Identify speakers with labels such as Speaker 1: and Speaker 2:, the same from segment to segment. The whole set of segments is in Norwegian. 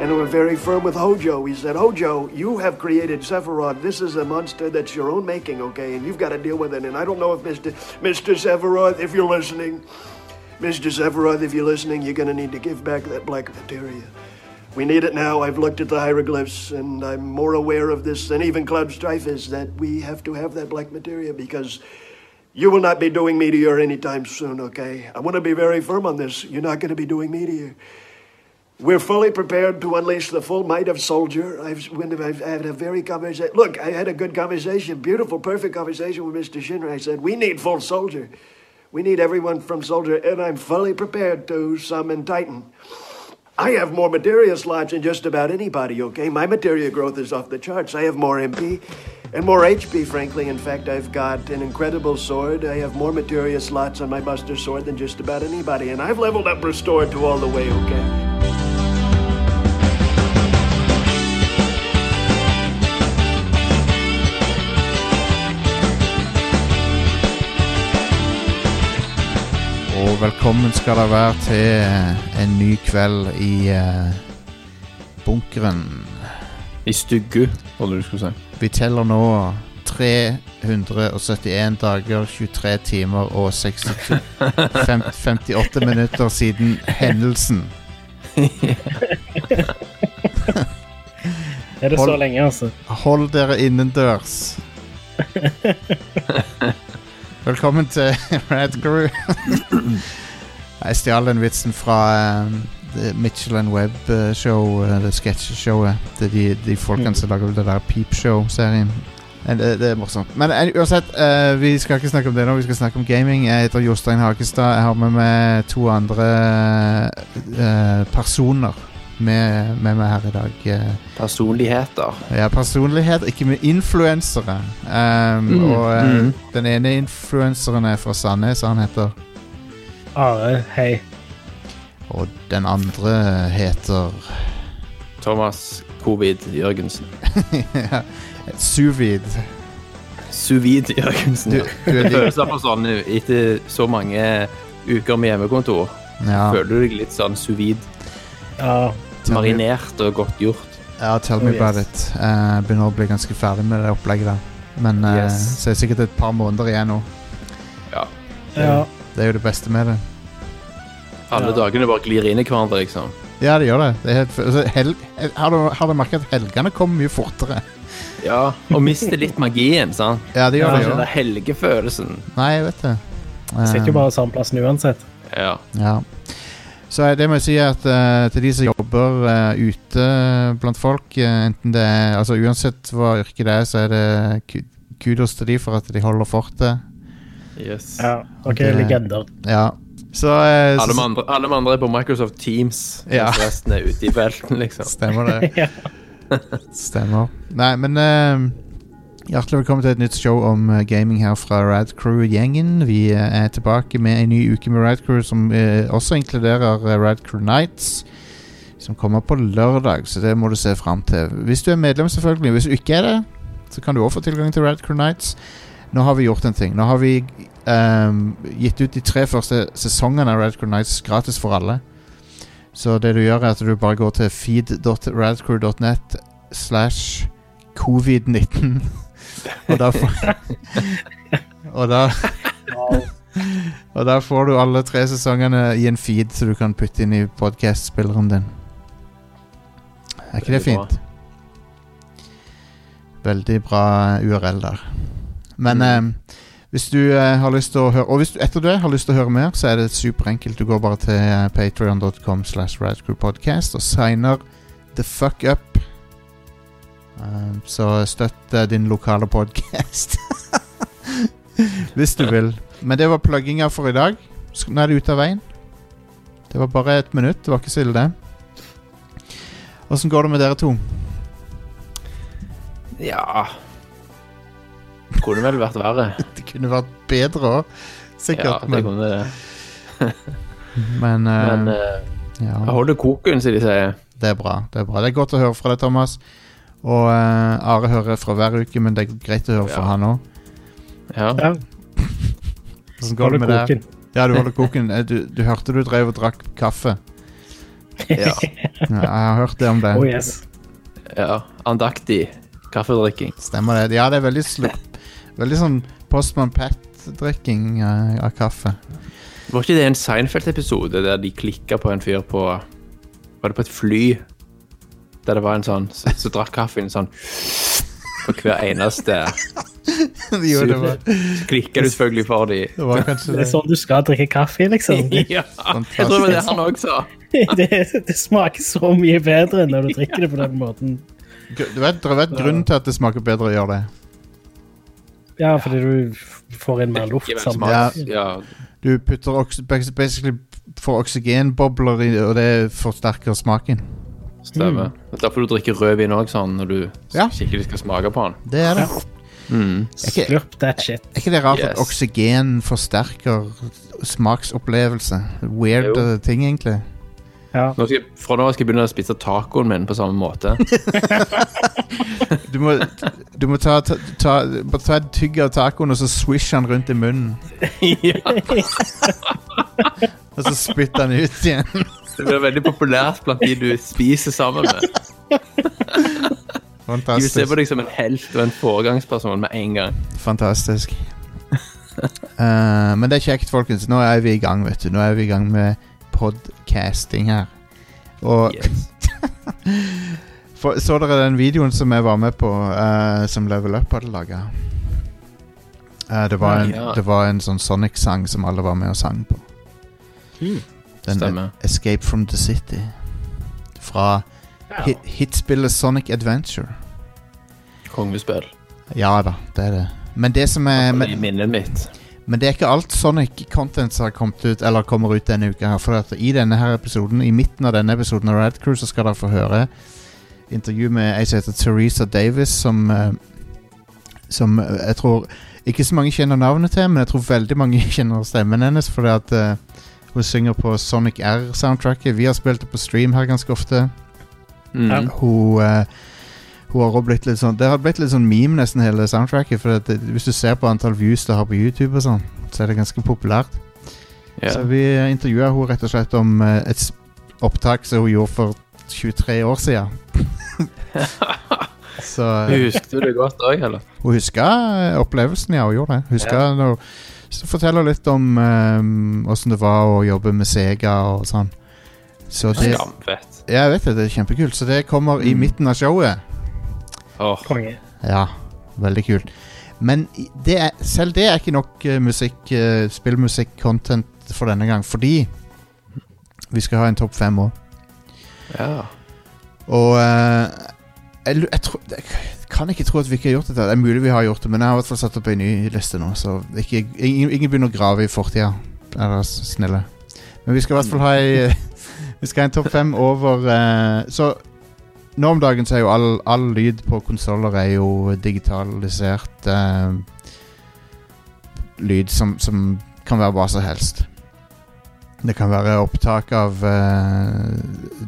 Speaker 1: And we're very firm with Hojo. We said, Hojo, you have created Sephiroth. This is a monster that's your own making, okay? And you've got to deal with it. And I don't know if Mr. Mr. Sephiroth, if you're listening, Mr. Sephiroth, if you're listening, you're going to need to give back that black materia. We need it now. I've looked at the hieroglyphs, and I'm more aware of this than even Cloud Strife is that we have to have that black materia because you will not be doing Meteor anytime soon, okay? I want to be very firm on this. You're not going to be doing Meteor. We're fully prepared to unleash the full might of Soldier. I've, when I've, I had a very conversation. Look, I had a good conversation, beautiful, perfect conversation with Mr. Shinra. I said, We need full Soldier. We need everyone from Soldier, and I'm fully prepared to summon Titan. I have more materia slots than just about anybody, okay? My materia growth is off the charts. I have more MP and more HP, frankly. In fact, I've got an incredible sword. I have more materia slots on my Buster Sword than just about anybody, and I've leveled up Restored to all the way, okay?
Speaker 2: Og velkommen skal dere være til eh, en ny kveld i eh, bunkeren.
Speaker 3: I stuggu, hva du skulle si.
Speaker 2: Vi teller nå 371 dager, 23 timer og 62, fem- 58 minutter siden hendelsen.
Speaker 4: Er det så
Speaker 2: Hold-
Speaker 4: lenge, altså?
Speaker 2: Hold dere innendørs. Velkommen til Rad Crew. Jeg stjal den vitsen fra eh, det Mitchell and Webb-show, uh, det sketsjeshowet. Det er de, de folkene som lager det der Peepshow-serien. Men Det, det er morsomt. Men eh, uansett, eh, vi skal ikke snakke om det nå. Vi skal snakke om gaming. Jeg heter Jostein Hakestad. Jeg har med meg to andre eh, personer med, med meg her i dag. Eh,
Speaker 3: Personligheter.
Speaker 2: ja, personlighet, ikke med influensere. Um,
Speaker 4: Mm,
Speaker 2: Og eh,
Speaker 3: mm.
Speaker 2: den ene influenseren er fra Sandnes, han heter.
Speaker 4: Are, hei.
Speaker 2: Og den andre heter
Speaker 3: Thomas Covid Jørgensen.
Speaker 2: Suvid.
Speaker 3: Suvid Jørgensen.
Speaker 2: Du,
Speaker 3: ja.
Speaker 2: du er
Speaker 3: Det
Speaker 2: litt,
Speaker 3: føles derfor sånn eh, etter så mange uker med hjemmekontor.
Speaker 2: ja,
Speaker 3: Føler du deg litt sånn suvid,
Speaker 4: Ja,
Speaker 2: tell me,
Speaker 3: marinert og godt gjort?
Speaker 2: ja, tell me
Speaker 4: Oh,
Speaker 2: about
Speaker 4: yes.
Speaker 2: it. Eh, begynner å bli ganske ferdig med det opplegget der. Men eh,
Speaker 3: Yes.
Speaker 2: så er det sikkert et par måneder igjen nå.
Speaker 4: ja.
Speaker 2: Det er jo det beste med det.
Speaker 3: Alle
Speaker 4: Ja.
Speaker 3: dagene bare glir inn i hverandre, liksom.
Speaker 2: Ja, det gjør det. det er helt, altså, hel, eh, har du, har du merket at helgene kommer mye fortere?
Speaker 3: Ja, og mister litt magien, sant?
Speaker 2: Ja, det
Speaker 4: Ja,
Speaker 2: gjør
Speaker 3: Den
Speaker 2: det.
Speaker 3: der helgefølelsen.
Speaker 2: jo Nei, jeg vet det.
Speaker 4: Sitter
Speaker 2: Eh,
Speaker 4: jo bare samme plassen uansett.
Speaker 3: Ja.
Speaker 2: Ja. Så er det må jeg si at eh, til de som jobber eh, ute blant folk, eh, enten det er Altså uansett hva yrket det er, så er det ku- kudos til de for at de holder fortet.
Speaker 3: Yes.
Speaker 4: Ja, ok,
Speaker 2: Det-
Speaker 4: legender.
Speaker 2: Ja. Så, eh,
Speaker 3: Alle
Speaker 2: så
Speaker 3: andre, alle andre er på Microsoft Teams,
Speaker 2: Ja.
Speaker 3: mens resten er ute i felten, liksom.
Speaker 2: stemmer
Speaker 4: Ja.
Speaker 2: det. stemmer. Nei, men eh, Hjertelig velkommen til et nytt show om eh, gaming her fra Rad Crew-gjengen. Vi eh, er tilbake med en ny uke med Rad Crew, som eh, også inkluderer eh, Rad Crew Nights. Som kommer på lørdag, så det må du se fram til. Hvis du er medlem, selvfølgelig. Hvis du ikke er det, så kan du også få tilgang til Rad Crew Nights. Nå har vi gjort en ting. Nå har vi ehm, gitt ut de tre første sesongene av Rad Crew Nights gratis for alle. Så det du gjør, er at du bare går til feed.radcrew.net slash covid-19. Og da får Og da Og da får du alle tre sesongene i en feed som du kan putte inn i podcast-spilleren din. Er ikke det
Speaker 3: Veldig bra.
Speaker 2: fint? Veldig bra URL der. Men
Speaker 3: Mm.
Speaker 2: eh, hvis du eh, har lyst til å høre Og hvis du etter det har lyst til å høre mer, så er det superenkelt. Du går bare til eh, patreon.com slash radcrewpodcast og signer the fuck up. Eh, så støtt eh, din lokale podkast. hvis du vil. Men det var plugginga for i dag. Sk- Nå er det ute av veien. Det var bare et minutt. Det var ikke så ille, det. Åssen går det med dere to?
Speaker 3: Ja Kunne vel vært verre.
Speaker 2: Det kunne vært bedre òg,
Speaker 3: Ja,
Speaker 2: sikkert.
Speaker 3: det
Speaker 2: men
Speaker 3: kunne det.
Speaker 2: men, eh,
Speaker 3: Men eh,
Speaker 2: ja.
Speaker 3: jeg holder koken, som de sier.
Speaker 2: Det er bra. Det er bra Det er godt å høre fra deg, Thomas. Og eh, Are hører fra hver uke, men det er greit å høre fra
Speaker 3: Ja.
Speaker 2: han òg.
Speaker 3: Ja.
Speaker 4: Ja,
Speaker 2: Hvordan
Speaker 4: går
Speaker 2: går
Speaker 4: du
Speaker 2: det med deg?
Speaker 4: koken?
Speaker 2: Ja, du holder koken. Eh, Du, du hørte du drev og drakk kaffe.
Speaker 3: Ja.
Speaker 2: Ja, jeg har hørt det om det.
Speaker 4: Oh yes.
Speaker 3: ja. Andaktig kaffedrikking.
Speaker 2: Stemmer det. Ja, det er veldig slupp. Veldig sånn Postman Pat-drikking eh, av kaffe.
Speaker 3: Var ikke det en Seinfeld-episode der de klikka på en fyr på Var det på et fly? Der det var en sånn Så, så drakk kaffen sånn På hver eneste
Speaker 2: jo, det var,
Speaker 3: Klikka du selvfølgelig for de
Speaker 2: det var kanskje
Speaker 4: Det
Speaker 2: det.
Speaker 4: er sånn du skal drikke kaffe, liksom. Det,
Speaker 3: Ja, jeg tror det var det han òg sa.
Speaker 4: det, det smaker så mye bedre når du drikker det på den måten.
Speaker 2: Gr- Du vet, du vet grunnen til at det smaker bedre å gjøre det.
Speaker 4: Ja, fordi du f- får inn mer luft
Speaker 3: Ikke hvem som
Speaker 4: sammen.
Speaker 3: helst. sånn, Ja,
Speaker 2: Du putter oks bas- basically får oksygenbobler i, og det forsterker smaken.
Speaker 3: stemmer. Og Derfor du drikker rødvin òg sånn når du
Speaker 2: Ja.
Speaker 3: skikkelig skal smake på den.
Speaker 2: Det er det. Er ikke,
Speaker 4: Slurp that shit.
Speaker 2: er ikke det rart at
Speaker 3: Mm. Yes.
Speaker 2: oksygen forsterker smaksopplevelse? Weird
Speaker 3: Jo.
Speaker 2: eh, ting, egentlig.
Speaker 4: Ja.
Speaker 3: Nå skal, jeg- fra nå av skal jeg begynne å spise tacoen min på samme måte.
Speaker 2: Du må, du må ta, ta, ta, bare ta et tygg av tacoen og så swishe den rundt i munnen.
Speaker 3: ja,
Speaker 2: Og så spytte den ut igjen.
Speaker 3: det blir veldig populært blant de du spiser sammen med. De vil se på
Speaker 2: Fantastisk.
Speaker 3: deg som en helt og en foregangsperson med en gang.
Speaker 2: Fantastisk. Eh, men det er kjekt, folkens. Nå er vi i gang, vet du. Nå er vi i gang med podcasting her. Og
Speaker 3: Yes.
Speaker 2: for, så dere den videoen som jeg var med på, eh, som Level Up hadde laga? det, var en,
Speaker 3: Ja.
Speaker 2: det var en sånn Sonic-sang som alle var med og sang på.
Speaker 4: Mm.
Speaker 2: Den E-
Speaker 3: Stemmer.
Speaker 2: Escape from the City. Fra hit, hitspillet Sonic Adventure.
Speaker 3: Kongespill.
Speaker 2: Ja da, det er det. Men det som er
Speaker 3: Det
Speaker 2: Eh, men,
Speaker 3: er minnet mitt.
Speaker 2: Men det er ikke alt Sonic Content som har kommet ut Eller kommer ut denne uka her For at i denne her episoden I midten av denne episoden av Rad Crew Så skal dere få høre Intervju med ei som heter Teresa Davis Som eh, Som eh, jeg tror Ikke så mange kjenner navnet til Men jeg tror veldig mange kjenner stemmen hennes Fordi at eh, hun synger på Sonic R soundtracket Vi har spilt det på stream her ganske ofte
Speaker 4: Ja.
Speaker 3: Mm.
Speaker 2: hun, eh, hun har også blitt litt sånn Det har blitt litt sånn meme nesten hele soundtracket. For at det, Hvis du ser på antall views det har på YouTube, og sånn så er det ganske populært.
Speaker 3: Ja.
Speaker 2: Så vi intervjua hun rett og slett om eh, et s- opptak som hun gjorde for 23 år siden. så eh,
Speaker 3: Husker du det godt òg, eller?
Speaker 2: hun huska eh, opplevelsen, ja. Hun gjorde det. Huska når, så forteller hun litt om åssen det var å jobbe med Sega og sånn. Så det,
Speaker 3: Skamfett.
Speaker 2: jeg vet det, det er kjempekult. Så det kommer i
Speaker 3: Mm.
Speaker 2: midten av showet.
Speaker 3: Åh,
Speaker 4: Konge.
Speaker 2: Ja, veldig kult. Men i- det er, selv det er ikke nok eh, musikk, eh, spillmusikk-content for denne gang, fordi vi skal ha en topp fem òg.
Speaker 3: ja.
Speaker 2: Og eh, jeg, lu- jeg, tror- jeg kan ikke tro at vi ikke har gjort dette. Det er mulig vi har gjort det, men jeg har i hvert fall satt opp en ny liste nå, så ikke, ingen, ingen begynner å grave i fortida. Er dere s- snille. Men vi skal i hvert fall ha ei Vi skal ha en topp fem over eh, Så nå om dagen så er jo all, all lyd på konsoller er jo digitalisert eh, lyd som, som kan være hva som helst. Det kan være opptak av eh,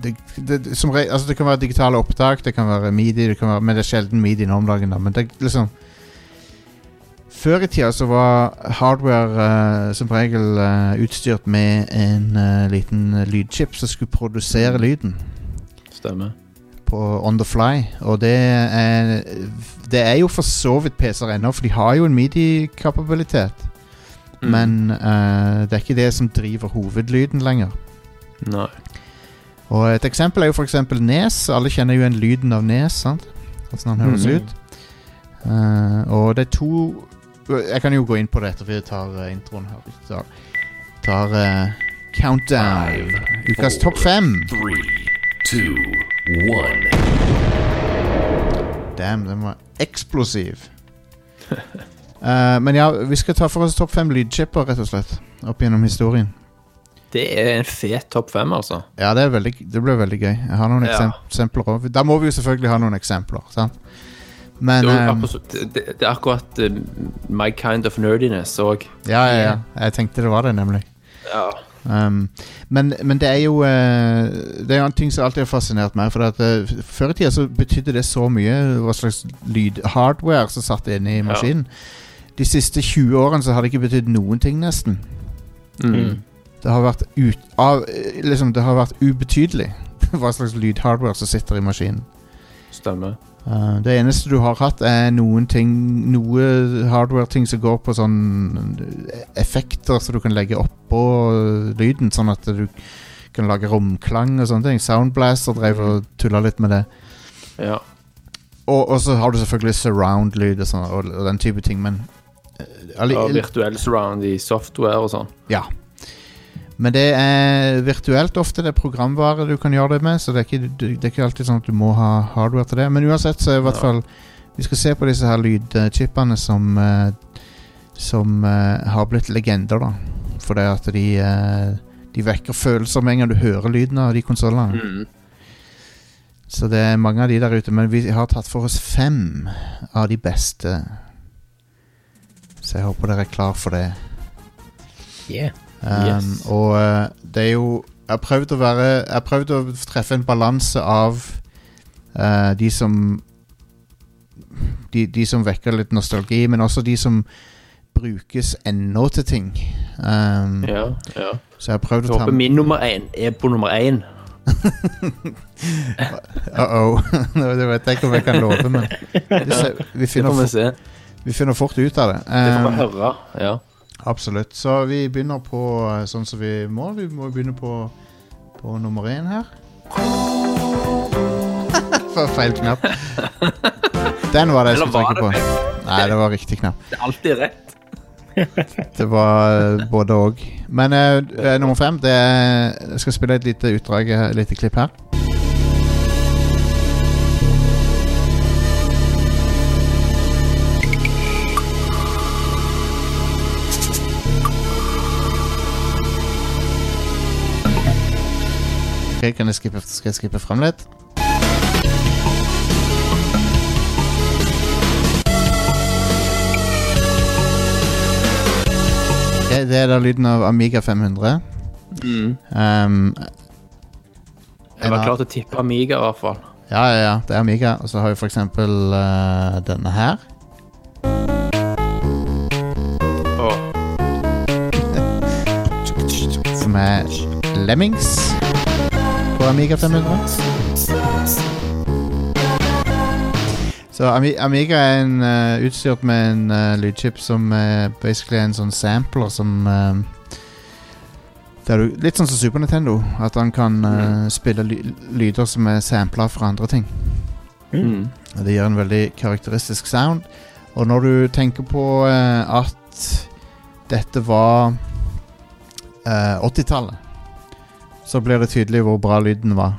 Speaker 2: det, det, det- som, re- altså det kan være digitale opptak, det kan være midi, det kan være, men det er sjelden midi nå om dagen. Da, men det er liksom Før i tida så var hardware eh, som regel eh, utstyrt med en eh, liten lydchip som skulle produsere lyden
Speaker 3: Stemmer.
Speaker 2: på On The Fly. Og det er, det er jo for så vidt PC-er ennå, for de har jo en midi-kapabilitet.
Speaker 3: Mm.
Speaker 2: Men eh, det er ikke det som driver hovedlyden lenger.
Speaker 3: Nei.
Speaker 2: Og et eksempel er jo for eksempel Nes. Alle kjenner jo igjen lyden av Nes, sant? Hvordan han høres
Speaker 4: Mhm.
Speaker 2: ut. Eh, og det er to Jeg kan jo gå inn på det etter vi tar eh, introen her. Så, tar eh, Countdown. Ukas
Speaker 5: four,
Speaker 2: topp fem.
Speaker 5: Three, two, one.
Speaker 2: Damn, den var eksplosiv. Eh, men ja, vi skal ta for oss topp fem lydchipper, rett og slett. Opp gjennom historien.
Speaker 3: Det er en fet topp fem, altså.
Speaker 2: Ja, det, er veldig, det ble veldig gøy. Jeg har noen
Speaker 3: Ja.
Speaker 2: eksem- eksempler òg. Da må vi jo selvfølgelig ha noen eksempler, sant? Men
Speaker 3: Det er, jo
Speaker 2: ehm,
Speaker 3: absolutt- det, det- det er akkurat eh, my kind of nerdiness òg.
Speaker 2: ja, ja, ja, jeg tenkte det var det, nemlig.
Speaker 3: Ja.
Speaker 2: Um, men, men det er jo eh, Det er jo en ting som alltid har fascinert meg. For at, eh, f- Før i tida så betydde det så mye hva slags lydhardware som satt inne i
Speaker 3: Ja.
Speaker 2: maskinen. De siste 20 årene så har det ikke betydd noen ting, nesten.
Speaker 3: Mm.
Speaker 2: Det har vært ut av eh, Liksom, det har vært ubetydelig. hva slags lydhardware som sitter i maskinen.
Speaker 3: Stemmer.
Speaker 2: Eh, det eneste du har hatt, er noen ting Noe hardware-ting som går på sånn eh, effekter som du kan legge oppå lyden, sånn at du kan lage romklang og sånne ting. Soundblaster drev og tulla litt med det.
Speaker 3: Ja.
Speaker 2: Og, og så har du selvfølgelig surround-lyd og, sånn, og, og den type ting, men eh, alli-
Speaker 3: Og virtuell surround i software og sånn.
Speaker 2: Ja. Men det er virtuelt ofte. Det er programvare du kan gjøre det med, så det er ikke, det er ikke alltid sånn at du må ha hardware til det. Men uansett, så er i hvert
Speaker 3: Ja.
Speaker 2: fall Vi skal se på disse her lydchipene som eh, Som eh, har blitt legender, da. For det at de eh, De vekker følelser med en gang du hører lyden av de konsollene.
Speaker 3: Mm.
Speaker 2: Så det er mange av de der ute, men vi har tatt for oss fem av de beste. Så jeg håper dere er klar for det.
Speaker 4: Yeah.
Speaker 2: Um,
Speaker 3: Yes.
Speaker 2: Og eh, det er jo Jeg har prøvd å være Jeg har prøvd å treffe en balanse av eh, de som de, de som vekker litt nostalgi, men også de som brukes ennå til ting. Um,
Speaker 3: Ja, ja.
Speaker 2: Så jeg har prøvd
Speaker 3: Jeg
Speaker 2: å ta
Speaker 3: håper min nummer én er på nummer én.
Speaker 2: Uh-oh. det vet jeg ikke om jeg kan love, men vi, ser, vi,
Speaker 3: Det
Speaker 2: finner,
Speaker 3: får vi
Speaker 2: fort-
Speaker 3: se.
Speaker 2: vi finner fort ut av det.
Speaker 3: Det får vi
Speaker 2: Um,
Speaker 3: høre. Ja.
Speaker 2: Absolutt. Så vi begynner på eh, sånn som vi må. Vi må begynne på, på nummer én her. For feil knapp. Den var det jeg
Speaker 3: Eller
Speaker 2: skulle
Speaker 3: var
Speaker 2: trykke på. Nei, det var riktig knapp.
Speaker 3: Det er alltid rett.
Speaker 2: Det var eh, både og. Men eh, eh, nummer fem det er, Jeg skal spille et lite utdrag, eh, et lite klipp her. Ok, kan jeg skippe, skal jeg skippe frem litt? Ok, det er da lyden av Amiga 500. Um,
Speaker 3: Jeg var klar til å tippe Amiga, i hvert fall.
Speaker 2: Ja, ja, ja, det er Amiga. Og så har vi for eksempel eh, denne her.
Speaker 3: Åh,
Speaker 2: Som er Lemmings på Amiga 500. Så Ami Amiga er en, eh, utstyrt med en eh, lydchip som er basically en sånn sampler som eh, der du, Litt sånn som Super Nintendo. At han kan eh, spille ly lyder som er sampla fra andre ting.
Speaker 3: Mm.
Speaker 2: Og Det gir en veldig karakteristisk sound. Og når du tenker på eh, at dette var eh, 80-tallet, så blir det tydelig hvor bra lyden var.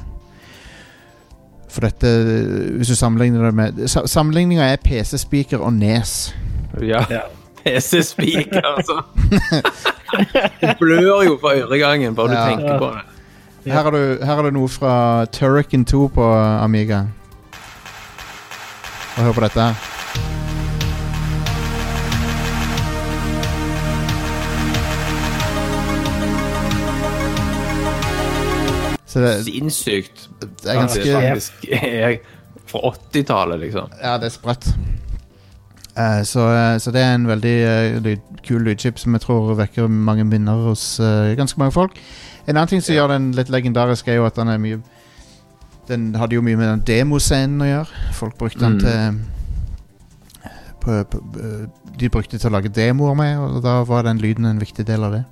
Speaker 2: For dette Hvis du sammenligner det med sa- Sammenligninga er PC-speaker og E nes.
Speaker 3: Ja.
Speaker 4: Ja.
Speaker 3: PC-spiker, altså. Det blør jo fra øregangen bare du
Speaker 2: Ja.
Speaker 3: tenker på det.
Speaker 4: Ja.
Speaker 2: Her, har du, her er det noe fra Turrican 2 på eh, Amiga. Og hør på dette her. Så det,
Speaker 3: Sinnssykt.
Speaker 2: det er ganske
Speaker 3: Det er faktisk jeg, fra 80-tallet, liksom.
Speaker 2: Ja, det er sprøtt. Eh, så, eh, så det er en veldig eh, lyd, kul lydchip som jeg tror vekker mange minner hos eh, ganske mange folk. En annen ting som gjør den litt legendarisk, er jo at den er mye Den hadde jo mye med den demoscenen å gjøre. Folk brukte den
Speaker 3: Mm.
Speaker 2: til på, på, eh, De brukte til å lage demoer med, og da var den lyden en viktig del av det.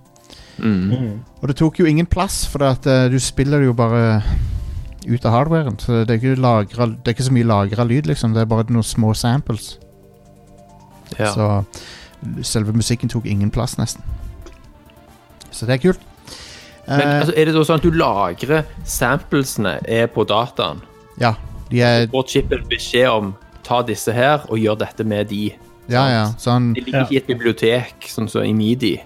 Speaker 3: Mm.
Speaker 4: Mm.
Speaker 2: Og det tok jo ingen plass, for det at, eh, du spiller jo bare ut av hardwaren. Så det er ikke, lagra, det er ikke så mye lagra lyd, liksom. Det er bare noen små samples.
Speaker 3: Ja.
Speaker 2: Så selve musikken tok ingen plass, nesten. Så det er kult.
Speaker 3: Men
Speaker 2: Eh,
Speaker 3: altså, er det da sånn at du lagrer samplesene er på dataen?
Speaker 2: ja, de er
Speaker 3: Får chipen beskjed om ta disse her og gjør dette med de?
Speaker 2: Ja, ja. Sånn
Speaker 3: De ligger ikke i et bibliotek, sånn som i Midi.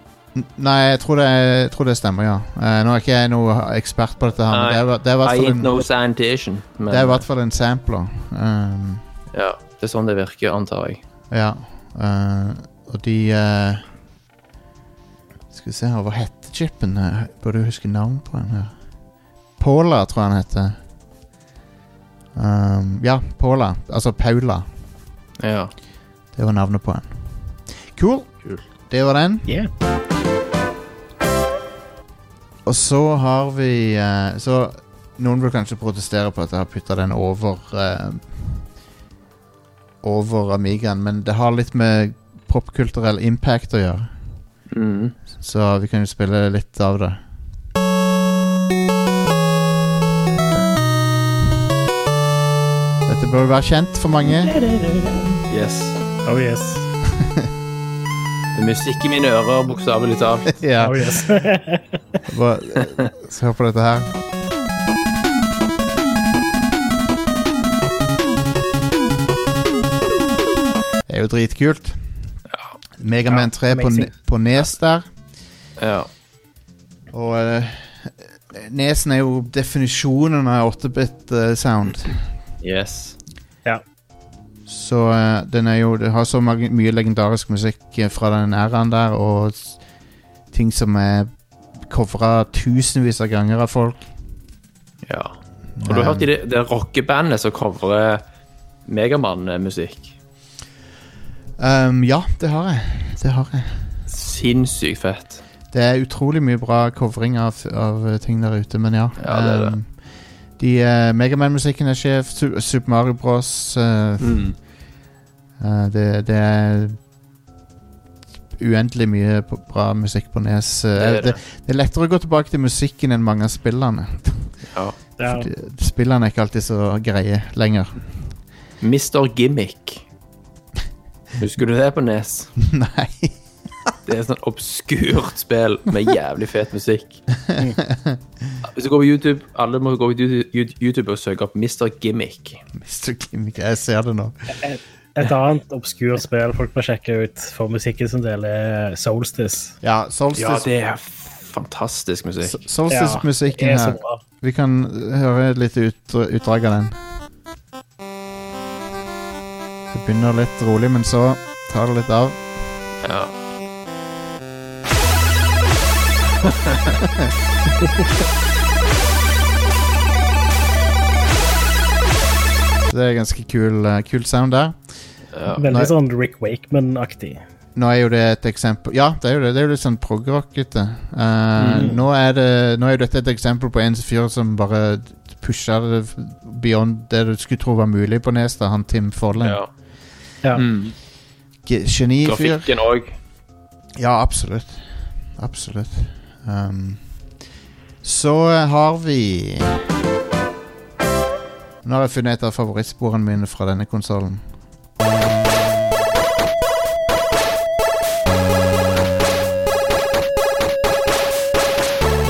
Speaker 2: Nei, jeg tror det, jeg tror det stemmer, ja. Eh, nå er ikke jeg noe ekspert på dette her, men
Speaker 3: Nei.
Speaker 2: det er, det er, i hvert
Speaker 3: I
Speaker 2: fall
Speaker 3: ain't
Speaker 2: en-
Speaker 3: no sanitation. Men
Speaker 2: det er i hvert fall en sampler. Um,
Speaker 3: ja, det er sånn det virker, antar jeg.
Speaker 2: Ja. eh, og de eh, Skal vi se her, hva heter chipen? Eh, Burde jo huske navn på den her. Paula, tror jeg han heter. Um, ja, Paula. Altså Paula.
Speaker 3: Ja.
Speaker 2: Det var navnet på den. Cool.
Speaker 3: Kul.
Speaker 2: Det var den.
Speaker 4: Yeah.
Speaker 2: Og så har vi eh, Så Noen vil kanskje protestere på at jeg har putta den over eh, Over Amigaen, men det har litt med popkulturell impact å gjøre.
Speaker 3: Mm.
Speaker 2: Så vi kan jo spille litt av det. Dette bør være kjent for mange.
Speaker 3: Yes.
Speaker 4: Oh yes.
Speaker 3: Det er musikk i mine ører, bokstavelig talt.
Speaker 2: Ja,
Speaker 4: Oh yes.
Speaker 2: hva, så hør på dette her. Det er jo dritkult. Megaman 3 på,
Speaker 4: amazing.
Speaker 2: ne- på Nes der.
Speaker 3: Ja.
Speaker 2: Og eh, Nesen er jo definisjonen av eh, 8-bit-sound.
Speaker 3: Yes.
Speaker 4: ja.
Speaker 2: Så eh, den er jo Det har så mange, mye legendarisk musikk eh, fra den æraen der, og s- ting som er covra tusenvis av ganger av folk.
Speaker 3: Ja. Og du har hørt i det, det rockebandet som covrer Megamann-musikk.
Speaker 2: Um, ja, det har jeg. Det har jeg.
Speaker 3: Sinnssykt fett.
Speaker 2: Det er utrolig mye bra covring av, av eh, ting der ute, men ja.
Speaker 3: Ja, det er det.
Speaker 2: Um, de eh, Megaman-musikken er sjef. Su Super Mario Bros. eh,
Speaker 3: Mm.
Speaker 2: Eh, det, det er uendelig mye p- bra musikk på Nes. Eh,
Speaker 3: Det er det.
Speaker 2: det er lettere å gå tilbake til musikken enn mange av spillene.
Speaker 3: Ja.
Speaker 4: Det er,
Speaker 2: Fordi Spillene er ikke alltid så greie lenger.
Speaker 3: Mr. Gimmick. Husker du det på Nes?
Speaker 2: Nei.
Speaker 3: Det er et sånt obskurt spill med jævlig fet musikk. Hvis du går på YouTube, alle må gå på YouTube- YouTube og søke opp Mr. Gimmick.
Speaker 2: Mr. Gimmick, jeg ser det nå.
Speaker 4: et annet obskurt spill folk må sjekke ut for musikken sin del, er Solstice.
Speaker 2: Ja,
Speaker 3: Ja,
Speaker 2: Solstice
Speaker 3: det er fantastisk musikk.
Speaker 2: Solstice-musikken
Speaker 4: Ja, det er så
Speaker 2: her.
Speaker 4: bra.
Speaker 2: Vi kan høre et lite ut, utdrag av den. Det begynner litt rolig, men så tar det litt av.
Speaker 3: Ja.
Speaker 2: Det er ganske kul, eh, kul sound der. Nei.
Speaker 4: Veldig sånn Rick Wakeman-aktig.
Speaker 2: Nå er jo det et eksempel Ja, det er jo det. Det er jo litt sånn progrockete. Eh, nå, er det- nå er jo dette et eksempel på en fyr som bare pusha det f- beyond det du skulle tro var mulig på Nesta. Han Tim Follen.
Speaker 3: ja.
Speaker 4: Ja.
Speaker 3: Mm.
Speaker 2: Ge- Genifyr.
Speaker 3: Grafikken òg.
Speaker 2: Ja, absolutt. Absolutt. Um, så eh, har vi Nå har jeg funnet et av favorittsporene mine fra denne konsollen.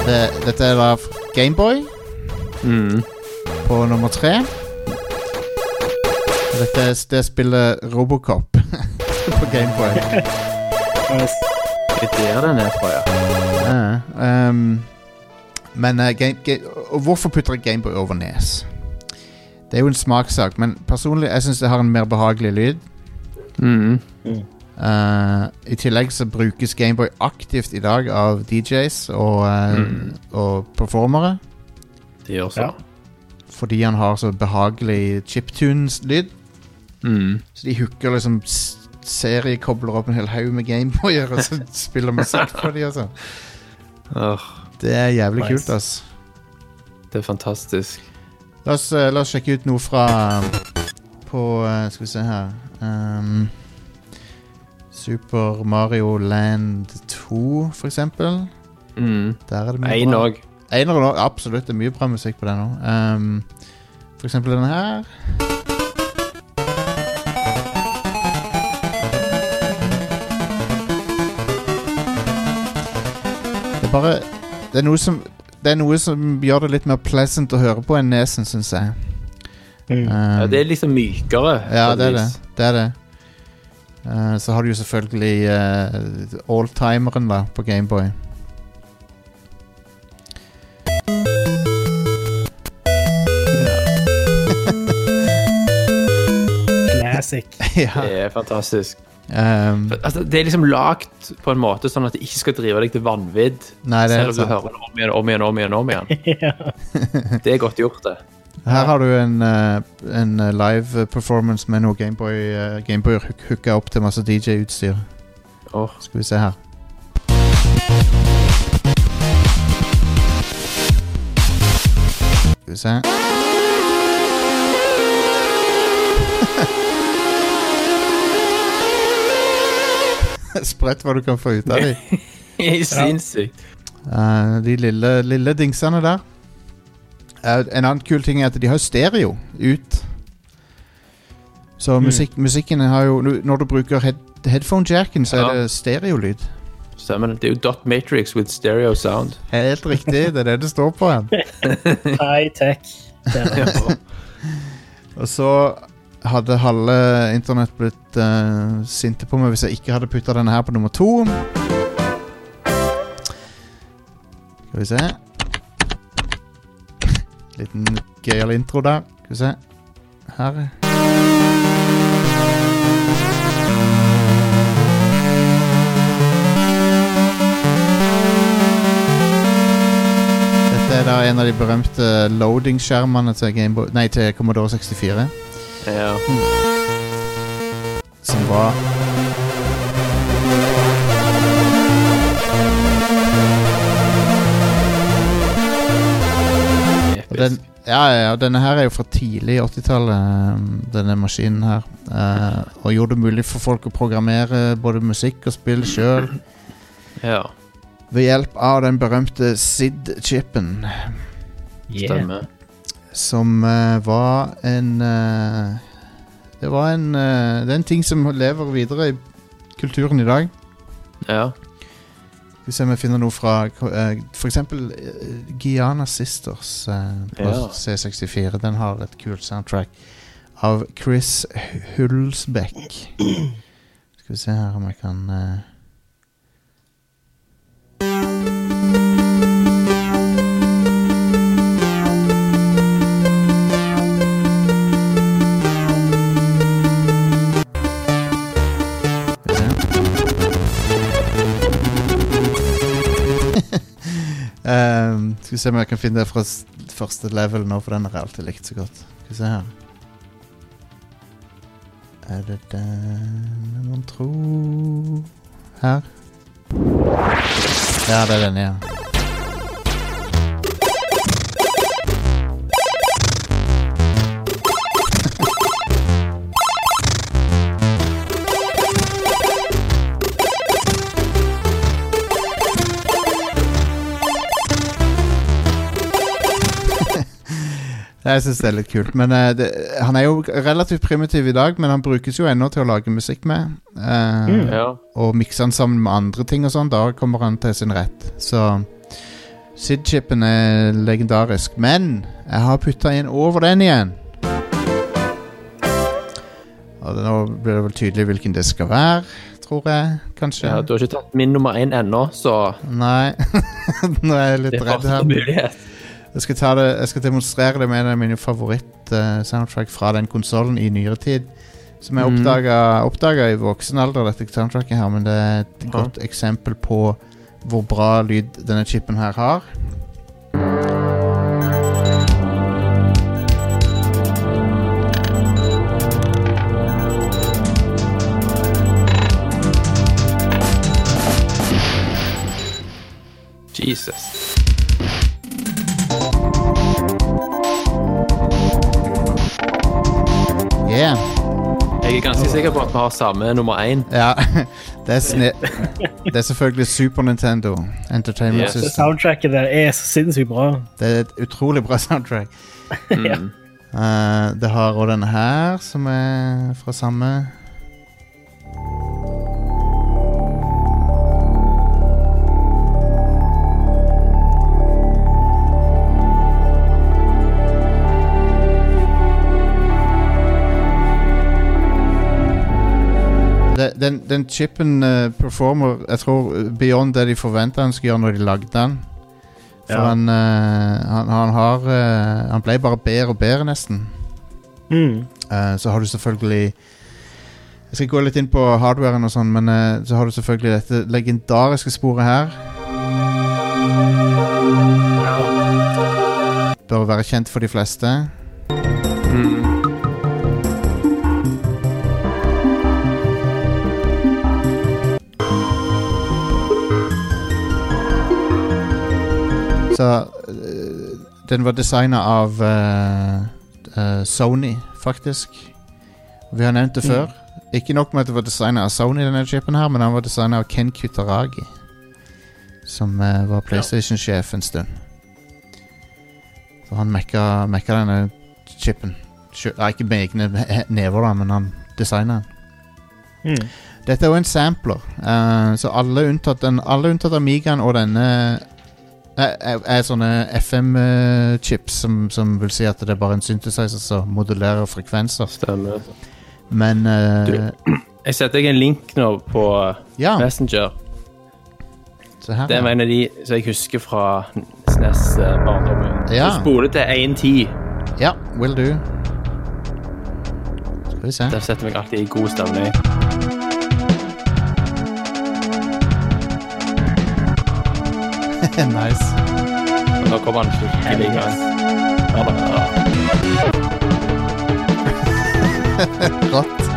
Speaker 2: Det, dette er da Gameboy
Speaker 3: Mm.
Speaker 2: på nummer tre. Dette er det spillet Robocop på Gameboy.
Speaker 3: Det er der den er fra, ja.
Speaker 2: Ja, ehm, men eh, game, Ga- og Hvorfor putter jeg Gameboy over Nes? Det er jo en smakssak, men personlig jeg syns det har en mer behagelig lyd.
Speaker 3: Mm.
Speaker 2: Eh, I tillegg så brukes Gameboy aktivt i dag av DJs og, eh, og performere.
Speaker 3: Det gjør så.
Speaker 4: Ja.
Speaker 2: Fordi han har så behagelig chiptunes-lyd.
Speaker 3: Mm.
Speaker 2: Så de hooker liksom s- seriekobler opp en hel haug med Gameboyer og så spiller musikk på de og sånn.
Speaker 3: Åh,
Speaker 2: Det er jævlig
Speaker 4: Nice.
Speaker 2: kult, ass.
Speaker 3: det er fantastisk.
Speaker 2: La oss, eh, la oss sjekke ut noe fra På eh, Skal vi se her Ehm, Super Mario Land 2, for eksempel.
Speaker 3: Mm.
Speaker 2: Der er det mye
Speaker 3: Én
Speaker 2: bra.
Speaker 3: òg.
Speaker 2: Einer og Absolutt. Det er mye bra musikk på den òg. for eksempel denne her. Det er bare Det er noe som det er noe som gjør det litt mer pleasant å høre på enn nesen, syns jeg.
Speaker 4: Mm.
Speaker 2: Um,
Speaker 3: Ja, det er sånn liksom mykere.
Speaker 2: Eh, ja,
Speaker 3: på
Speaker 2: det er
Speaker 3: et
Speaker 2: det.
Speaker 3: vis.
Speaker 2: det, er det. Eh, så har du jo selvfølgelig eh, alltimeren da, på Gameboy.
Speaker 4: Classic.
Speaker 2: ja.
Speaker 3: Det er fantastisk.
Speaker 2: ehm,
Speaker 3: For, Altså, det er liksom lagt på en måte sånn at det ikke skal drive deg til vanvidd.
Speaker 2: Nei, det er
Speaker 3: Selv om du
Speaker 2: sant.
Speaker 3: hører det om igjen, om igjen, om igjen. om igjen. Det er godt gjort, det.
Speaker 2: her har du en, eh, en eh, live performance med noe Gameboy uh, Gameboy hook- hooka opp til masse DJ-utstyr.
Speaker 3: Åh,
Speaker 2: Skal vi se her. Skal Skal vi se. Sprøtt hva du kan få ut av dem.
Speaker 3: Sinnssykt.
Speaker 2: Eh, de lille, lille dingsene der. Eh, en annen kul ting er at de har stereo ut. Så musikk, musikken har jo nu- Når du bruker head, headphone-jacken, så er
Speaker 3: Ja.
Speaker 2: det stereolyd.
Speaker 3: Stemmer det. Det er jo dot matrix with stereo sound.
Speaker 2: Helt riktig, det er det det står på den.
Speaker 4: High-tech.
Speaker 2: Og så hadde halve internett blitt eh, sinte på meg hvis jeg ikke hadde putta denne her på nummer to. Skal vi se Liten gøyal intro der. Skal vi se. Her. Dette er da en av de berømte loading-skjermene til, Gameboy- nei, til Commodore 64.
Speaker 3: Ja.
Speaker 2: Som var Og den,
Speaker 3: Episk.
Speaker 2: ja, ja, ja, denne her er jo fra tidlig 80-tallet, um, denne maskinen her. Eh, og gjorde det mulig for folk å programmere både musikk og spill sjøl
Speaker 3: Ja,
Speaker 2: ved hjelp av den berømte SID-chipen.
Speaker 4: Yeah.
Speaker 3: stemmer.
Speaker 2: Som eh, var en eh, Det var en eh, Det er en ting som lever videre i kulturen i dag.
Speaker 3: Ja.
Speaker 2: Skal vi se om jeg finner noe fra eh, For eksempel eh, Guyana Sisters eh, på
Speaker 3: Ja.
Speaker 2: C64. Den har et kult soundtrack av Chris Hulsbeck. Skal vi se her om jeg kan eh. Skal vi se. Ehm, skal vi se om jeg kan finne det fra s- første level nå, for den har jeg alltid likt så godt. Skal vi se her. Er det den man tro Her. Ja, det er den, ja. Jeg syns det er litt kult. Men eh, det, han er jo relativt primitiv i dag, men han brukes jo ennå til å lage musikk med. Eh,
Speaker 3: Ja.
Speaker 2: Og mikse han sammen med andre ting og sånn. Da kommer han til sin rett. Så SID-chipen er legendarisk. Men jeg har putta inn over den igjen. Og nå blir det vel tydelig hvilken det skal være, tror jeg. Kanskje.
Speaker 3: ja, Du har ikke tatt min nummer én ennå, så
Speaker 2: Nei. nå er jeg
Speaker 3: det
Speaker 2: litt
Speaker 3: er
Speaker 2: redd
Speaker 3: fortsatt
Speaker 2: her.
Speaker 3: en mulighet.
Speaker 2: Jeg skal, ta det, jeg skal demonstrere det med en av mine favoritt-soundtrack fra den konsollen i nyere tid. Som jeg
Speaker 3: Mm.
Speaker 2: oppdaga- oppdaga i voksen alder, dette soundtracket her, men det er et
Speaker 3: Ja.
Speaker 2: godt eksempel på hvor bra lyd denne chipen her har.
Speaker 3: Jesus.
Speaker 2: Yeah.
Speaker 3: Jeg er ganske sikker på at vi har samme nummer én.
Speaker 2: Ja, det er, sne det er selvfølgelig Super Nintendo Entertainment
Speaker 3: Yes.
Speaker 2: System.
Speaker 4: Soundtracket der er så sinnssykt bra.
Speaker 2: Det er et utrolig bra soundtrack.
Speaker 4: Ja.
Speaker 3: Mm.
Speaker 2: Eh, det har òg denne her, som er fra samme Det- Den, den chipen eh, performer jeg tror eh, beyond det de forventa han skulle gjøre når de lagde den. For
Speaker 4: Ja.
Speaker 2: han, eh, han, han har eh, Han ble bare bedre og bedre, nesten.
Speaker 4: Mm.
Speaker 2: Eh, så har du selvfølgelig Jeg skal gå litt inn på hardwaren og sånn, men eh, så har du selvfølgelig dette legendariske sporet her. Bør være kjent for de fleste. Så eh, Den var designa av eh, eh, Sony, faktisk. Vi har nevnt det før. Ikke nok med at det var designa av Sony, denne chipen her, men han var designa av Ken Kutaragi. Som eh, var PlayStation-sjef en stund. Så han mekka, mekka denne chipen. Sjø- Nei, ikke med egne he- never, da, men han designa den.
Speaker 4: Mm.
Speaker 2: Dette er jo en sampler, eh, så alle unntatt, den, alle unntatt Amigaen og denne er, er, er sånne FM-chips som, som vil si at det er bare en synthesizer som modulerer frekvenser.
Speaker 3: Stemmer.
Speaker 2: Men eh,
Speaker 3: Jeg setter deg en link nå på
Speaker 2: Ja,
Speaker 3: Messenger.
Speaker 2: se her.
Speaker 3: Det er
Speaker 2: ja.
Speaker 3: en av de som jeg husker fra SNES eh, barndommen.
Speaker 2: Ja.
Speaker 3: Så Spole til 1.10.
Speaker 2: Ja, will do. Skal vi se.
Speaker 3: Det setter meg alltid i god stemning.
Speaker 2: nice.
Speaker 3: Og nå kommer han skikkelig i gang. Ja, da, ja.
Speaker 2: Rått.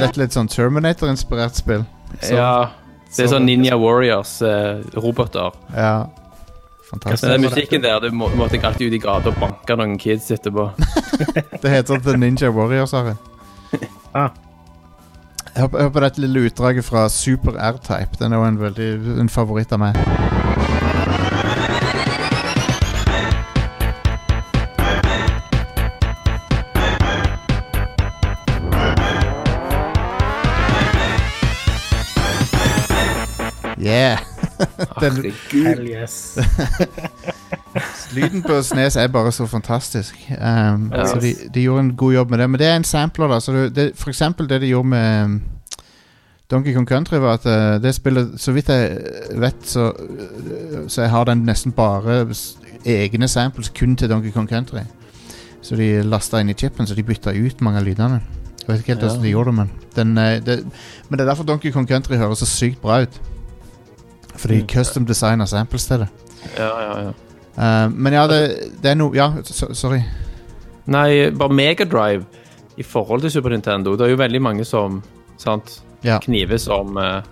Speaker 2: Er dette litt sånn Terminator-inspirert spill? Så-
Speaker 3: ja. Det er sånn Ninja Warriors-roboter.
Speaker 2: Ja.
Speaker 3: Men
Speaker 2: Fantastisk.
Speaker 3: den musikken der, du må, måtte jeg alltid ut i gata og banke noen kids etterpå.
Speaker 2: Det heter The Ninja Warriors, Are.
Speaker 4: Ah.
Speaker 2: Hør på- hør på dette lille utdraget fra Super R-Type. Den er jo en, veldig, en favoritt av meg. Yeah! Den-
Speaker 3: Herregud.
Speaker 4: Hell yes.
Speaker 2: Lyden på Snes er bare så fantastisk. Um,
Speaker 3: Ja.
Speaker 2: Så de, de gjorde en god jobb med det. Men det er en sampler, da. Så det, det, for eksempel det de gjorde med um, Donkey Kong Country, var at uh, det spillet Så vidt jeg vet, så, uh, så jeg har den nesten bare s- egne samples kun til Donkey Kong Country. Så de lasta inn i chipen, så de bytta ut mange av lydene. Jeg vet ikke helt
Speaker 3: Ja.
Speaker 2: hvordan de gjorde det, men den, uh, det, Men det er derfor Donkey Kong Country høres så sykt bra ut. Fordi
Speaker 3: Mm.
Speaker 2: custom designer samples til det.
Speaker 3: Ja, ja, ja.
Speaker 2: Eh, men ja, det, det er noe Ja, so, sorry.
Speaker 3: Nei, bare Megadrive i forhold til Super Nintendo. Det er jo veldig mange som sant,
Speaker 2: Ja.
Speaker 3: knives om eh,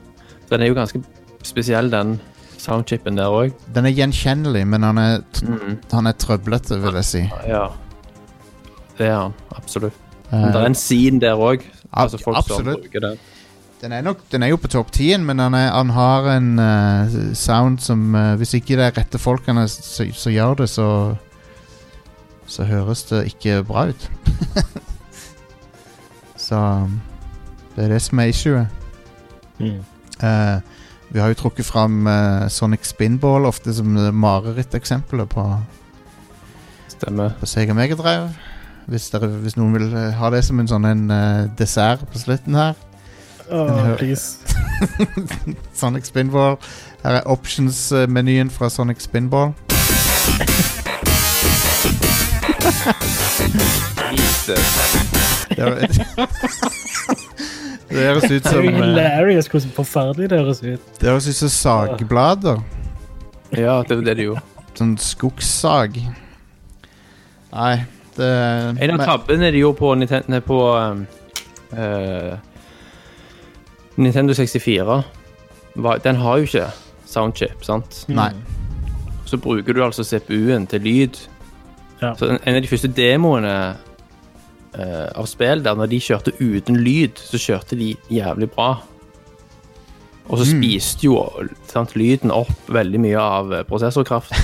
Speaker 3: Den er jo ganske spesiell, den soundchipen der òg.
Speaker 2: Den er gjenkjennelig, men han er, t- han er trøblete, vil jeg si.
Speaker 3: Ja. Det er han, absolutt.
Speaker 2: Eh,
Speaker 3: Men det er en scene der òg.
Speaker 2: ab-
Speaker 3: Altså folk
Speaker 2: absolutt.
Speaker 3: som bruker den.
Speaker 2: den, er nok, den er jo på topp 10 men han, er, han har en eh, sound som eh, Hvis ikke det er rette folkene som som gjør det, så Så høres det ikke bra ut. så um, det er det som er issuet.
Speaker 4: Mm.
Speaker 2: Eh, vi har jo trukket fram eh, Sonic Spinball ofte som det mareritteksempelet på
Speaker 3: Stemmer.
Speaker 2: på Sega Mega Drive. Hvis, dere, hvis noen vil eh, ha det som en sånn en, eh, dessert på slutten her.
Speaker 4: Åh, please.
Speaker 2: Sonic Spinball. Her er options-menyen fra Sonic Spinball. Det hø- Det høres ut
Speaker 4: Det er
Speaker 2: som
Speaker 4: jo
Speaker 2: eh,
Speaker 4: hilarious hvordan forferdelig det høres ut.
Speaker 2: Det høres ut som sagblader.
Speaker 3: Ja, det var det de gjorde.
Speaker 2: Sånn skogssag. Nei, det
Speaker 3: En av
Speaker 2: men-
Speaker 3: tabbene de gjorde på, Ninten- nei, på um, eh, Nintendo 64 var, Den har jo ikke soundchip, sant?
Speaker 2: Nei.
Speaker 3: Så bruker du altså CPU-en til lyd.
Speaker 4: Ja.
Speaker 3: Så en, en av de første demoene eh, av spill der, når de kjørte uten lyd, så kjørte de jævlig bra. Og så spiste jo sant, lyden opp veldig mye av eh, prosessorkraft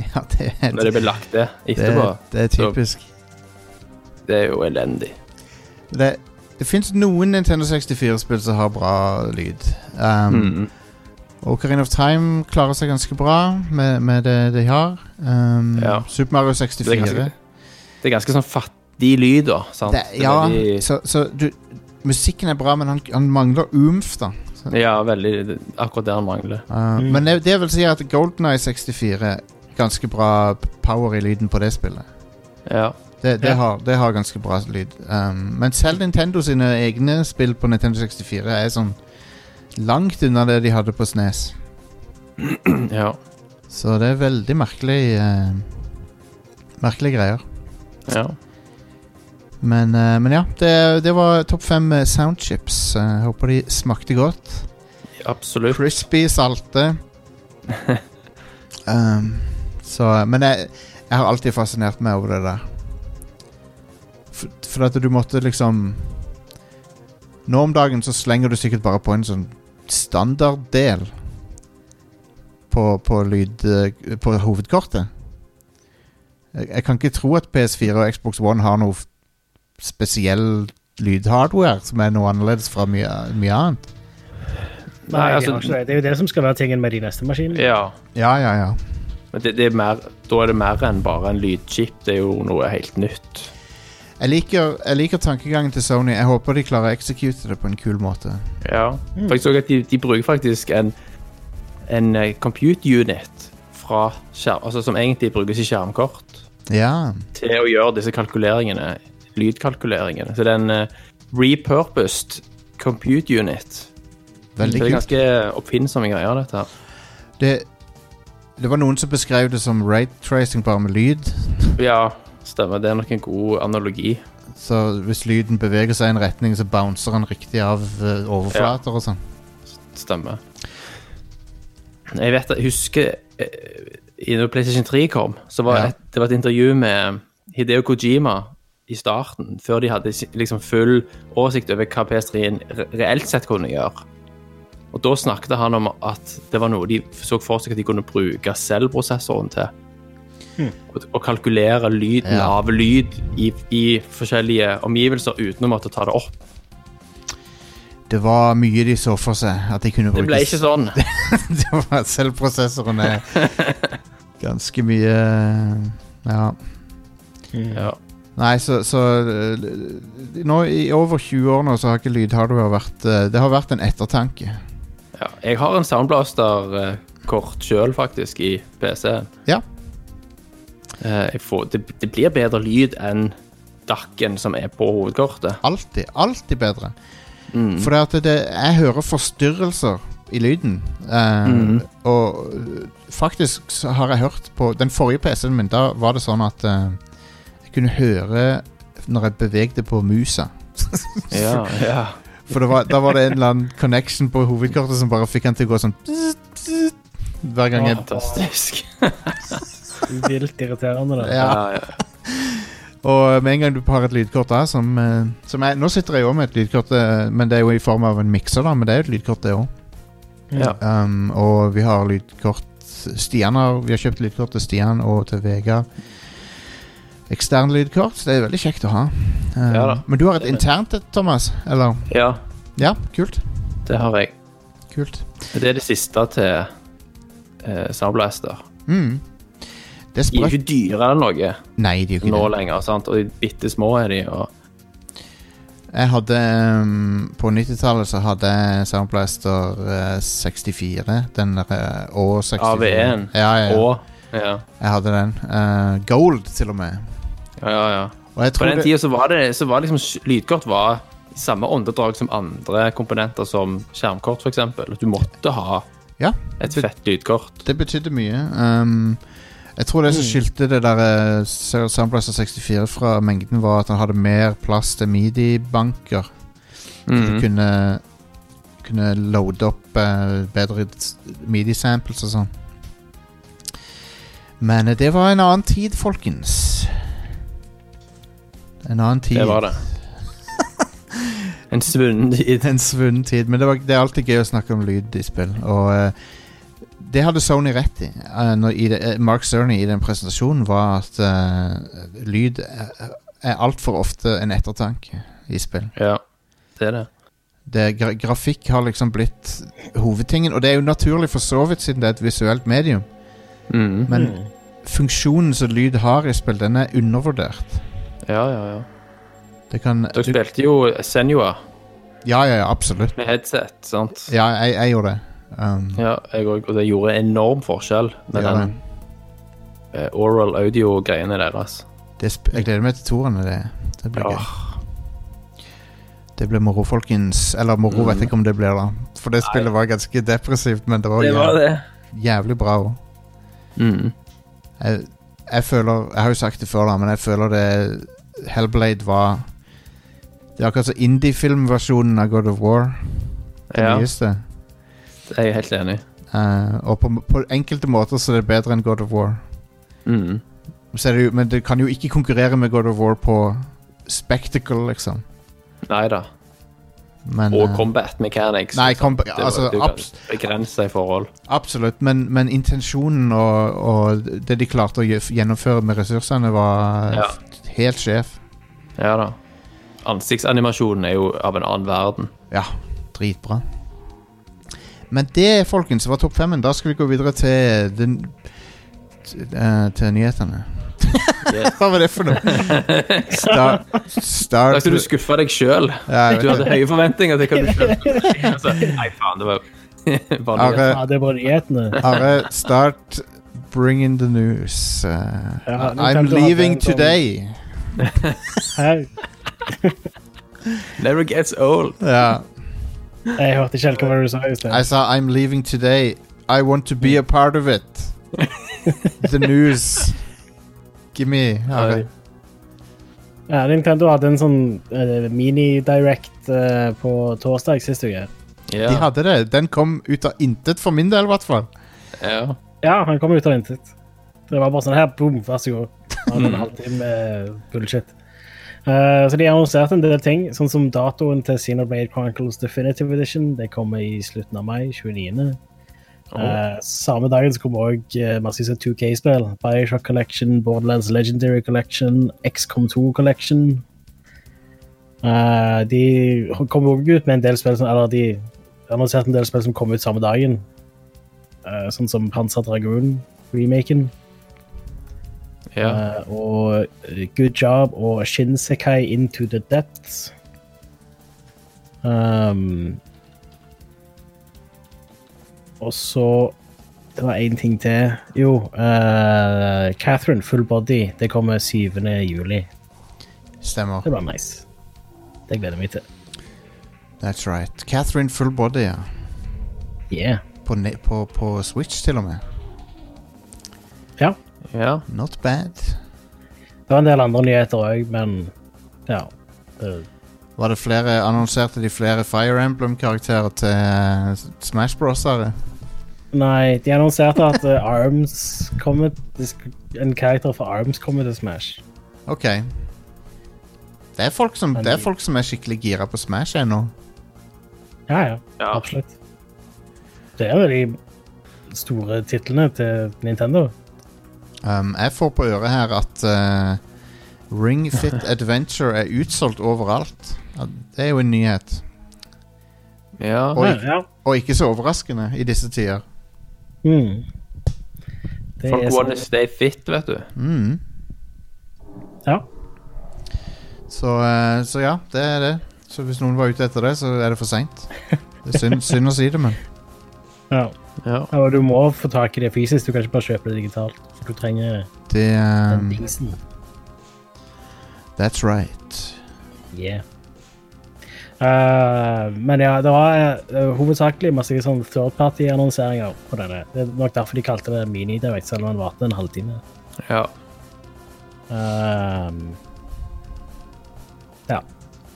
Speaker 2: Ja, det, er-
Speaker 3: når det ble lagt det
Speaker 2: det,
Speaker 3: etterpå.
Speaker 2: det er
Speaker 3: Så-
Speaker 2: typisk.
Speaker 3: Det er jo elendig.
Speaker 2: Det, det fins noen Nintendo 64-spill som har bra lyd. Um,
Speaker 3: Mm.
Speaker 2: Ocarina of Time klarer seg ganske bra med, med det de har. Um,
Speaker 3: Ja.
Speaker 2: Super Mario
Speaker 3: Det er
Speaker 2: 64.
Speaker 3: ganske, det er ganske sånn fattig lyd, da. Sant?
Speaker 2: det, ja,
Speaker 3: veldig,
Speaker 2: så, så du Musikken er bra, men han, han mangler umf, da.
Speaker 3: ja, veldig akkurat der han mangler.
Speaker 2: Uh, Men det, det vil si at Golden Eye 64 ganske bra power i lyden på det spillet.
Speaker 3: Ja.
Speaker 2: Det, det,
Speaker 4: Ja.
Speaker 2: har, det har ganske bra lyd. Um, men selv Nintendo sine egne spill på Nintendo 64 er sånn langt unna det de hadde på Snes.
Speaker 3: ja.
Speaker 2: Så det er veldig merkelig eh, Merkelige greier.
Speaker 3: ja.
Speaker 2: Men, eh, men ja, det, det var topp fem eh, soundchips. Eh, håper de smakte godt.
Speaker 3: absolutt.
Speaker 2: Crispy, salte. um, så, men jeg, jeg har alltid fascinert meg over det der. For, for at du måtte liksom Nå om dagen så slenger du sikkert bare på en sånn standarddel på, på lyd eh, På hovedkortet. Jeg, jeg kan ikke tro at PS4 og Xbox One har noe f- spesiell lydhardware som er noe annerledes fra mye, mye annet.
Speaker 4: Nei, de
Speaker 3: altså-
Speaker 4: har ikke det. det er jo det som skal være tingen med de neste maskinene.
Speaker 3: Ja.
Speaker 2: Ja, ja, ja.
Speaker 3: Men det, det er mer, da er det mer enn bare en lydchip. Det er jo noe helt nytt.
Speaker 2: Jeg liker, jeg liker tankegangen til Sony. Jeg håper de klarer å execute det på en kul måte.
Speaker 3: Ja. For jeg så at de, de bruker faktisk en, en eh, compute unit fra skjerm, altså som egentlig brukes i skjermkort,
Speaker 2: Ja.
Speaker 3: til å gjøre disse kalkuleringene, lydkalkuleringene. Så det er en eh, repurposed compute unit.
Speaker 2: Veldig
Speaker 3: Så det er
Speaker 2: kult.
Speaker 3: ganske oppfinnsomme greier, dette her.
Speaker 2: Det, det var noen som beskrev det som rate-tracing bare med lyd.
Speaker 3: Ja, stemmer. Det er nok en god analogi.
Speaker 2: Så hvis lyden beveger seg i en retning, så bouncer han riktig av eh, overflater og sånn.
Speaker 3: Stemmer. Jeg vet, jeg husker eh, Når PlayStation 3 kom, så var
Speaker 2: Ja.
Speaker 3: et, det var et intervju med Hideo Kojima i starten, før de hadde si- liksom full oversikt over hva PS3-en re- reelt sett kunne gjøre. Og Da snakket han om at det var noe de så for seg at de kunne bruke selvprosessoren til. Å å kalkulere lyden
Speaker 2: Hm. Ja.
Speaker 3: av lyd i, i forskjellige omgivelser uten å måtte ta det opp.
Speaker 2: Det var mye de så for seg at de kunne
Speaker 3: Det
Speaker 2: bruke.
Speaker 3: ble ikke sånn.
Speaker 2: det var selvprosessoren er ganske mye Ja.
Speaker 3: Ja.
Speaker 2: Nei, så, så eh, nå, I over 20 år nå så har ikke lydhardware vært eh, Det har vært en ettertanke.
Speaker 3: Ja, jeg har en Soundblaster-kort sjøl, faktisk, i PC-en.
Speaker 2: Ja.
Speaker 3: Eh, jeg får, det, det blir bedre lyd enn DAC-en som er på hovedkortet. Mm.
Speaker 2: Alltid, alltid bedre. For det at det, jeg hører forstyrrelser i lyden. Eh, Og eh, faktisk så har jeg hørt på Den forrige PC-en min, da var det sånn at eh, jeg kunne høre når jeg bevegde på musa.
Speaker 3: Ja, ja.
Speaker 2: For det var, da var det en eller annen connection på hovedkortet som bare fikk han til å gå sånn pssst, pssst, hver gang jeg
Speaker 3: Fantastisk.
Speaker 4: Vilt irriterende. Da.
Speaker 2: ja.
Speaker 3: Ja, ja.
Speaker 2: Og med en gang du har et lydkort da som, eh, som jeg, Nå sitter jeg jo med et lydkort eh, Men det er jo i form av en mikser da Men det er jo et lydkort det også
Speaker 3: Ja.
Speaker 2: um, Og vi har lydkort Stian har, vi har kjøpt lydkort til Stian og til Vegard Ekstern lydkort, så det er veldig kjekt å ha um,
Speaker 3: Ja da.
Speaker 2: Men du har et internt, et, Thomas Eller,
Speaker 3: ja,
Speaker 2: ja, kult
Speaker 3: det har jeg.
Speaker 2: Kult
Speaker 3: Det er det siste til eh, Soundblaster.
Speaker 2: mm. Det er
Speaker 3: De er
Speaker 2: sprøtt
Speaker 3: ikke dyrere enn noe
Speaker 2: Nei, det er jo
Speaker 3: nå
Speaker 2: ikke det
Speaker 3: lenger, sant? og bitte små er de. Og,
Speaker 2: Jeg hadde um, På 90-tallet så hadde jeg Soundblaster eh, 64. Den der eh, Å64.
Speaker 3: AV1.
Speaker 2: Ja, ja, ja.
Speaker 3: og ja,
Speaker 2: Jeg hadde den. Eh, gold, til og med.
Speaker 3: ja, ja, ja.
Speaker 2: Og jeg
Speaker 3: På
Speaker 2: tror
Speaker 3: den
Speaker 2: det,
Speaker 3: tida så var det så var liksom lydkort var i samme åndedrag som andre komponenter, som skjermkort f.eks. Du måtte ha
Speaker 2: Ja.
Speaker 3: et fett lydkort.
Speaker 2: det betydde mye. Um, jeg tror det
Speaker 3: Mm.
Speaker 2: som skilte det der eh, Soundblaster 64 fra mengden, var at han hadde mer plass til mediebanker.
Speaker 3: Mm.
Speaker 2: Du
Speaker 3: Mhm.
Speaker 2: kunne, kunne loade opp eh, bedre s- mediesamples og sånn. Men eh, det var en annen tid, folkens. En annen tid.
Speaker 3: Det var det. En svunnen tid.
Speaker 2: En svunnen tid. Men det, var, det er alltid gøy å snakke om lyd i spill. Og eh, det hadde Sony rett i. eh, når, i det, eh, Mark Cerny i den presentasjonen var at eh, lyd er, er altfor ofte en ettertanke i spill.
Speaker 3: Ja, det er det.
Speaker 2: Det, gra grafikk har liksom blitt hovedtingen, og det er jo naturlig for så vidt siden det er et visuelt medium.
Speaker 3: Mhm.
Speaker 2: Men
Speaker 4: Mm.
Speaker 2: funksjonen som lyd har i spill, den er undervurdert.
Speaker 3: Ja, ja, ja.
Speaker 2: Det kan
Speaker 3: Dere spilte jo Senua
Speaker 2: Ja, ja, ja, absolutt.
Speaker 3: med headset, sant?
Speaker 2: Ja, jeg, jeg gjorde det. Um,
Speaker 3: Ja, jeg òg. Og det gjorde enorm forskjell med
Speaker 2: Ja,
Speaker 3: den eh, oral audio-greiene deres.
Speaker 2: det sp jeg gleder meg til toerne. Det, det blir gøy.
Speaker 3: Åh,
Speaker 2: Det ble moro, folkens. Eller moro, vet jeg ikke om det blir, da. For det spillet var ganske depressivt, men det var,
Speaker 3: det var
Speaker 2: jæv-
Speaker 3: det.
Speaker 2: jævlig bra òg.
Speaker 3: Mhm.
Speaker 2: Jeg, jeg føler Jeg har jo sagt det før, da, men jeg føler det Hellblade var Det er akkurat som indiefilmversjonen av God of War. Den
Speaker 3: Ja.
Speaker 2: nyeste.
Speaker 3: Jeg er helt enig.
Speaker 2: Eh, og på, på enkelte måter så er det bedre enn God of War.
Speaker 3: Mm.
Speaker 2: Så er det jo, men det kan jo ikke konkurrere med God of War på spectacle, liksom.
Speaker 3: Nei da.
Speaker 2: Men,
Speaker 3: Og
Speaker 2: eh,
Speaker 3: combat mechanics.
Speaker 2: Nei,
Speaker 3: liksom.
Speaker 2: kom,
Speaker 3: Det var-
Speaker 2: altså,
Speaker 3: du kan
Speaker 2: abs
Speaker 3: begrense i forhold.
Speaker 2: absolutt. Men, men intensjonen og, og det de klarte å gjø- gjennomføre med ressursene, var
Speaker 3: Ja.
Speaker 2: helt sjef.
Speaker 3: Ja da. Ansiktsanimasjonen er jo av en annen verden.
Speaker 2: Ja, dritbra. Men det, folkens, var topp femmen. Da skal vi gå videre til den, t- eh, Til nyhetene.
Speaker 3: Yes.
Speaker 2: Hva var det for noe? Star, Star
Speaker 3: Da skal du skuffe deg sjøl.
Speaker 2: Ja, jeg
Speaker 3: Du
Speaker 2: vet
Speaker 3: hadde
Speaker 2: det.
Speaker 3: høye forventninger til hva du selv skulle si. Altså, Nei, faen, det var jo bare
Speaker 2: Are,
Speaker 3: nyheter.
Speaker 4: Ja, det er bare nyhetene.
Speaker 2: Are, start bringing the news. Uh,
Speaker 4: Ja, nå
Speaker 2: I'm
Speaker 4: kan du ha
Speaker 2: leaving
Speaker 4: den som-
Speaker 2: today.
Speaker 4: Her,
Speaker 3: Never gets old.
Speaker 2: Ja,
Speaker 4: jeg hørte ikke helt hva du sa i sted.
Speaker 2: jeg sa I'm leaving today. I want to be a part of it. the news. Give me. Are.
Speaker 3: Oi.
Speaker 4: Ja, Nintendo hadde en sånn eh, mini-direct eh, på torsdag sist uke.
Speaker 2: De
Speaker 3: Ja.
Speaker 2: hadde det. Den kom ut av intet for min del, i hvert fall.
Speaker 3: ja.
Speaker 4: Ja, han kom ut av intet. Det var bare sånn her, boom, vær så god. Han hadde en halvtime med bullshit. Eh, så de annonserte en del ting, sånn som datoen til Xenoblade Chronicles Definitive Edition. Det kommer i slutten av mai, 29. Eh, samme dagen så kommer òg uh, massevis av 2K-spill. Bioshock Collection, Borderlands Legendary Collection, XCOM 2 Collection. Eh, de kom òg ut med en del spill som Eller de annonserte en del spill som kom ut samme dagen. Eh, sånn som Panzer Dragoon, remaken,
Speaker 3: ja.
Speaker 4: eh, og eh, Good Job og Shinsekai Into the Depths. Um, og så Det var én ting til. Jo, eh, Catherine Full Body. Det kommer 7. juli.
Speaker 2: Stemmer.
Speaker 4: Det blir nice. Det gleder jeg meg til.
Speaker 2: That's right. Catherine Full Body, ja.
Speaker 4: Yeah.
Speaker 2: På, ne- på, på Switch, til og med.
Speaker 4: Ja.
Speaker 3: ja.
Speaker 2: Not bad.
Speaker 4: Det var en del andre nyheter òg, men ja. Det,
Speaker 2: Var det flere, Annonserte de flere Fire Emblem-karakterer til eh, Smash Bros-ere?
Speaker 4: Nei, de annonserte at eh, Arms kommer det sk- En karakter fra Arms kommer til Smash.
Speaker 2: Ok. Det er, folk som,
Speaker 4: Men
Speaker 2: det er
Speaker 4: de-
Speaker 2: folk som er skikkelig gira på Smash ennå.
Speaker 4: Ja, ja.
Speaker 3: Ja.
Speaker 4: Absolutt. Det er jo de store titlene til Nintendo.
Speaker 2: Um, jeg får på øret her at eh, Ring Fit Adventure er utsolgt overalt. Ja, det er jo en nyhet.
Speaker 3: ja.
Speaker 2: Oi.
Speaker 4: Ja, ja.
Speaker 2: Og ikke så overraskende i disse tider.
Speaker 4: Mm. Det
Speaker 3: Folk
Speaker 4: er
Speaker 3: wanna
Speaker 4: sånn-
Speaker 3: stay fit, vet du.
Speaker 2: Mm.
Speaker 4: Ja.
Speaker 2: Så, eh, så ja, det er det. Så hvis noen var ute etter det, så er det for seint. Det er synd, synd å si det, men
Speaker 4: ja.
Speaker 3: Ja.
Speaker 4: Ja, Og du må få tak i det fysisk, du kan ikke bare kjøpe det digitalt. For du trenger
Speaker 2: det
Speaker 4: den
Speaker 2: um,
Speaker 4: dingsen.
Speaker 2: That's right.
Speaker 4: Yeah. Eh, men ja, det var eh, hovedsakelig masse sånn third-party-annonseringer på denne. Det er nok derfor de kalte det mini-direct, selv om den varte en halvtime.
Speaker 3: ja.
Speaker 4: Ehm, ja.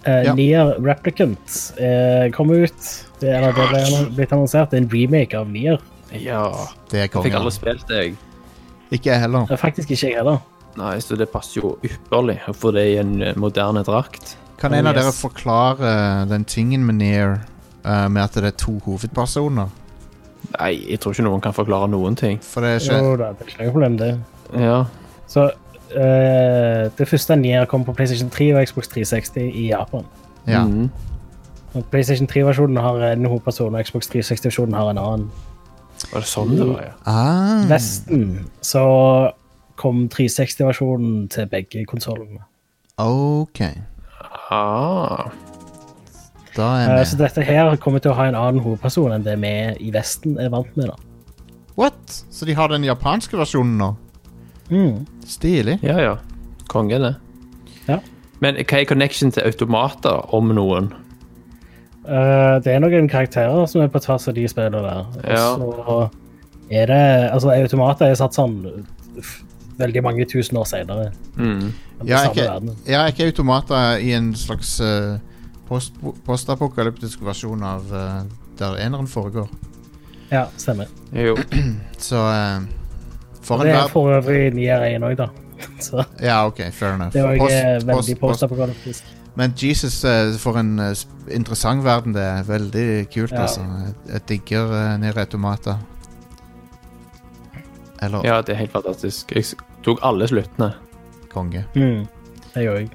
Speaker 4: Eh,
Speaker 2: Ja.
Speaker 4: Nier Replicant eh, kom ut. Det, eller, det ble annon- blitt annonsert. Det er en remake av Nier.
Speaker 3: ja.
Speaker 2: Det er
Speaker 3: Fikk
Speaker 2: konge.
Speaker 3: alle spilt det, jeg.
Speaker 2: Ikke jeg heller.
Speaker 4: Eh, Faktisk ikke jeg heller.
Speaker 3: Nei, så det passer jo ypperlig å få det i en eh, moderne drakt.
Speaker 2: Kan en av
Speaker 4: Oh, yes.
Speaker 2: dere forklare eh, den tingen med Near eh, med at det er to hovedpersoner?
Speaker 3: Nei, jeg tror ikke noen kan forklare noen ting.
Speaker 2: For det er ikke
Speaker 4: Jo da, det er ikke noe problem, det.
Speaker 3: Ja.
Speaker 4: Så eh, det første Nier kom på PlayStation 3 og Xbox 360 i Japan.
Speaker 2: Ja.
Speaker 3: Mm.
Speaker 4: Og PlayStation 3-versjonen har en hovedperson, og Xbox 360-versjonen har en annen.
Speaker 3: Var det sånn det var, ja?
Speaker 2: Ah,
Speaker 4: Nesten så kom 360-versjonen til begge konsollene.
Speaker 2: OK.
Speaker 3: Ah.
Speaker 2: Da er
Speaker 4: Eh,
Speaker 2: jeg
Speaker 4: Så
Speaker 2: med.
Speaker 4: dette her kommer til å ha en annen hovedperson enn det vi i Vesten er vant med. da.
Speaker 2: What? Så de har den japanske versjonen nå?
Speaker 4: Mm.
Speaker 2: Stilig.
Speaker 3: Ja, ja. Konge, det.
Speaker 4: Ja.
Speaker 3: Men hva er connection til automater, om noen?
Speaker 4: Eh, det er noen karakterer som er på tvers av de spillene der.
Speaker 3: Ja.
Speaker 4: Og så er det Altså, automater er satt sånn f- veldig mange tusen år senere.
Speaker 3: Mm.
Speaker 4: Men
Speaker 2: Ja,
Speaker 4: samme
Speaker 2: ikke,
Speaker 4: verden.
Speaker 2: ja, ikke automater i en slags eh, post, postapokalyptisk versjon av eh, der eneren foregår.
Speaker 4: Ja, stemmer.
Speaker 3: Jo.
Speaker 2: Så eh, for en
Speaker 4: Det er
Speaker 2: verden
Speaker 4: for øvrig nier én òg, da. Så
Speaker 2: Ja, OK, fair enough.
Speaker 4: det var
Speaker 2: Post-
Speaker 4: ikke veldig
Speaker 2: post- post-
Speaker 4: posta på Golfdisk.
Speaker 2: Men Jesus, eh, for en eh, sp- interessant verden det er. Veldig kult,
Speaker 4: Ja.
Speaker 2: altså. Jeg- Jeg digger uh, Nere Automata. Eller
Speaker 3: Ja, det er helt fantastisk. Jeg s- tok alle sluttene.
Speaker 2: konge.
Speaker 4: Mm. Det gjør jeg.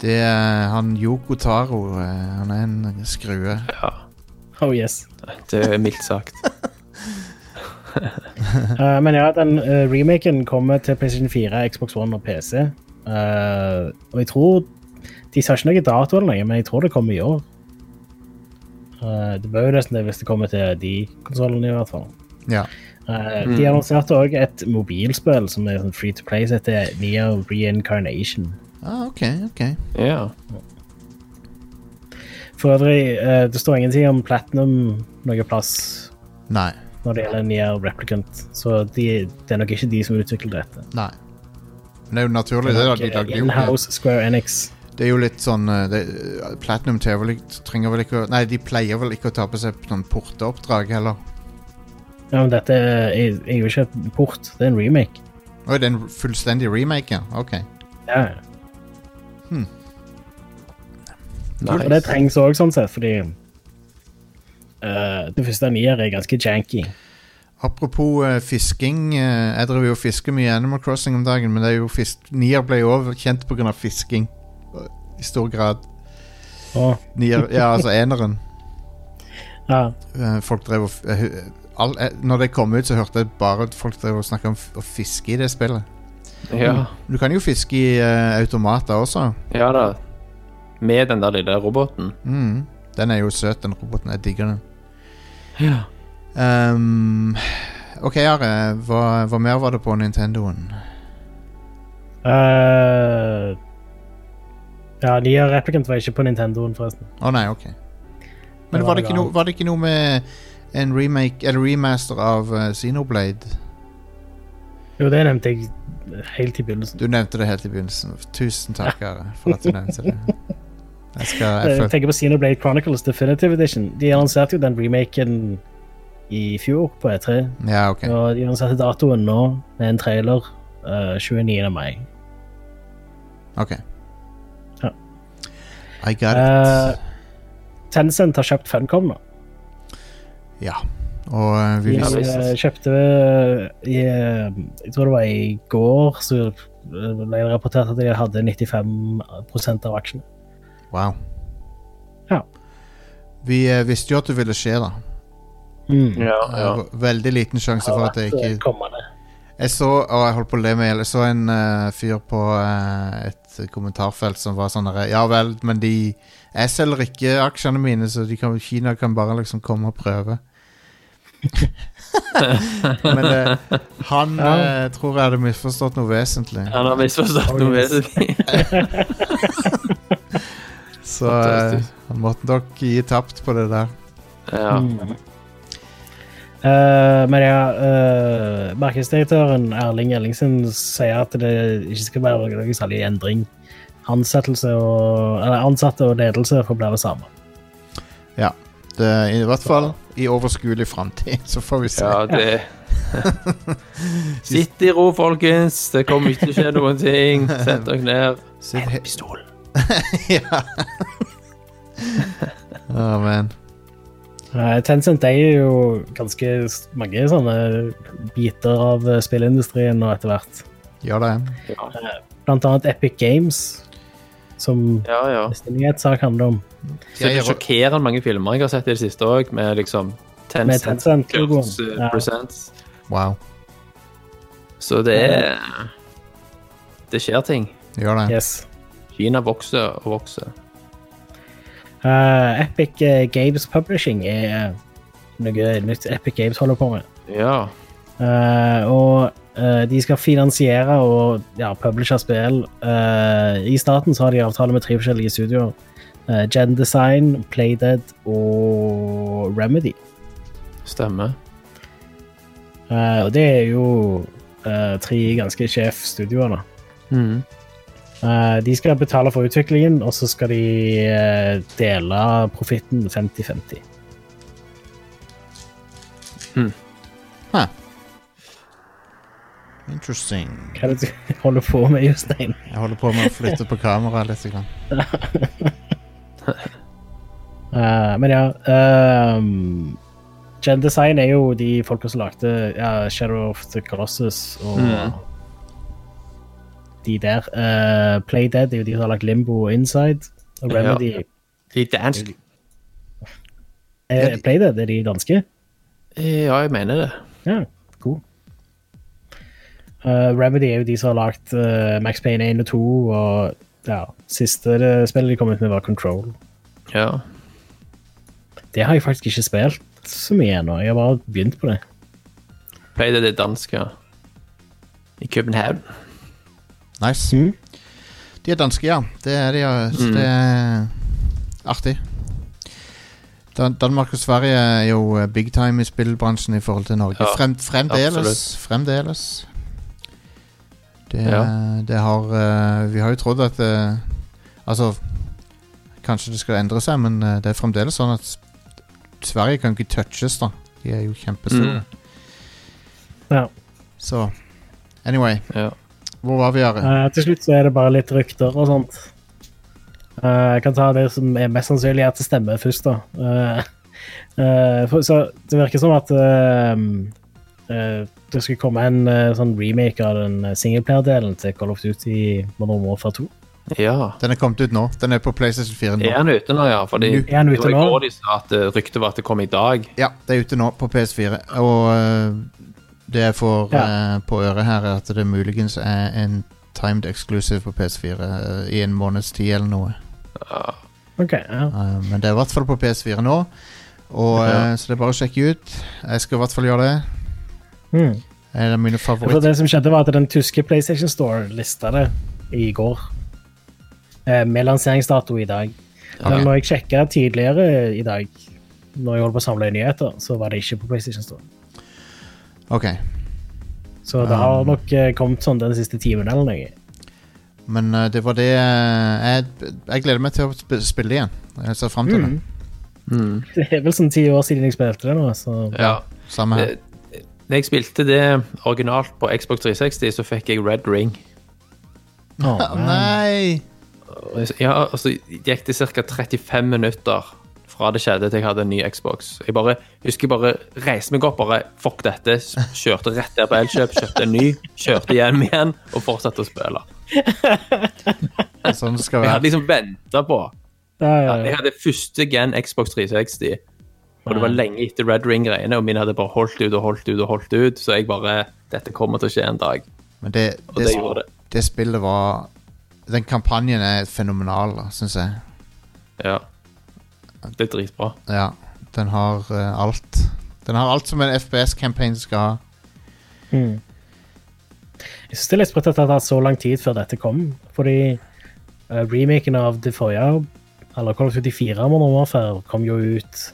Speaker 2: Det er eh, han Yoko Taro. eh, han er en skrue.
Speaker 3: Ja,
Speaker 4: Oh yes.
Speaker 3: det er mildt sagt.
Speaker 4: Eh, men ja, den eh, remaken kommer til PlayStation 4, Xbox One og PC. Eh, og jeg tror De sa ikke noe dato eller noe, men jeg tror det kommer i år. Eh, det bør jo nesten det hvis det kommer til de konsollene, i hvert fall.
Speaker 2: Ja. Mm.
Speaker 4: Eh, De annonserte òg et mobilspill som er sånn free to play, som heter Neo Reincarnation.
Speaker 2: Ah, OK, OK.
Speaker 3: Ja.
Speaker 4: For øvrig, eh, det står ingenting om Platinum noe plass
Speaker 2: Nei.
Speaker 4: når det gjelder Neo Replicant, så de, det er nok ikke de som utvikler dette.
Speaker 2: Nei. Men det er jo naturlig, det. da, de lagde jo ikke-
Speaker 4: eh, In-house Square Enix.
Speaker 2: Det er jo litt sånn eh, det, Platinum tør vel ikke- trenger vel ikke å Nei, de pleier vel ikke å ta på seg noen porteoppdrag heller.
Speaker 4: Ja, men dette er, er jo ikke et port, det er en remake.
Speaker 2: Oi, det er en fullstendig remake, ja. Ok.
Speaker 4: Ja. Og det
Speaker 3: Nice.
Speaker 4: trengs òg, sånn sett, fordi eh, det første nier er ganske janky.
Speaker 2: Apropos eh, fisking. eh, jeg driver jo og fisker mye i Animal Crossing om dagen, men det er jo fisk Nier ble jo også kjent pga. fisking. eh, I stor grad.
Speaker 4: Og,
Speaker 2: Nier, ja, altså eneren.
Speaker 4: ja,
Speaker 2: Eh, folk drev og f- eh, hu- all, eh, Når det kom ut, så hørte jeg bare at folk drev og snakka om f- å fiske i det spillet.
Speaker 3: Ja.
Speaker 2: Du kan jo fiske i eh, automater også.
Speaker 3: ja da. Med den der lille roboten.
Speaker 2: Mm. Den er jo søt, den roboten. Jeg digger den.
Speaker 3: Ja.
Speaker 2: Ehm, OK, Are. Hva, hva mer var det på Nintendoen?
Speaker 4: eh, ja, nier Replicant var ikke på Nintendoen, forresten.
Speaker 2: Å nei, OK. Men
Speaker 4: Det
Speaker 2: var
Speaker 4: var
Speaker 2: det, ikke
Speaker 4: noe
Speaker 2: no, var det ikke noe med en remake eller remaster av eh, Xenoblade?
Speaker 4: Jo, det nevnte jeg helt i begynnelsen.
Speaker 2: Du nevnte det helt i begynnelsen. Tusen takk, Are, for at du nevnte det. Jeg skal jeg
Speaker 4: Jeg
Speaker 2: føl-
Speaker 4: tenker på Xenoblade Chronicles Definitive Edition. De annonserte jo den remaken i fjor på E3.
Speaker 2: Ja, OK.
Speaker 4: Og de annonserte datoen nå med en trailer eh, 29. mai.
Speaker 2: ok
Speaker 4: Ja.
Speaker 2: I got
Speaker 4: Eh,
Speaker 2: it.
Speaker 4: Tencent har kjøpt Funcom. nå.
Speaker 2: Ja. Og eh, vi
Speaker 4: De
Speaker 3: Ja,
Speaker 2: visste
Speaker 3: visst.
Speaker 4: eh, kjøpte i, eh, Jeg tror det var i går så eh, ble det rapportert at de hadde 95 av aksjene.
Speaker 2: Wow.
Speaker 4: Ja.
Speaker 2: Vi eh, visste jo at det ville skje, da.
Speaker 4: Mm.
Speaker 3: Ja, ja.
Speaker 2: Eh, Veldig liten sjanse for at det ikke
Speaker 4: Kommende.
Speaker 2: Jeg så, og jeg holdt på å le meg i hjel, jeg så en eh, fyr på eh, et kommentarfelt som var sånn der, Ja vel, men de Jeg selger ikke aksjene mine, så de kan, Kina kan bare liksom komme og prøve. men eh, han eh, tror jeg hadde misforstått noe vesentlig.
Speaker 3: Han har misforstått noe vesentlig.
Speaker 2: så eh,
Speaker 3: fantastisk.
Speaker 2: han måtte nok gi tapt på det der.
Speaker 3: Ja.
Speaker 4: Mm. Eh, men ja, eh, markedsdirektøren Erling Ellingsen sier at det ikke skal være noen særlig endring. Ansettelse og, eller ansatte og ledelse forblir det samme.
Speaker 2: Det, er I hvert fall i overskuelig framtid, så får vi se.
Speaker 3: ja, det Sitt i ro, folkens. Det kommer ikke til å skje noen ting. Sett dere ned.
Speaker 2: Sitt he-
Speaker 3: Pistol.
Speaker 2: ja. Å, men.
Speaker 4: Eh, Tencent eier jo ganske s- mange sånne biter av eh, spillindustrien nå etter hvert.
Speaker 2: Gjør det.
Speaker 3: Ja,
Speaker 4: Blant annet Epic Games, som
Speaker 3: ja. ja.
Speaker 4: neste nyhetssak handler om,
Speaker 3: Så det er sjokkerende mange filmer jeg har sett i det siste òg, med liksom
Speaker 4: med
Speaker 3: Tencent eh,
Speaker 4: Tencent-logoen.
Speaker 3: Kurz
Speaker 4: Ja.
Speaker 3: Presents.
Speaker 2: Wow.
Speaker 3: Så det er Det skjer ting.
Speaker 2: Gjør det.
Speaker 4: Yes.
Speaker 3: Kina vokser og vokser.
Speaker 4: Eh, Epic eh, Games Publishing er noe nytt Epic Games holder på med.
Speaker 3: Ja.
Speaker 4: Eh, og eh, de skal finansiere og ja, publishe spill. Eh, I staten så har de avtale med tre forskjellige studioer. Eh, Gen Design, Playdead og Remedy.
Speaker 3: Stemmer.
Speaker 4: Eh, og det er jo eh, tre ganske sjefstudioer, da.
Speaker 3: Mhm.
Speaker 4: Eh, de skal betale for utviklingen, og så skal de eh, dele profitten 50-50.
Speaker 2: Huh. Interesting.
Speaker 4: Hva er det du holder på med, Jostein?
Speaker 2: Jeg holder på med å flytte på kameraet litt. Grann.
Speaker 4: Eh, men ja ehm, Gen Design er jo de folka som lagde ja, Shadow of the Colossus og de der. Eh, Playdead er jo de som har lagd Limbo og Inside. Og Remedy
Speaker 3: Litt dansk.
Speaker 4: er, Playdead er de danske.
Speaker 3: Ja, jeg mener det.
Speaker 4: Ja, cool. Eh, Remedy er jo de som har lagd eh, Max Payne 1 og 2, og ja, siste eh, spillet de kom ut med, var Control.
Speaker 3: Ja.
Speaker 4: Det har jeg faktisk ikke spilt så mye ennå. Jeg har bare begynt på det.
Speaker 3: Pleide det dansk, ja. I København.
Speaker 2: Nice.
Speaker 4: Mhm.
Speaker 2: De er danske, ja. Det er de, ja.
Speaker 3: Mm.
Speaker 2: Så det er artig. Dan Danmark og Sverige er jo eh, big time i spillbransjen i forhold til Norge.
Speaker 3: Ja,
Speaker 2: Frem, fremdeles.
Speaker 3: absolutt.
Speaker 2: Fremdeles. Det,
Speaker 3: Ja.
Speaker 2: det har eh, Vi har jo trodd at eh, Altså, kanskje det skal endre seg, men eh, det er fremdeles sånn at s- Sverige kan ikke touches, da. De er jo kjempestore.
Speaker 3: Mm.
Speaker 4: Ja.
Speaker 2: Så anyway,
Speaker 3: Ja.
Speaker 2: hvor var vi, Are?
Speaker 4: Eh, til slutt så er det bare litt rykter og sånt. Eh, jeg kan ta det som er mest sannsynlig at det stemmer først, da. Eh, eh, for, så det virker som at eh, eh, det skulle komme en eh, sånn remake av den eh, singleplayer-delen til Call of Duty Modern Warfare 2.
Speaker 3: ja.
Speaker 2: Den er kommet ut nå. Den er på PlayStation 4 nå.
Speaker 3: Er han ute nå, ja? Fordi
Speaker 2: Nu.
Speaker 4: Er han ute
Speaker 3: det var
Speaker 4: nå?
Speaker 3: i går de sa at eh, ryktet var at det kom i dag.
Speaker 2: Ja, det er ute nå på PS4. Og øh, det jeg får
Speaker 4: Ja.
Speaker 2: øh, på øret her, er at det muligens er en timed exclusive på PS4 øh, i en måneds tid eller noe.
Speaker 4: Ok, ja.
Speaker 2: Uh, men det er i hvert fall på PS4 nå, og,
Speaker 3: Ja.
Speaker 2: øh, så det er bare å sjekke ut. Jeg skal i hvert fall gjøre det.
Speaker 4: Mm.
Speaker 2: Det er mine
Speaker 4: For
Speaker 2: favoritter.
Speaker 4: det som skjedde, var at den tyske PlayStation Store lista det i går. Eh, med lanseringsdato i dag. Men
Speaker 2: Ok.
Speaker 4: når jeg sjekka tidligere i dag, når jeg holdt på å samle nyheter, så var det ikke på PlayStation Store.
Speaker 2: Ok,
Speaker 4: Så det har nok eh, kommet sånn den siste timen eller noe.
Speaker 2: men øh, det var det øh, jeg, jeg gleder meg til å sp spille det igjen. Jeg ser fram til det.
Speaker 4: Det er vel sånn ti år siden jeg spilte det nå, så
Speaker 3: Ja.
Speaker 2: Samme her.
Speaker 3: Eh, Når jeg spilte det originalt på Xbox 360, så fikk jeg Red Ring.
Speaker 4: Å,
Speaker 2: Ah,
Speaker 4: man.
Speaker 2: nei!
Speaker 3: Og jeg- Ja, og så gikk det ca. 35 minutter fra det skjedde til jeg hadde en ny Xbox. Jeg bare, husker jeg bare reiste meg opp, bare fuck dette, s- kjørte rett der på Elkjøp, kjøpte en ny, kjørte hjem igjen og fortsatte å spille.
Speaker 2: Det er Sånn det skal
Speaker 3: Jeg
Speaker 2: være.
Speaker 3: hadde liksom venta på.
Speaker 4: Ja, ja,
Speaker 3: Jeg
Speaker 4: ja.
Speaker 3: hadde første gen Xbox 360, og det var lenge etter Red Ring-greiene, og min hadde bare holdt ut og holdt ut og holdt ut, så jeg bare Dette kommer til å skje en dag.
Speaker 2: Men det,
Speaker 3: Og
Speaker 2: det,
Speaker 3: det gjorde det.
Speaker 2: det spillet var Den kampanjen er fenomenal, syns jeg.
Speaker 3: Ja. Det er dritbra.
Speaker 2: Ja, den har eh, alt. Den har alt som en FPS-campaign skal ha.
Speaker 4: Jeg syns det er litt sprøtt at det har tatt så lang tid før dette kom. Fordi eh, remaken av det forrige, eller Call of Duty 4 Modern Warfare, kom jo ut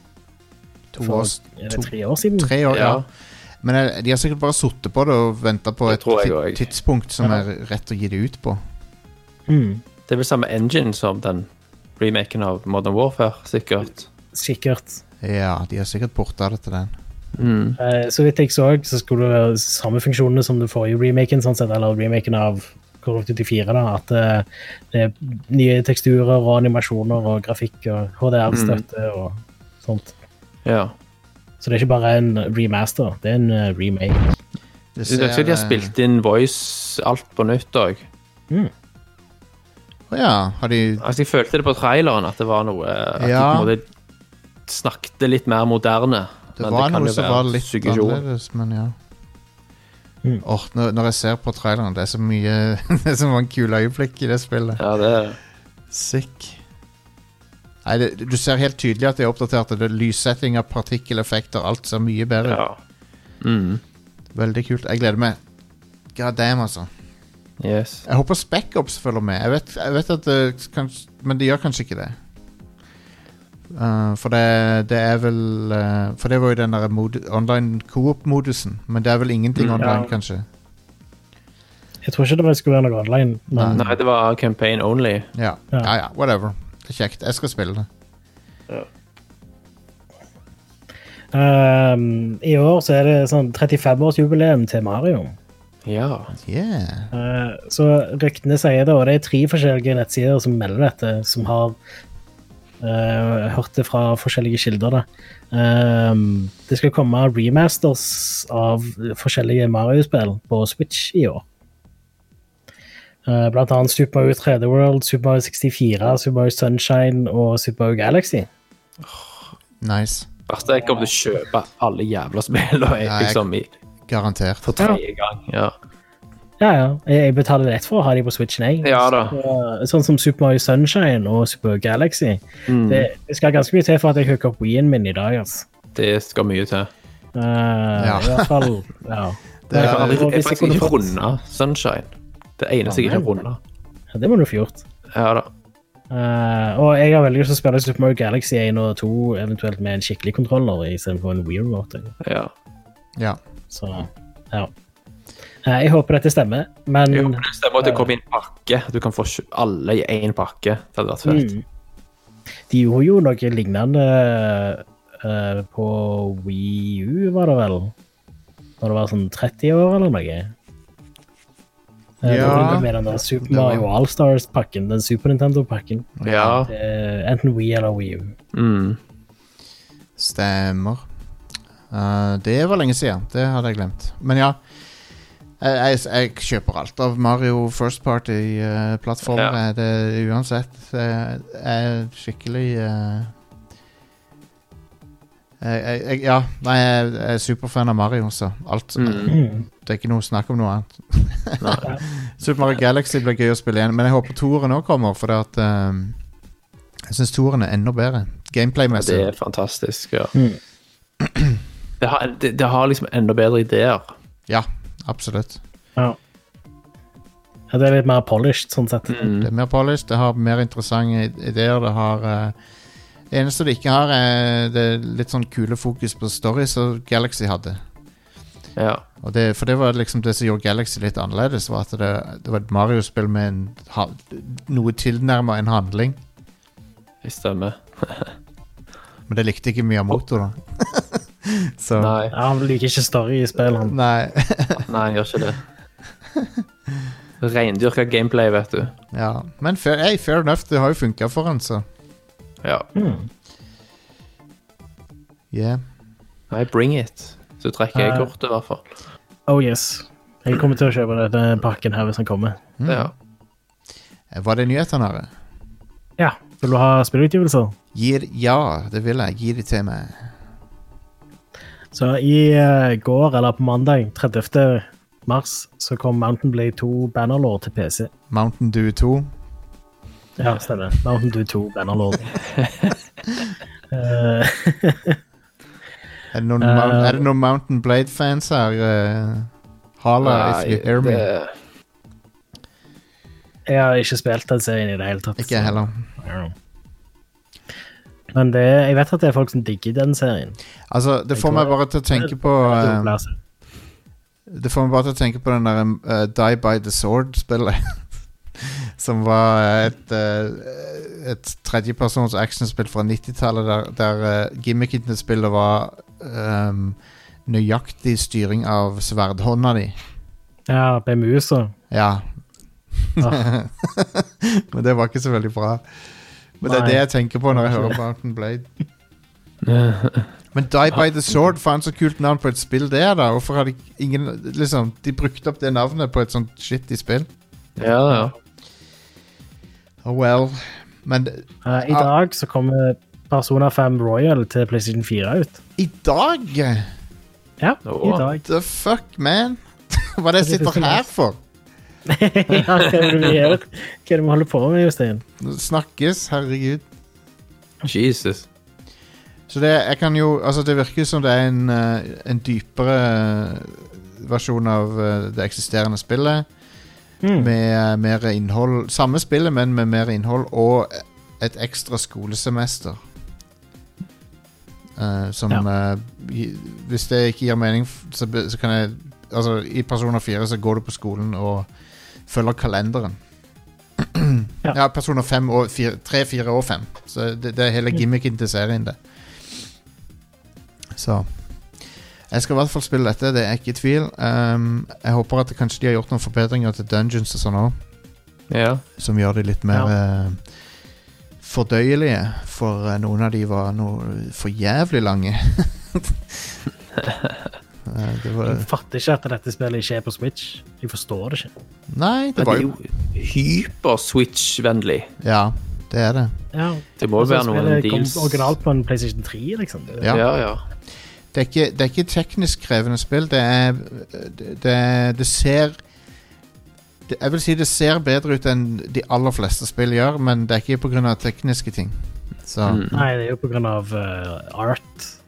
Speaker 2: To
Speaker 4: for
Speaker 2: år,
Speaker 4: er
Speaker 2: to,
Speaker 4: det tre år siden.
Speaker 2: tre år, ja.
Speaker 3: Ja.
Speaker 2: Men eh, de har sikkert bare sittet på det og venta på
Speaker 3: Det
Speaker 2: et
Speaker 3: tror jeg
Speaker 2: ti-
Speaker 3: også.
Speaker 2: tidspunkt som
Speaker 4: Ja.
Speaker 2: er rett å gi det ut på.
Speaker 4: Mm.
Speaker 3: Det er vel samme engine som den remaken av Modern Warfare, sikkert.
Speaker 4: Sikkert.
Speaker 2: Ja, de har sikkert porta det til den. Mm.
Speaker 4: Eh, så vidt jeg så, så skulle det være samme funksjonene som den forrige remaken, sånn sett, eller remaken av Call of Duty 4, da, at eh, det er nye teksturer og animasjoner og grafikk og HDR-støtte
Speaker 2: Mm.
Speaker 4: og sånt.
Speaker 3: Ja.
Speaker 4: Så det er ikke bare en remaster, det er en eh, remake.
Speaker 2: Det
Speaker 3: Det er ikke at de har
Speaker 2: eh,
Speaker 3: spilt inn voice alt på nytt òg.
Speaker 2: eh, Å ja, har de
Speaker 3: Altså, jeg følte det på traileren at det var noe At
Speaker 2: Ja.
Speaker 3: de på en måte snakket litt mer moderne.
Speaker 2: Det var noe som var litt
Speaker 3: suggesjon.
Speaker 2: annerledes, men ja. Åh, når, når jeg ser på traileren, det er så mye Det er så mange kule øyeblikk i det spillet.
Speaker 3: Ja, det er
Speaker 2: Sick. Nei, det, du ser helt tydelig at de er oppdatert. Det er lyssetting av partikkeleffekter. Alt ser mye bedre
Speaker 3: Ja. Mm.
Speaker 2: ut. Veldig kult. Jeg gleder meg. God damn, altså.
Speaker 3: Yes.
Speaker 2: Jeg håper Speckups følger med. Jeg vet, jeg vet at det kans- Men de gjør kanskje ikke det. Uh, for det, det er vel uh, For det var jo den der mod online coop-modusen. Men det er vel ingenting online,
Speaker 4: ja.
Speaker 2: kanskje.
Speaker 4: Jeg tror ikke det var- skulle være noe online, men
Speaker 3: Nei, det var campaign only.
Speaker 2: Ja.
Speaker 4: Ja.
Speaker 2: ja ja, whatever. Det er kjekt. Jeg skal spille det.
Speaker 4: Ehm, I år så er det sånn 35-årsjubileum til Mario.
Speaker 3: Ja.
Speaker 2: Yeah.
Speaker 4: Eh, så ryktene sier det, og det er tre forskjellige nettsider som melder dette, som har eh, hørt det fra forskjellige kilder. Da. Ehm, det skal komme remasters av forskjellige Mario-spill på Switch i år. Eh, blant annet Super Mario 3D World, Super Mario 64, Super Mario Sunshine og Super Mario Galaxy.
Speaker 2: Nice.
Speaker 3: Altså, jeg kommer til å kjøpe alle jævla spillene jeg,
Speaker 2: Nei, jeg-
Speaker 3: liksom, i,
Speaker 2: Garantert.
Speaker 3: for tredje gang. Ja.
Speaker 4: Ja, ja. Jeg jeg betaler rett for å ha de på Switchen, jeg.
Speaker 3: Ja da.
Speaker 4: Så, sånn som Super Mario Sunshine og Super Mario Galaxy.
Speaker 3: Mm.
Speaker 4: Det, det skal ganske mye til for at jeg hooker opp Wien min i dag, altså.
Speaker 3: Det skal mye til.
Speaker 4: Eh, I hvert fall, ja.
Speaker 2: Det
Speaker 3: Jeg har
Speaker 2: er,
Speaker 3: aldri, jeg
Speaker 4: og hvis
Speaker 3: har
Speaker 4: jeg
Speaker 3: faktisk ikke
Speaker 4: kunne fått-
Speaker 3: runda Sunshine. Det eneste jeg ikke har
Speaker 4: nei.
Speaker 3: runda.
Speaker 4: Ja, Det må du få gjort.
Speaker 3: Ja da.
Speaker 4: Eh, og jeg har veldig lyst til å spille Super Mario Galaxy 1 og 2, eventuelt med en skikkelig kontroller istedenfor en Wii Remote.
Speaker 3: Ja.
Speaker 2: ja.
Speaker 4: Så, ja. Eh, jeg håper dette stemmer, men
Speaker 3: Jeg håper det stemmer at det kommer i en pakke. Du kan få kjø- alle i én pakke. Det hadde vært fett.
Speaker 4: Mm. De gjorde jo noe lignende eh, på Wii U, var det vel? Når det var sånn 30 år eller noe? Eh, det var
Speaker 2: Ja.
Speaker 4: Med den der Super
Speaker 2: Det var-
Speaker 4: Mario Allstars-pakken, den Super Nintendo-pakken.
Speaker 3: Ja.
Speaker 4: Eh, enten Wii eller Wii U.
Speaker 3: Mm.
Speaker 2: Stemmer. Eh, det var lenge siden. Det hadde jeg glemt. Men ja. Jeg, jeg, jeg kjøper alt av Mario First Party-plattformer.
Speaker 3: Ja.
Speaker 2: det uansett. eh, Jeg er skikkelig eh, jeg, jeg, jeg, ja, nei, jeg jeg er superfan av Mario, så alt
Speaker 3: Mm.
Speaker 2: Det er ikke noe snakk om noe annet. Super Mario Galaxy blir gøy å spille igjen, men jeg håper toeren òg kommer, for det at ehm, Jeg syns toeren er enda bedre.
Speaker 3: Det
Speaker 2: Gameplay-messig.
Speaker 3: er fantastisk. Ja.
Speaker 4: Mm.
Speaker 3: Det, har, det, det har liksom enda bedre ideer.
Speaker 2: Ja, absolutt.
Speaker 4: Ja. ja. Det er litt mer polished, sånn sett.
Speaker 2: Det er mer polished, det har mer interessante ideer. Det har eh, Det eneste det ikke har, er det er litt sånn kule fokus på story som Galaxy hadde.
Speaker 3: Ja.
Speaker 2: Og det, for det var liksom det som gjorde Galaxy litt annerledes, var at det, det var et Mario-spill med en, ha, noe tilnærma en handling.
Speaker 3: Det stemmer.
Speaker 2: Men det likte ikke mye av Moto, da. så
Speaker 3: Nei,
Speaker 4: Ja, Han liker ikke story i spillene.
Speaker 2: Nei.
Speaker 3: nei, jeg gjør ikke det. Reindyrka gameplay, vet du.
Speaker 2: ja. Men fair, hey, fair enough, det har jo funka for han, så
Speaker 3: Ja.
Speaker 4: Mm.
Speaker 2: yeah.
Speaker 3: Nei, bring it. Så trekker jeg
Speaker 4: Nei.
Speaker 3: kortet, i hvert fall.
Speaker 4: Oh yes. Jeg kommer til å kjøpe denne pakken her hvis den kommer.
Speaker 3: Ja.
Speaker 2: Eh, Var det nyhetene her?
Speaker 4: Ja. Vil du ha spillutgivelser?
Speaker 2: Gi det- Ja, det vil jeg. Gi det til meg.
Speaker 4: Så i eh, går, eller på mandag, 30. mars, så kom Mountain Blade 2 Bannerlord til PC.
Speaker 2: Mountain Dew 2.
Speaker 4: Ja, stemmer. Mountain Dew 2 Bannerlord. Eh,
Speaker 2: Er det noen,
Speaker 4: Eh,
Speaker 2: Mount, er det noen Mountain Blade-fans her? eh? Hala, if you hear me.
Speaker 3: det-
Speaker 4: jeg har ikke spilt den serien i det hele tatt.
Speaker 2: Ikke jeg heller.
Speaker 4: så I don't know. Men det, jeg vet at det er folk som digger den serien.
Speaker 2: Altså, det får
Speaker 4: tror
Speaker 2: meg
Speaker 4: det-
Speaker 2: bare til å tenke på eh, Det får meg bare til å tenke på den der eh, Die by the Sword-spillet. Som var et, eh, et tredjepersons actionspill fra 90-tallet, der, der eh, gimmicken til spillet var ehm, nøyaktig styring av sverdhånda di.
Speaker 4: Ja, med musa.
Speaker 2: Ja.
Speaker 4: Ah.
Speaker 2: Men det var ikke så veldig bra. Men det er
Speaker 4: Nei.
Speaker 2: det jeg tenker på når jeg hører Mountain Blade. Men Die by the Sword, faen så kult navn på et spill det er, da. Hvorfor har de ingen Liksom, de brukte opp det navnet på et sånt shitty spill.
Speaker 3: Ja, ja.
Speaker 2: Oh well. Men
Speaker 4: Eh, I dag så kommer Persona 5 Royal til PlayStation 4 ut.
Speaker 2: i dag
Speaker 4: Ja, i
Speaker 3: Åh.
Speaker 4: dag.
Speaker 2: The fuck, man? Hva er det jeg sitter her for?
Speaker 4: ja, hva er det vi gjør? Hva er det vi holder på med, Jostein?
Speaker 2: Nå Snakkes, herregud.
Speaker 3: Jesus.
Speaker 2: Så det, jeg kan jo, altså det virker som det er en, eh, en dypere versjon av eh, det eksisterende spillet.
Speaker 4: Mm.
Speaker 2: Med eh, mer innhold. Samme spillet, men med mer innhold og et ekstra skolesemester. Eh, som eh, gi- Hvis det ikke gir mening, f- så, be- så kan jeg Altså, i Personer 4 så går du på skolen og følger kalenderen. ja.
Speaker 4: Ja.
Speaker 2: Personer 5 og 4, 3, 4 og 5. Så det, det er hele gimmicken til serien, det. Så Jeg skal i hvert fall spille dette, det er ikke i tvil. Ehm, jeg håper at det, kanskje de har gjort noen forbedringer til dungeons og sånn òg,
Speaker 3: Ja.
Speaker 2: som gjør de litt mer eh, fordøyelige. For eh, noen av de var noe for jævlig lange. Eh, det var
Speaker 4: Jeg fatter ikke at dette spillet ikke er på Switch. Jeg forstår det ikke.
Speaker 2: Nei, det
Speaker 3: Men
Speaker 2: var
Speaker 3: det er
Speaker 2: jo
Speaker 3: jo hyper-switch-vennlig.
Speaker 2: Ja, det er det.
Speaker 4: Ja.
Speaker 3: Det må jo være noen
Speaker 4: Altså, spillet
Speaker 3: deals.
Speaker 4: Kom originalt på en PlayStation 3, liksom. Det-
Speaker 2: Ja.
Speaker 3: Ja, ja.
Speaker 2: det er ikke, det er ikke et teknisk krevende spill. Det er Det, det, det ser det, Jeg vil si det ser bedre ut enn de aller fleste spill gjør, men det er ikke pga. tekniske ting. Så
Speaker 3: Mm.
Speaker 4: Nei, det er jo på grunn av eh, art,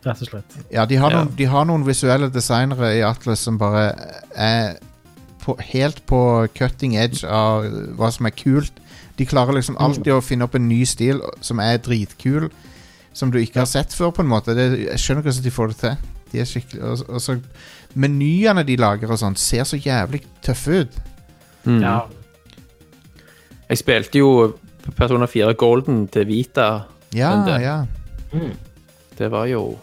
Speaker 4: rett og slett.
Speaker 2: Ja, de har,
Speaker 3: Ja.
Speaker 2: Noen, de har noen visuelle designere i Atlas som bare er på, helt på cutting edge av hva som er kult. De klarer liksom alltid å finne opp en ny stil som er dritkul, som du ikke har sett før, på en måte. Det, jeg skjønner ikke hvordan de får det til. De er skikkelig og, og så Menyene de lager og sånn, ser så jævlig tøffe ut.
Speaker 3: Mm.
Speaker 4: Ja.
Speaker 3: Jeg spilte jo Persona 4 Golden til Vita.
Speaker 2: Ja,
Speaker 3: Men det-
Speaker 2: ja.
Speaker 3: Det var jo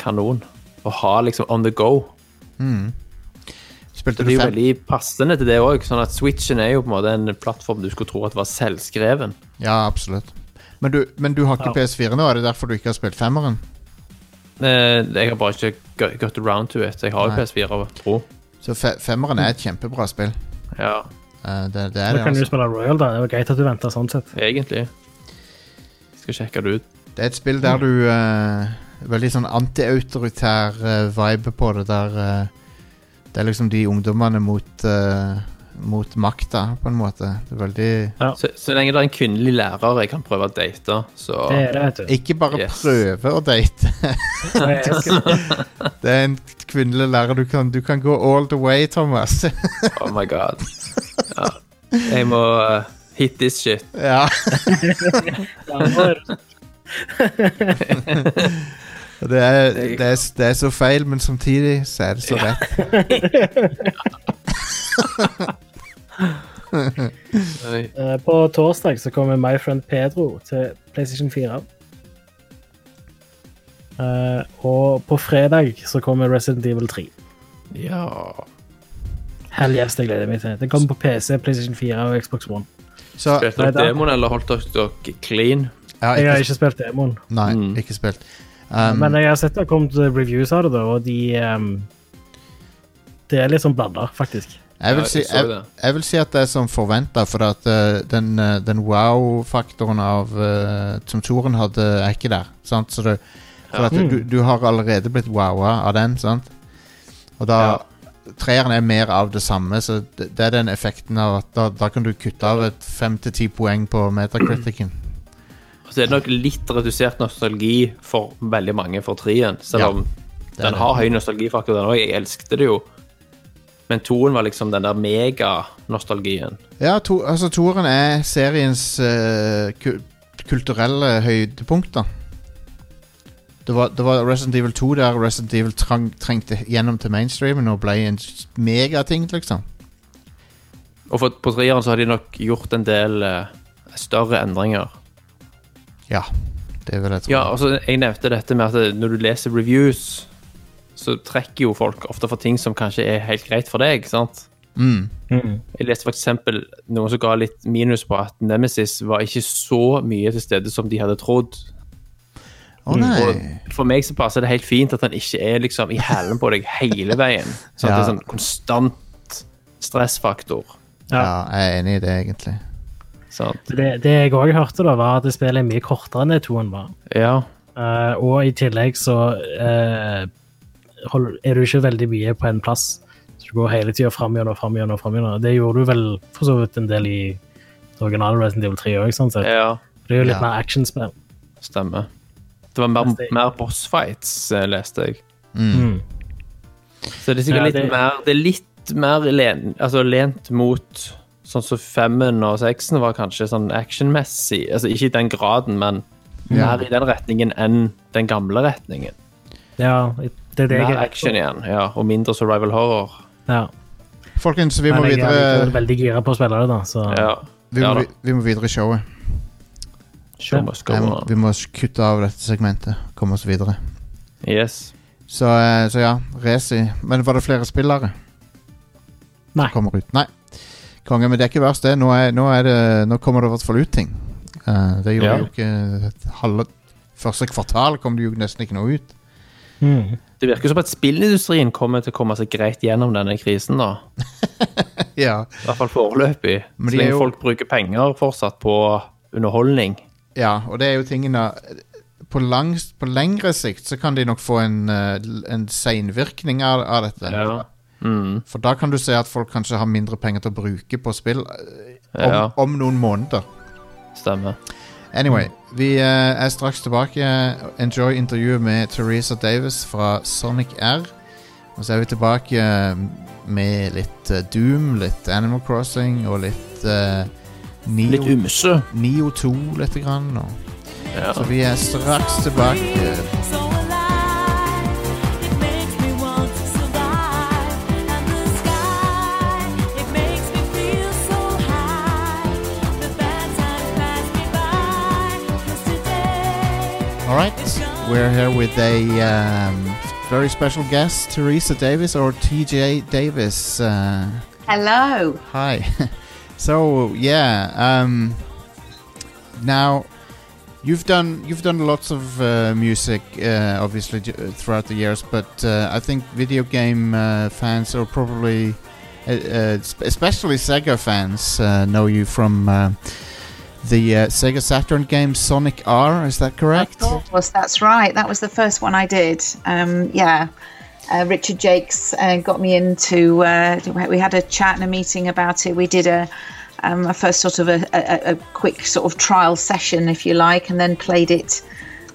Speaker 3: kanon å ha liksom on the go.
Speaker 2: Mm.
Speaker 3: Så
Speaker 2: Spilte
Speaker 3: det
Speaker 2: du
Speaker 3: er jo
Speaker 2: fem?
Speaker 3: veldig passende til det òg. Sånn at Switchen er jo på en måte en plattform du skulle tro at var selvskreven.
Speaker 2: Ja, absolutt. Men du, men du har ikke PS4 nå, er det derfor du ikke har spilt femmeren?
Speaker 3: Eh, Jeg har bare ikke go- got around to it. Jeg har jo
Speaker 2: Nei.
Speaker 3: PS4 og tro.
Speaker 2: Så fe, femmeren er et kjempebra spill.
Speaker 3: Ja,
Speaker 2: Eh, det, det er
Speaker 4: Nå
Speaker 2: det,
Speaker 4: kan du
Speaker 2: altså.
Speaker 4: spille Royal, da. Det var greit at du venta sånn sett.
Speaker 3: egentlig. Jeg skal sjekke det ut.
Speaker 2: Det er et spill der du eh, Veldig sånn anti-autoritær eh, vibe på det, der eh, Det er liksom de ungdommene mot eh, Mot makta, på en måte. Det er veldig
Speaker 4: Ja.
Speaker 3: Så, så lenge det er en kvinnelig lærer jeg kan prøve å date, så
Speaker 4: Det er det, vet du.
Speaker 2: Ikke bare
Speaker 3: Yes.
Speaker 2: prøve å date. Det er en kvinnelig lærer. Du kan, du kan gå all the way, Thomas.
Speaker 3: Oh my god. Ja. Jeg må eh, hit this shit.
Speaker 2: ja.
Speaker 4: Ja,
Speaker 2: Det er, det, er, det er så feil, men samtidig så er det så rett.
Speaker 3: Oi.
Speaker 4: eh, På torsdag så kommer My Friend Pedro til PlayStation 4. Eh, og på fredag så kommer Resident Evil 3.
Speaker 3: Ja
Speaker 4: Hell yes, det gleder jeg meg til. Det kommer på PC, PlayStation 4 og Xbox One.
Speaker 2: Så
Speaker 3: Spilte dere
Speaker 4: Nei, da-
Speaker 3: demoen, eller holdt dere dere clean?
Speaker 2: ja,
Speaker 4: Jeg har
Speaker 2: ikke,
Speaker 4: ikke spilt demoen,
Speaker 2: Nei,
Speaker 3: Mm.
Speaker 2: ikke spilt. Um,
Speaker 4: men jeg har sett det har kommet reviews av det, da, og de ehm, Det er litt sånn blanda, faktisk.
Speaker 2: Jeg vil,
Speaker 3: Ja,
Speaker 2: si,
Speaker 3: jeg så
Speaker 2: jeg,
Speaker 3: det.
Speaker 2: jeg vil si at det er som forventa, for at eh, den, eh, den wow-faktoren av eh, som Toren hadde, er ikke der. Sant? Så det, for
Speaker 3: Ja. Mm.
Speaker 2: at du, du har allerede blitt wowa av den, sant? Og da Treeren er mer av det samme, så det, det er den effekten av at da, da kan du kutte av et fem til ti poeng på metakritikken.
Speaker 3: Og Så er Altså, det nok litt redusert nostalgi for veldig mange for trien, selv
Speaker 2: Ja,
Speaker 3: om
Speaker 2: er
Speaker 3: den
Speaker 2: det.
Speaker 3: har høy nostalgifaktor, den òg. Jeg elsket det jo. Men toen var liksom den der meganostalgien.
Speaker 2: Ja, to, altså Toren er seriens eh, ku kulturelle høydepunkt, da. Det var, det var Resident Evil 2 der Resident Evil trang, trengte gjennom til mainstreamen og ble en s- megating, liksom.
Speaker 3: Og for, på treeren så har de nok gjort en del eh, større endringer.
Speaker 2: Ja, det vil jeg tro.
Speaker 3: Ja, altså, jeg nevnte dette med at det- når du leser reviews, så trekker jo folk ofte for ting som kanskje er helt greit for deg, sant?
Speaker 2: Mm.
Speaker 3: Jeg leste for eksempel noen som ga litt minus på at Nemesis var ikke så mye til stede som de hadde trodd.
Speaker 2: Å
Speaker 3: Og
Speaker 2: nei.
Speaker 3: for meg så passer det helt fint at han ikke er liksom i hælen på deg hele veien. Sånn at
Speaker 2: Ja.
Speaker 3: det er sånn konstant stressfaktor,
Speaker 2: Ja, jeg er enig i det, egentlig.
Speaker 3: sant?
Speaker 4: Det, det jeg òg hørte, da, var at det spillet er mye kortere enn det toen var.
Speaker 3: Ja,
Speaker 4: Eh, og i tillegg så eh, hold, er du ikke veldig mye på en plass. Så du går hele tida fram gjennom, fram gjennom, fram gjennom. Det gjorde du vel for så vidt en del i det originale Resident Evil 3 òg, sånn sett.
Speaker 3: ja,
Speaker 4: Det er jo litt
Speaker 2: Ja.
Speaker 4: mer actionspill.
Speaker 3: stemmer. Det var mer,
Speaker 4: Mens det-
Speaker 3: mer bossfights, eh, leste jeg.
Speaker 4: Mm.
Speaker 3: Så det er sikkert
Speaker 4: Ja,
Speaker 3: litt
Speaker 4: det-
Speaker 3: mer Det er litt mer len, altså lent mot sånn som femmen og seksen var kanskje sånn actionmessig. Altså ikke i den graden, men mer i den retningen enn den gamle retningen.
Speaker 4: Ja, det er det jeg
Speaker 3: Mer action igjen, ja, og mindre survival horror.
Speaker 4: Ja.
Speaker 2: Folkens, vi må
Speaker 4: Men jeg er likevel
Speaker 2: videre
Speaker 4: veldig gira på å spille det, da. Så
Speaker 3: Ja.
Speaker 2: vi må,
Speaker 3: ja da.
Speaker 2: vi- vi må videre i showet.
Speaker 3: Show must go
Speaker 2: Jeg må,
Speaker 3: on.
Speaker 2: vi må kutte av dette segmentet. Komme oss videre.
Speaker 3: Yes.
Speaker 2: Så, eh, så ja, Resi. Men var det flere spillere?
Speaker 4: Nei.
Speaker 2: som Kommer ut? Nei. Konge, men det er ikke verst, det. Nå, er, nå, er det, nå kommer det i hvert fall ut ting. Eh, det gjorde
Speaker 3: Ja.
Speaker 2: jo ikke et halve Første kvartal kom det jo nesten ikke noe ut.
Speaker 4: Mm.
Speaker 3: Det virker som at spillindustrien kommer til å komme seg greit gjennom denne krisen, da.
Speaker 2: Ja,
Speaker 3: I hvert fall foreløpig.
Speaker 2: Men de
Speaker 3: Så
Speaker 2: er
Speaker 3: lenge
Speaker 2: jo-
Speaker 3: folk bruker penger fortsatt på underholdning.
Speaker 2: ja og det er jo tingene på, langs, på lengre sikt så kan de nok få en, eh, en seinvirkning av, av dette.
Speaker 3: Mm,
Speaker 2: For da kan du se at folk kanskje har mindre penger til å bruke på spill eh, om,
Speaker 3: Ja.
Speaker 2: om noen måneder.
Speaker 3: stemmer.
Speaker 2: Anyway, vi eh, er straks tilbake. Enjoy intervjuet med Teresa Davis fra Sonic R. Og så er vi tilbake eh, med litt eh, Doom, litt Animal Crossing og litt eh, Neo,
Speaker 3: Litt um- ymse.
Speaker 2: Neo 2 lite grann. Og.
Speaker 3: Ja.
Speaker 2: Så vi er straks tilbake.
Speaker 6: So alive, it makes me want to survive. And the sky, it makes me feel so high. The bad times pass me by, 'cause today
Speaker 2: All right, we're here with a um, very special guest, Teresa Davis or TJ Davis. Uh,
Speaker 7: Hello.
Speaker 2: Hi. so yeah, um, now you've done you've done lots of uh, music, uh, obviously j- uh, throughout the years, but uh, I think video game uh, fans or probably uh, uh, sp- especially Sega fans uh, know you from uh, the uh, Sega Saturn game Sonic R. Is that correct?
Speaker 7: Of course, that's right. That was the first one I did. Um, yeah. Uh, Richard Jakes uh, got me into. Uh, we had a chat and a meeting about it. We did a, um, a first sort of a, a, a quick sort of trial session, if you like, and then played it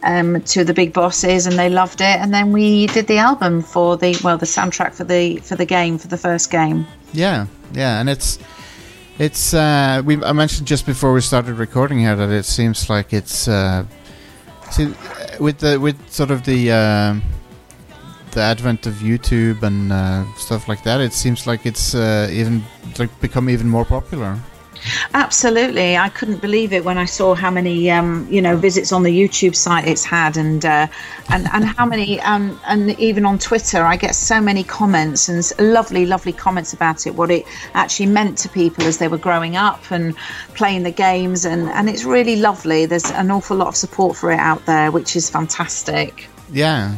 Speaker 7: um, to the big bosses, and they loved it. And then we did the album for the well, the soundtrack for the for the game for the first game.
Speaker 2: Yeah, yeah, and it's it's uh, we I mentioned just before we started recording here that it seems like it's uh, see, uh, with the with sort of the um the advent of YouTube and uh, stuff like that, it seems like it's uh, even like become even more popular.
Speaker 7: Absolutely, I couldn't believe it when I saw how many um, you know visits on the YouTube site it's had, and uh, and and how many um, and even on Twitter, I get so many comments and s- lovely, lovely comments about it, what it actually meant to people as they were growing up and playing the games, and and it's really lovely. There's an awful lot of support for it out there, which is fantastic.
Speaker 2: Yeah.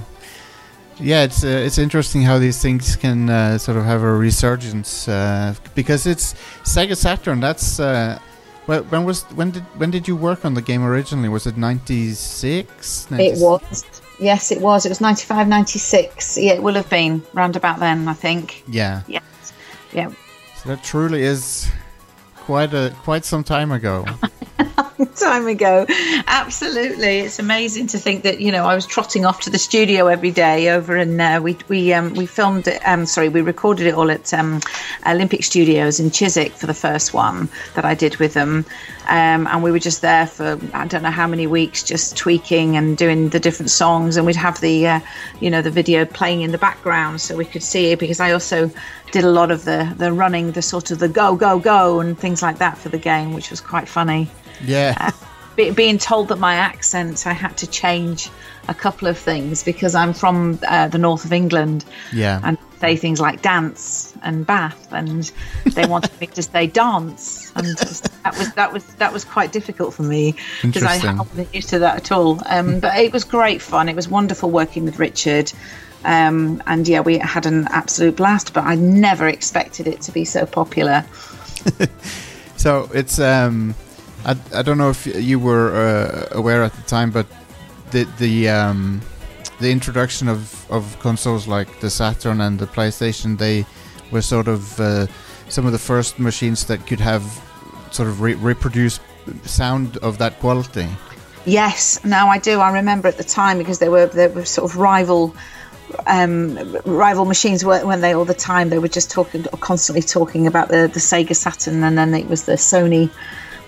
Speaker 2: Yeah, it's uh, it's interesting how these things can uh, sort of have a resurgence uh, because it's Sega Saturn. That's uh, well, when was when did when did you work on the game originally? Was it ninety six?
Speaker 7: It was. Yes, it was. It was 95, 96. Yeah, it will have been round about then, I think.
Speaker 2: Yeah,
Speaker 7: Yeah. Yeah.
Speaker 2: so that truly is quite a quite some time ago.
Speaker 7: time ago. Absolutely, it's amazing to think that you know I was trotting off to the studio every day over in uh, we we um, we filmed it- um sorry we recorded it all at um, Olympic Studios in Chiswick for the first one that I did with them, um, and we were just there for I don't know how many weeks just tweaking and doing the different songs, and we'd have the uh, you know the video playing in the background so we could see it because I also did a lot of the the running the sort of the go go go and things like that for the game which was quite funny
Speaker 2: yeah,
Speaker 7: be, being told that my accent, I had to change a couple of things because I'm from uh, the north of England
Speaker 2: yeah,
Speaker 7: and say things like dance and bath, and they wanted me to say dance, and that was that was that was quite difficult for me because I
Speaker 2: Interesting.
Speaker 7: wasn't used to that at all. Um, but it was great fun. It was wonderful working with Richard. Um, and yeah, we had an absolute blast, but I never expected it to be so popular.
Speaker 2: So it's um, I, I don't know if you were uh, aware at the time, but the the um, the introduction of, of consoles like the Saturn and the PlayStation, they were sort of uh, some of the first machines that could have sort of re- reproduce sound of that quality.
Speaker 7: Yes, now I do. I remember at the time because they were they were sort of rival um, rival machines weren't weren't they all the time. They were just talking constantly talking about the the Sega Saturn, and then it was the Sony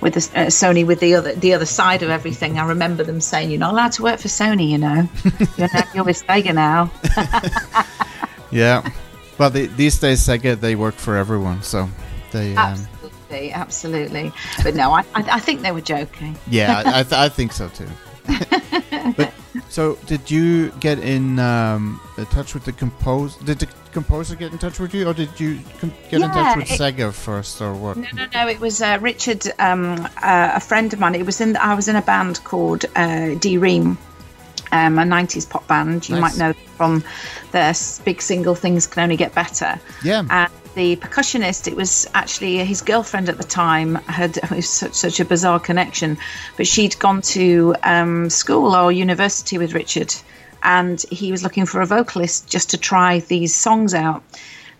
Speaker 7: with the uh, Sony with the other the other side of everything. I remember them saying, "You're not allowed to work for Sony, you know. You're, now, you're with Sega now."
Speaker 2: Yeah, but the, these days Sega they work for everyone, so they. Um,
Speaker 7: Absolutely, absolutely. But no, I I, I think they were joking.
Speaker 2: Yeah, I, I, th- I think so too. but So, did you get in um, in touch with the compose? Did the composer get in touch with you, or did you com- get in touch
Speaker 7: Yeah,
Speaker 2: with
Speaker 7: it-
Speaker 2: Sega first, or what?
Speaker 7: No, no, no. It was uh, Richard, um, uh, a friend of mine. It was in. I was in a band called uh, D Ream, um, a '90s pop band. You
Speaker 2: Nice.
Speaker 7: might know from their s- big single "Things Can Only Get Better."
Speaker 2: Yeah.
Speaker 7: And the percussionist, it was actually his girlfriend at the time, had it was such, such a bizarre connection, but she'd gone to um, school or university with Richard, and he was looking for a vocalist just to try these songs out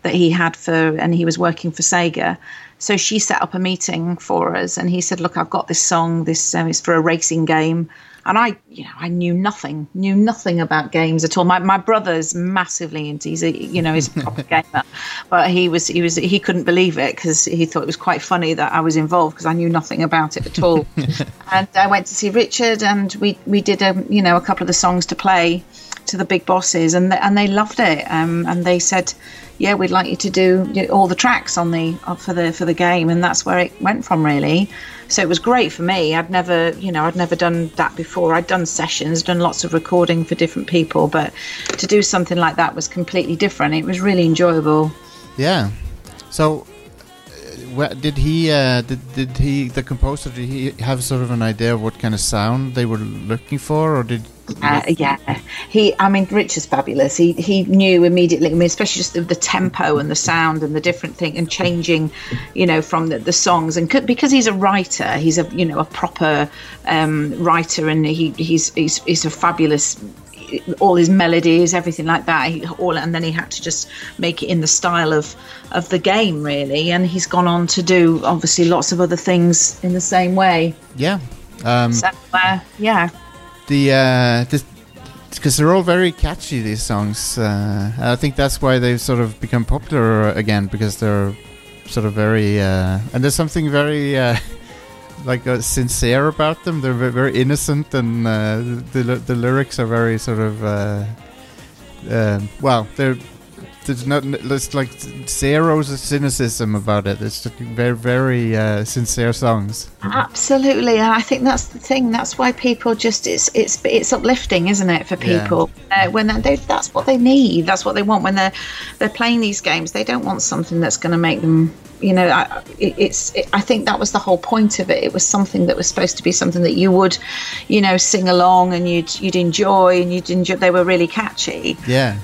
Speaker 7: that he had for, and he was working for Sega. So she set up a meeting for us, and he said, "Look, I've got this song. This um, is for a racing game." And I, you know, I knew nothing, knew nothing about games at all. My, my brother's massively into, he's a, you know, he's a proper gamer, but he was, he was, he couldn't believe it because he thought it was quite funny that I was involved because I knew nothing about it at all. and I went to see Richard, and we we did, um, you know, a couple of the songs to play to the big bosses, and th- and they loved it. Um, and they said, "Yeah, we'd like you to do you know, all the tracks on the uh, for the for the game," and that's where it went from really. So it was great for me. I'd never, you know, I'd never done that before. I'd done sessions, done lots of recording for different people, but to do something like that was completely different. It was really enjoyable.
Speaker 2: Yeah. So, uh, wha- did he? Uh, did did he? The composer? Did he have sort of an idea of what kind of sound they were looking for, or did?
Speaker 7: Uh, yeah, he. I mean, Rich is fabulous. He he knew immediately. I mean, especially just the, the tempo and the sound and the different thing and changing, you know, from the, the songs and c- because he's a writer, he's a you know a proper um, writer and he he's he's, he's a fabulous all his melodies, everything like that. He, all and then he had to just make it in the style of of the game really. And he's gone on to do obviously lots of other things in the same way.
Speaker 2: Yeah. Um,
Speaker 7: So uh, yeah.
Speaker 2: the uh, because they're all very catchy. These songs. Uh, and I think that's why they've sort of become popular again because they're sort of very uh, and there's something very. Uh, Like uh, sincere about them, they're ve- very innocent, and uh, the ly- the lyrics are very sort of uh, um, well, they're there's not there's like zero cynicism about it. It's just very very uh, sincere songs.
Speaker 7: Absolutely, and I think that's the thing. That's why people just it's it's it's uplifting, isn't it, for
Speaker 2: Yeah.
Speaker 7: people uh, when they- they that's what they need, that's what they want when they're they're playing these games. They don't want something that's going to make them, you know. I, it, it's it, I think that was the whole point of it. It was something that was supposed to be something that you would, you know, sing along and you'd you'd enjoy and you'd enjoy. They were really catchy.
Speaker 2: Yeah.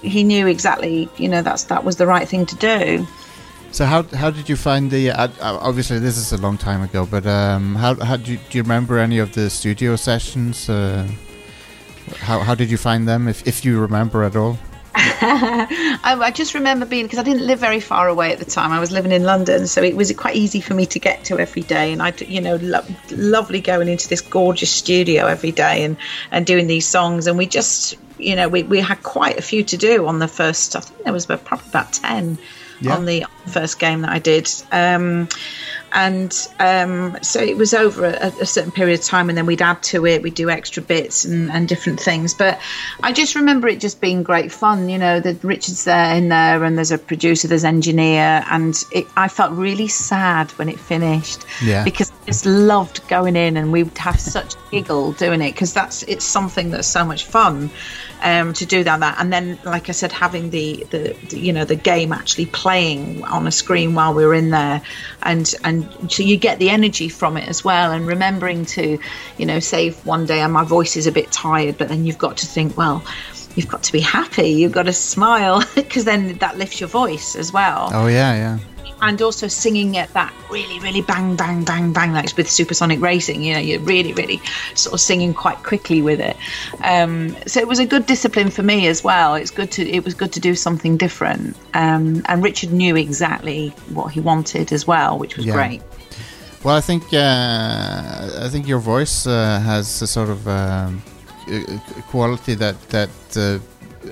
Speaker 7: He knew exactly, you know, that's that was the right thing to do.
Speaker 2: So how how did you find the? Uh, uh, obviously, this is a long time ago, but um, how how do you, do you remember any of the studio sessions? Uh, how how did you find them, if if you remember at all?
Speaker 7: I, I just remember being because I didn't live very far away at the time. I was living in London, so it was quite easy for me to get to every day. And I, you know, lo- lovely going into this gorgeous studio every day and and doing these songs. And we just, you know, we, we had quite a few to do on the first. I think there was about, probably about ten
Speaker 2: Yeah.
Speaker 7: on the first game that I did. Um, and um, so it was over a, a certain period of time, and then we'd add to it, we'd do extra bits and, and different things. But I just remember it just being great fun, you know, that Richard's there in there, and there's a producer, there's engineer, and it, I felt really sad when it finished
Speaker 2: Yeah.
Speaker 7: because I just loved going in, and we would have such a giggle doing it because that's it's something that's so much fun um, to do that, that. And then, like I said, having the, the the you know the game actually playing on a screen while we were in there, and and so you get the energy from it as well. And remembering to, you know, say if one day and my voice is a bit tired, but then you've got to think, well. You've got to be happy. You've got to smile because then that lifts your voice as well
Speaker 2: Oh yeah, yeah,
Speaker 7: and also singing at that really, really bang, bang, bang, bang, like with supersonic racing. You know, you're really, really sort of singing quite quickly with it. Um, so it was a good discipline for me as well. It's good to it was good to do something different. Um, and Richard knew exactly what he wanted as well, which was
Speaker 2: Yeah.
Speaker 7: great.
Speaker 2: Well, I think uh, I think your voice uh, has a sort of um, uh, quality that that uh,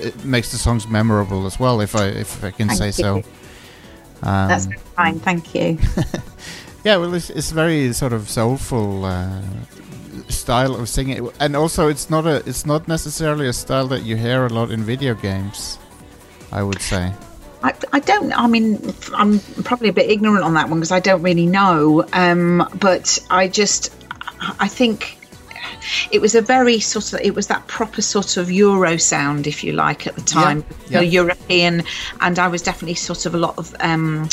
Speaker 2: it makes the songs memorable as well. If I if I can
Speaker 7: Thank
Speaker 2: say so.
Speaker 7: you.
Speaker 2: Um,
Speaker 7: That's fine. Thank you.
Speaker 2: Yeah, well, it's, it's very sort of soulful uh, style of singing, and also it's not a it's not necessarily a style that you hear a lot in video games. I would say.
Speaker 7: I, I don't. I mean, I'm probably a bit ignorant on that one because I don't really know. Um, but I just, I think it was a very sort of it was that proper sort of Euro sound, if you like, at the time.
Speaker 2: yeah.
Speaker 7: So European, and I was definitely sort of a lot of. Um,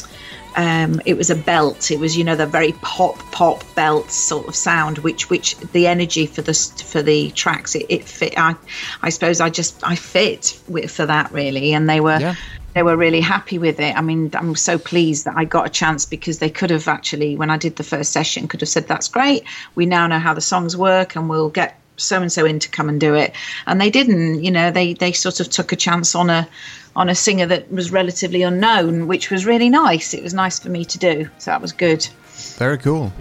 Speaker 7: um, it was a belt. It was, you know, the very pop, pop belt sort of sound, which, which the energy for the s- for the tracks, it, it fit. I, I suppose I just I fit with, for that really, and they were
Speaker 2: Yeah.
Speaker 7: they were really happy with it. I mean, I'm so pleased that I got a chance because they could have actually, when I did the first session, could have said, "That's great. We now know how the songs work, and we'll get so and so in to come and do it." And they didn't. You know, they they sort of took a chance on a on a singer that was relatively unknown, which was really nice. It was nice for me to do, so that was good.
Speaker 2: Very cool.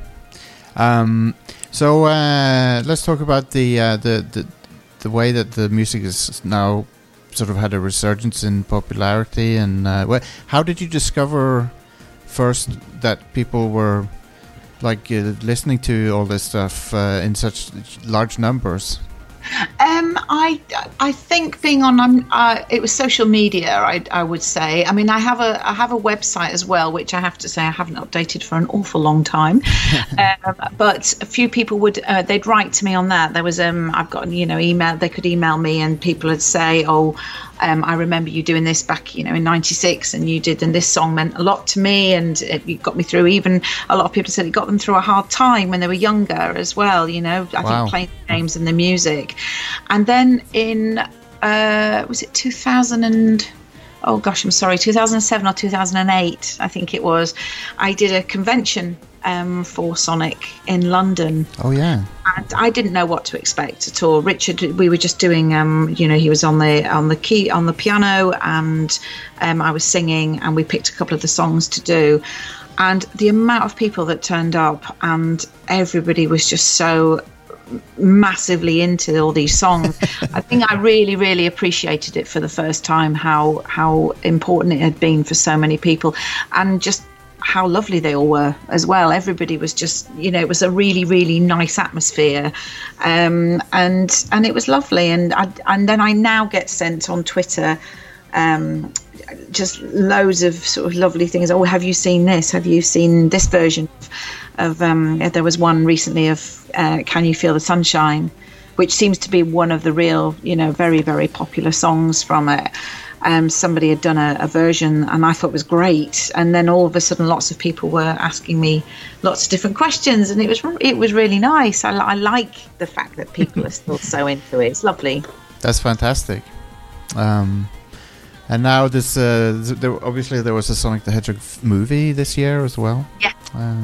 Speaker 2: Um, so uh, let's talk about the, uh, the the the way that the music is now sort of had a resurgence in popularity. And uh, wh- how did you discover first that people were like uh, listening to all this stuff uh, in such large numbers?
Speaker 7: Um, I I think being on um, uh, it was social media. I, I would say. I mean, I have a I have a website as well, which I have to say I haven't updated for an awful long time. um, but a few people would uh, they'd write to me on that. There was um I've got you know email they could email me and people would say oh um, I remember you doing this back you know in '96 and you did and this song meant a lot to me and it, it got me through even a lot of people said it got them through a hard time when they were younger as well. You know I
Speaker 2: Wow.
Speaker 7: think playing the games and the music. And then in uh, was it 2000 and oh gosh, I'm sorry, 2007 or 2008, I think it was. I did a convention um, for Sonic in London,
Speaker 2: Oh yeah,
Speaker 7: and I didn't know what to expect at all. Richard, we were just doing, um, you know, he was on the on the key on the piano, and um, I was singing, and we picked a couple of the songs to do. And the amount of people that turned up, and everybody was just so massively into all these songs. I think I really, really appreciated it for the first time how how important it had been for so many people, and just how lovely they all were as well. Everybody was just, you know, it was a really, really nice atmosphere, um, and and it was lovely. And I, and then I now get sent on Twitter. Um, just loads of sort of lovely things. Oh, have you seen this? Have you seen this version of? of um, there was one recently of uh, "Can You Feel the Sunshine," which seems to be one of the real, you know, very very popular songs from it. Um, somebody had done a, a version, and I thought was great. And then all of a sudden, lots of people were asking me lots of different questions, and it was it was really nice. I, li- I like the fact that people are still so into it. It's lovely.
Speaker 2: that's fantastic. Um, and now this, uh, th- there, obviously, there was a Sonic the Hedgehog f- movie this year as well.
Speaker 7: Yeah.
Speaker 2: Um,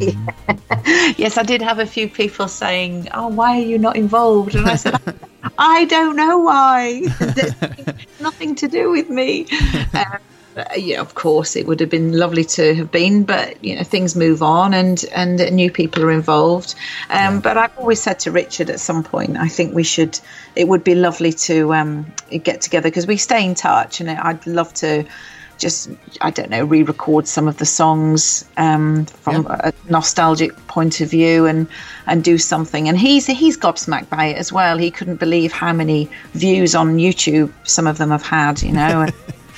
Speaker 7: Yes, I did have a few people saying, "Oh, why are you not involved?" And I said, "I don't know why. That's nothing to do with me." Um, yeah, of course, it would have been lovely to have been, but you know, things move on, and and new people are involved. Um, But I've always said to Richard at some point, I think we should. It would be lovely to um, get together because we stay in touch, and I'd love to. Just I don't know, re-record some of the songs um, from
Speaker 2: Yeah.
Speaker 7: a nostalgic point of view and and do something. And he's he's gobsmacked by it as well. He couldn't believe how many views on YouTube some of them have had, you know, and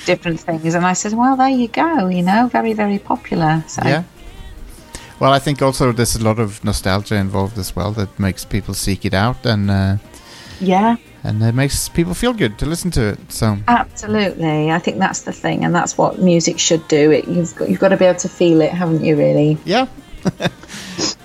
Speaker 7: different things. And I said, well, there you go, you know, very very popular. So
Speaker 2: Yeah. Well, I think also there's a lot of nostalgia involved as well that makes people seek it out and uh,
Speaker 7: yeah,
Speaker 2: and it makes people feel good to listen to it. So
Speaker 7: absolutely. I think that's the thing, and that's what music should do. It you've got, you've got to be able to feel it, haven't you? Really?
Speaker 2: yeah.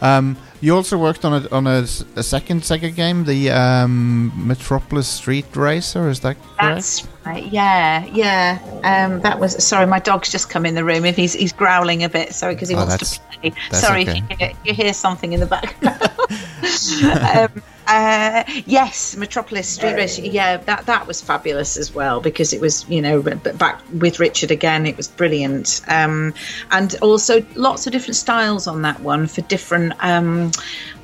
Speaker 2: um, you also worked on a on a, s- a second Sega game, the um, Metropolis Street Racer. Is that correct?
Speaker 7: That's right. Yeah, yeah. Um, that was sorry. My dog's just come in the room. If he's he's growling a bit, sorry, because he
Speaker 2: Oh,
Speaker 7: wants to play.
Speaker 2: that's
Speaker 7: Sorry
Speaker 2: okay.
Speaker 7: if you hear, you hear something in the background. um, uh, yes, Metropolis Street Race. Yeah, that that was fabulous as well because it was you know b- back with Richard again. It was brilliant, um, and also lots of different styles on that one for different um,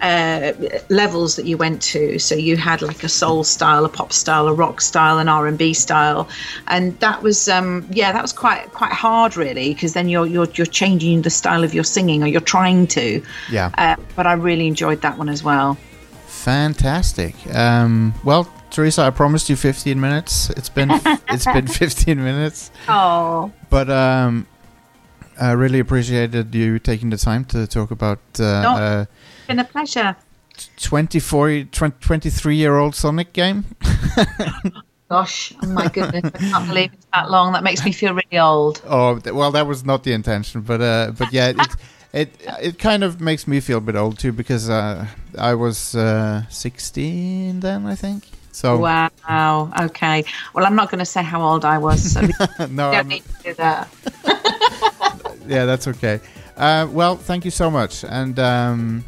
Speaker 7: uh, levels that you went to. So you had like a soul style, a pop style, a rock style, an R and B style, and that was um, yeah, that was quite quite hard really because then you're you're you're changing the style of your singing or you're trying to.
Speaker 2: yeah.
Speaker 7: Uh, but I really enjoyed that one as well.
Speaker 2: Fantastic. Um, well, Teresa, I promised you 15 minutes. It's been it's been 15 minutes.
Speaker 7: Oh,
Speaker 2: But um, I really appreciated you taking the time to talk about uh,
Speaker 7: No.
Speaker 2: uh,
Speaker 7: been a pleasure.
Speaker 2: 24, 23 year old Sonic game.
Speaker 7: Gosh, oh my goodness, I can't believe it's that long. That makes me feel really old.
Speaker 2: Oh th- well, that was not the intention, but uh, but yeah, it it it kind of makes me feel a bit old too because uh, I was uh, sixteen then, I think. So
Speaker 7: Wow. Okay. Well, I'm not going to say how old I was, so we
Speaker 2: no,
Speaker 7: don't
Speaker 2: I'm-
Speaker 7: need to do that.
Speaker 2: yeah, that's okay. Uh, well, thank you so much, and um,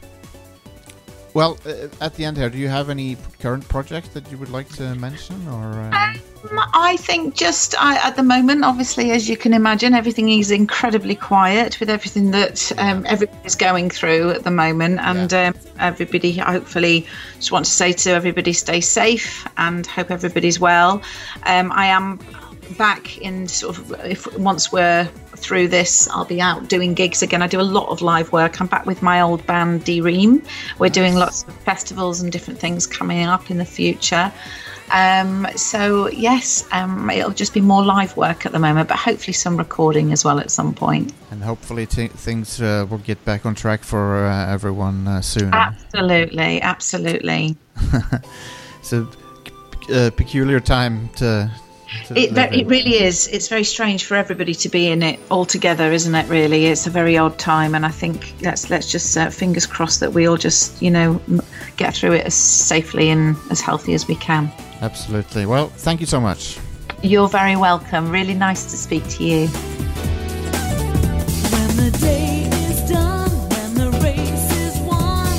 Speaker 2: well, uh, at the end here, do you have any current projects that you would like to mention or? Uh,
Speaker 7: Um, I think just I, at the moment, obviously, as you can imagine, everything is incredibly quiet with everything that um, everybody's going through at the moment. And um, everybody, I hopefully, just want to say to everybody, stay safe and hope everybody's well. Um, I am back in sort of if once we're through this i'll be out doing gigs again i do a lot of live work i'm back with my old band d-ream we're doing lots of festivals and different things coming up in the future um, so yes, um, it'll just be more live work at the moment, but hopefully some recording as well at some point.
Speaker 2: and hopefully t- things uh, will get back on track for uh, everyone uh, soon.
Speaker 7: Ah. Absolutely, absolutely.
Speaker 2: it's a uh, peculiar time to. to
Speaker 7: It,
Speaker 2: live
Speaker 7: ve- it
Speaker 2: in.
Speaker 7: really is. It's very strange for everybody to be in it all together, isn't it? Really, it's a very odd time, and I think let's let's just uh, fingers crossed that we all just you know m- get through it as safely and as healthy as we can.
Speaker 2: Absolutely. Well, thank you so much.
Speaker 7: You're very welcome. Really nice to speak to you.
Speaker 6: When the day is done, when the race is won,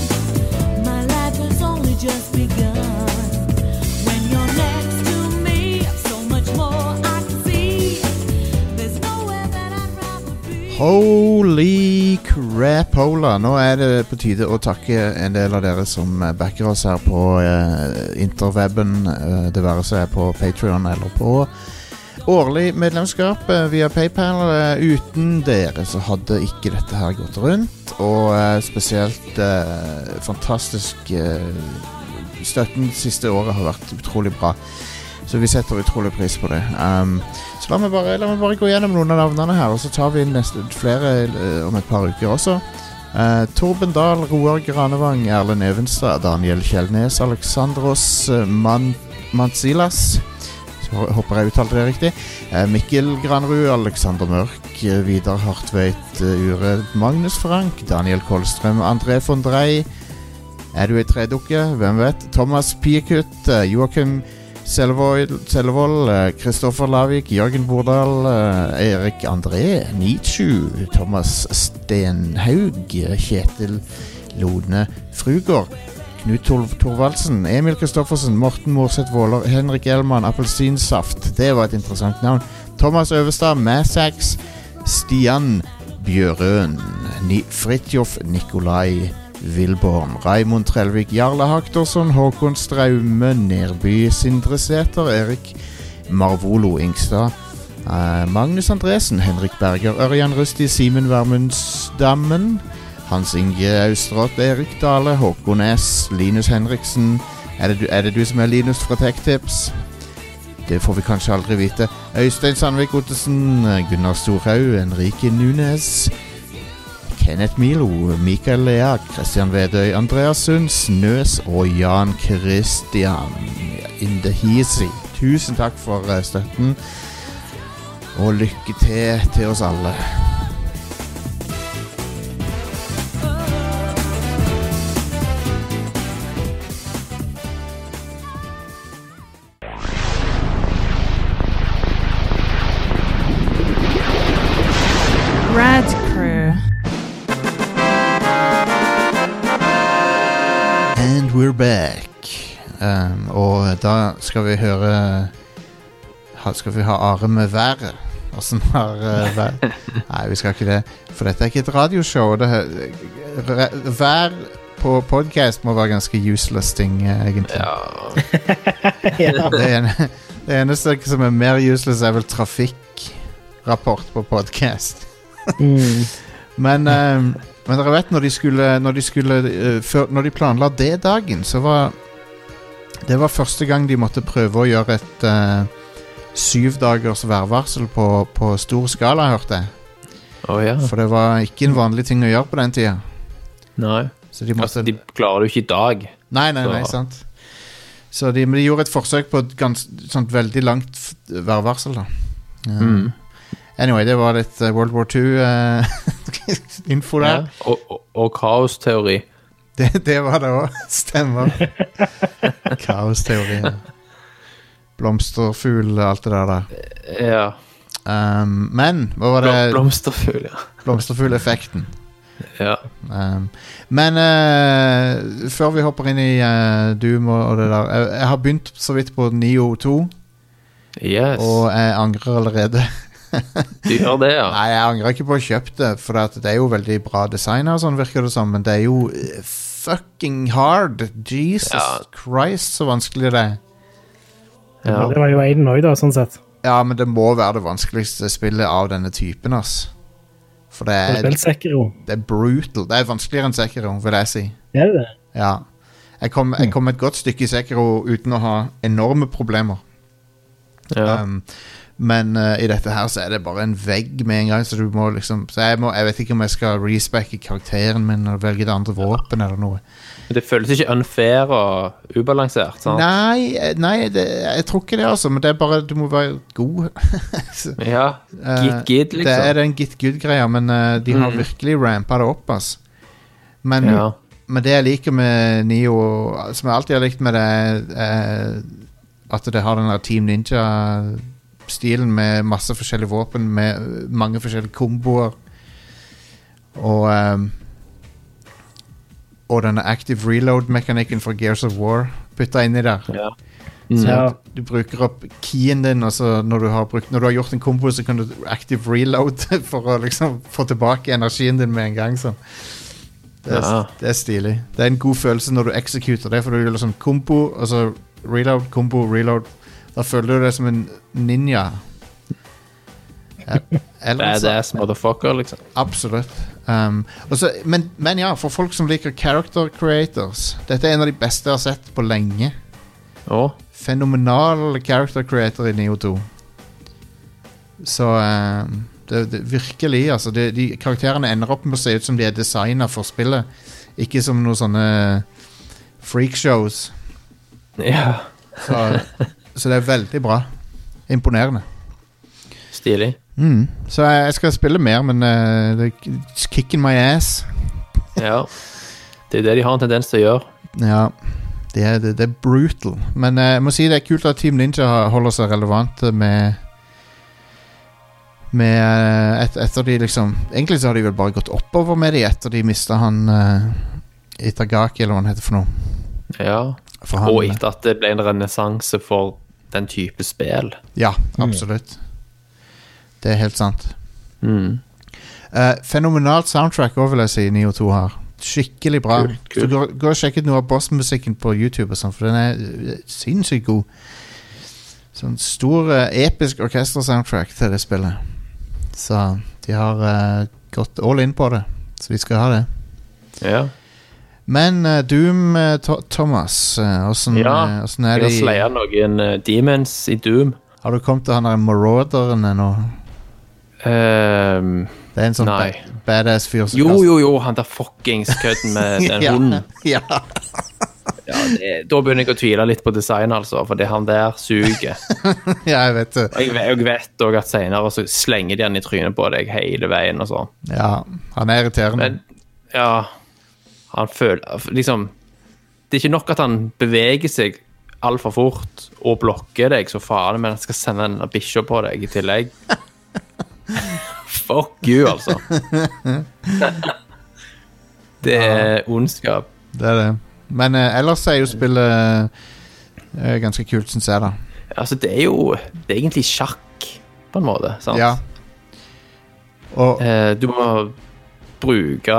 Speaker 6: my life has only just begun. When you're next to me, so much more I see. There's nowhere that I'd rather be.
Speaker 2: Holy crapola! Nå er det på tide å takke en del av dere som eh, backer oss her på eh, interweben, eh, det være seg på Patrion eller på årlig medlemskap eh, via PayPal. Eh, uten dere så hadde ikke dette her gått rundt, og eh, spesielt eh, fantastisk eh, Støtten siste året har vært utrolig bra, så vi setter utrolig pris på det. Um, så la meg, bare, la meg bare gå gjennom noen av navnene her, og så tar vi neste, flere eh, om et par uker også. Eh, Torben Dahl, Roar Granevang, Erlend Evenstad, Daniel Kjellnes, Alexandros eh, Man Mansilas Så hå- Håper jeg uttalte det riktig. Eh, Mikkel Granrud, Alexander Mørk, eh, Vidar Hartveit eh, Ure, Magnus Frank, Daniel Kolstrøm, André von Drey Er du ei tredukke? Hvem vet? Thomas Piekutt, eh, Joakim Selvold, Selvold, eh, Kristoffer Lavik, Jørgen Bordal, eh, Erik André, Nietzsche, Thomas Stenhaug, eh, Kjetil Lodne Frugård, Knut Tor Torvaldsen, Emil Kristoffersen, Morten Morseth Våler, Henrik Elman, Appelsinsaft, det var et interessant navn, Thomas Øverstad, Massax, Stian Bjørøn, Ni Fridtjof Nikolai Vilborn, Raimond Trelvik, Jarle Haktorsson, Håkon Straume, Nerby Sindre Sæter, Erik Marvolo Ingstad, eh, Magnus Andresen, Henrik Berger, Ørjan Rusti, Simen Vermundsdammen, Hans Inge Austrått, Erik Dale, Håkon S, Linus Henriksen Er det du, er det du som er Linus fra TechTips? Det får vi kanskje aldri vite. Øystein Sandvik Ottesen, Gunnar Storhaug, Enrique Nunes, Kenneth Milo, Mikael Lea, Christian Vedøy, Andreas Sund, Snøs og Jan Christian Indehisi. Tusen takk for eh, støtten, og lykke til til oss alle.
Speaker 8: Rad Crew.
Speaker 2: And we're back. Um, og da skal vi høre ha, Skal vi ha Are med været? Åssen har eh, været Nei, vi skal ikke det. For dette er ikke et radioshow. Det, re- vær på podkast må være ganske useless ting, eh, egentlig.
Speaker 3: Ja.
Speaker 2: Det, ene, det eneste som er mer useless, er vel trafikkrapport på podkast. Mm. Men, ehm, men dere vet, når de skulle, når de, skulle eh, før, når de planla det dagen, så var Det var første gang de måtte prøve å gjøre et eh, syv dagers værvarsel på, på stor skala, hørte jeg.
Speaker 3: Å ja.
Speaker 2: For det var ikke en vanlig ting å gjøre på den tida.
Speaker 3: Nei.
Speaker 2: Så de måtte
Speaker 3: Altså, de klarer det jo ikke i dag.
Speaker 2: Nei, nei,
Speaker 3: Så-
Speaker 2: nei, sant. Så de, men de gjorde et forsøk på et gans, sånt veldig langt f- værvarsel, da. Eh, Ja.
Speaker 3: Mm.
Speaker 2: Anyway, det var litt eh, World War II-info
Speaker 3: Ja.
Speaker 2: der.
Speaker 3: Og, og, og kaosteori.
Speaker 2: Det, det var det òg. Stemmer. Kaosteorien. Blomsterfugl og alt det der. der.
Speaker 3: Ja.
Speaker 2: Um, men hva var
Speaker 3: Blom,
Speaker 2: det?
Speaker 3: blomsterfugl, ja.
Speaker 2: Blomsterfugleffekten.
Speaker 3: ja.
Speaker 2: Um, men eh, før vi hopper inn i eh, Doom og, og det der jeg, jeg har begynt så vidt på Nio 2,
Speaker 3: Yes.
Speaker 2: og jeg angrer allerede.
Speaker 3: du gjør det, ja.
Speaker 2: Nei, jeg angrer ikke på å ha kjøpt det, for at det er jo veldig bra design og sånn, virker det som, men det er jo eh, fucking hard. Jesus
Speaker 3: Ja.
Speaker 2: Christ, så vanskelig det er.
Speaker 3: ja.
Speaker 4: Det var jo Aiden òg, da, sånn sett.
Speaker 2: Ja, men det må være det vanskeligste spillet av denne typen, ass. For det
Speaker 4: Har du
Speaker 2: er,
Speaker 4: spilt Sekiro?
Speaker 2: det er brutal. Det er vanskeligere enn Sekiro, vil jeg si.
Speaker 4: Er det det?
Speaker 2: Ja. Jeg kom, jeg kom et godt stykke i Sekiro uten å ha enorme problemer.
Speaker 3: ja.
Speaker 2: Um, men eh, i dette her så er det bare en vegg med en gang, så du må liksom Så jeg, må, jeg vet ikke om jeg skal respecke karakteren min og velge det andre våpen eller noe.
Speaker 3: Men det føles ikke unfair og ubalansert, sant?
Speaker 2: Nei, eh, nei det, jeg tror ikke det, altså. Men det er bare Du må være god. Så,
Speaker 3: Ja.
Speaker 2: eh,
Speaker 3: Git, git, liksom.
Speaker 2: Det er den git good-greia, men eh, de har
Speaker 3: Mm.
Speaker 2: virkelig rampa det opp, ass. Men
Speaker 3: Ja.
Speaker 2: Men det jeg liker med Nio, som jeg alltid har likt med det, er at det har den der Team Ninja-stilen med masse forskjellige våpen, med mange forskjellige komboer. Og ehm, Og denne active reload-mekanikken fra Gears of War putta inni der.
Speaker 3: ja.
Speaker 2: Så
Speaker 4: Ja.
Speaker 2: at Du bruker opp keyen din, og så når du har, brukt, når du har gjort en kombo, så kan du active reload for å liksom få tilbake energien din med en gang. Sånn. Det, er,
Speaker 3: Ja.
Speaker 2: det er stilig. Det er en god følelse når du executer det, for du gjør liksom kombo, og så reload, kombo, reload. Da føler du deg som en ninja. Ja, Eller så-
Speaker 3: Badass motherfucker, liksom.
Speaker 2: Absolutt. Um, og så- men, men ja, for folk som liker character creators Dette er en av de beste jeg har sett på lenge
Speaker 3: Å,
Speaker 2: fenomenal character creator i Neo 2. Så eh, det, det, Virkelig, altså. De, de karakterene ender opp med å se ut som de er designa for spillet, ikke som noen sånne freakshows.
Speaker 3: ja.
Speaker 2: Så, så det er veldig bra. Imponerende.
Speaker 3: Stilig.
Speaker 2: Mm. Så jeg, jeg skal spille mer, men eh, det it's kicking my ass.
Speaker 3: Ja. Det er det de har en tendens til å gjøre.
Speaker 2: Ja, det er, det, det er brutal. Men eh, jeg må si det er kult at Team Ninja holder seg relevante med med eh, et, Etter de liksom Egentlig så har de vel bare gått oppover med de etter de mista han eh, Itagaki, eller hva han heter for noe.
Speaker 3: Ja.
Speaker 2: For han,
Speaker 3: Og etter at det ble en renessanse for den type spill.
Speaker 2: Ja, absolutt. Det er helt sant.
Speaker 3: Mm.
Speaker 2: Eh, fenomenalt soundtrack òg, vil jeg si, Neo 2 har. Skikkelig bra.
Speaker 3: Kult, kult.
Speaker 2: Så gå, gå og sjekk ut noe av bossmusikken på YouTube, og sånn, for den er eh, sinnssykt god. Sånn stor, eh, episk orkestersoundtrack til det spillet. Så de har eh, gått all in på det, så de skal ha det.
Speaker 3: Ja.
Speaker 2: Men eh, Doom, eh, Tho- Thomas, eh, åssen
Speaker 3: Ja,
Speaker 2: eh, åssen
Speaker 3: Jeg
Speaker 2: er
Speaker 3: har
Speaker 2: de
Speaker 3: slaya noen eh, demons i Doom.
Speaker 2: Har du kommet til han der marauderen ennå?
Speaker 3: Ehm, altså-
Speaker 2: Det er en sånn
Speaker 3: Nei.
Speaker 2: ba badass fyr som
Speaker 3: jo,
Speaker 2: kaster-
Speaker 3: jo, jo, han der fuckings kødden med den
Speaker 2: ja,
Speaker 3: hunden.
Speaker 2: ja.
Speaker 3: Ja, det, da begynner jeg å tvile litt på design, altså, fordi han der suger.
Speaker 2: ja, jeg vet det.
Speaker 3: Og jeg, ve- jeg vet òg at seinere så slenger de han i trynet på deg hele veien og sånn.
Speaker 2: Ja, han er irriterende.
Speaker 3: Men ja Han føler Liksom Det er ikke nok at han beveger seg altfor fort og blokker deg så faen, men han skal sende en bikkje på deg i tillegg. Fuck you, altså. det er ondskap.
Speaker 2: Det er det. Men eh, ellers er jo spillet eh, ganske kult, syns jeg, da.
Speaker 3: Altså, det er jo Det er egentlig sjakk, på en måte. sant?
Speaker 2: Ja. Og
Speaker 3: Eh, du må bruke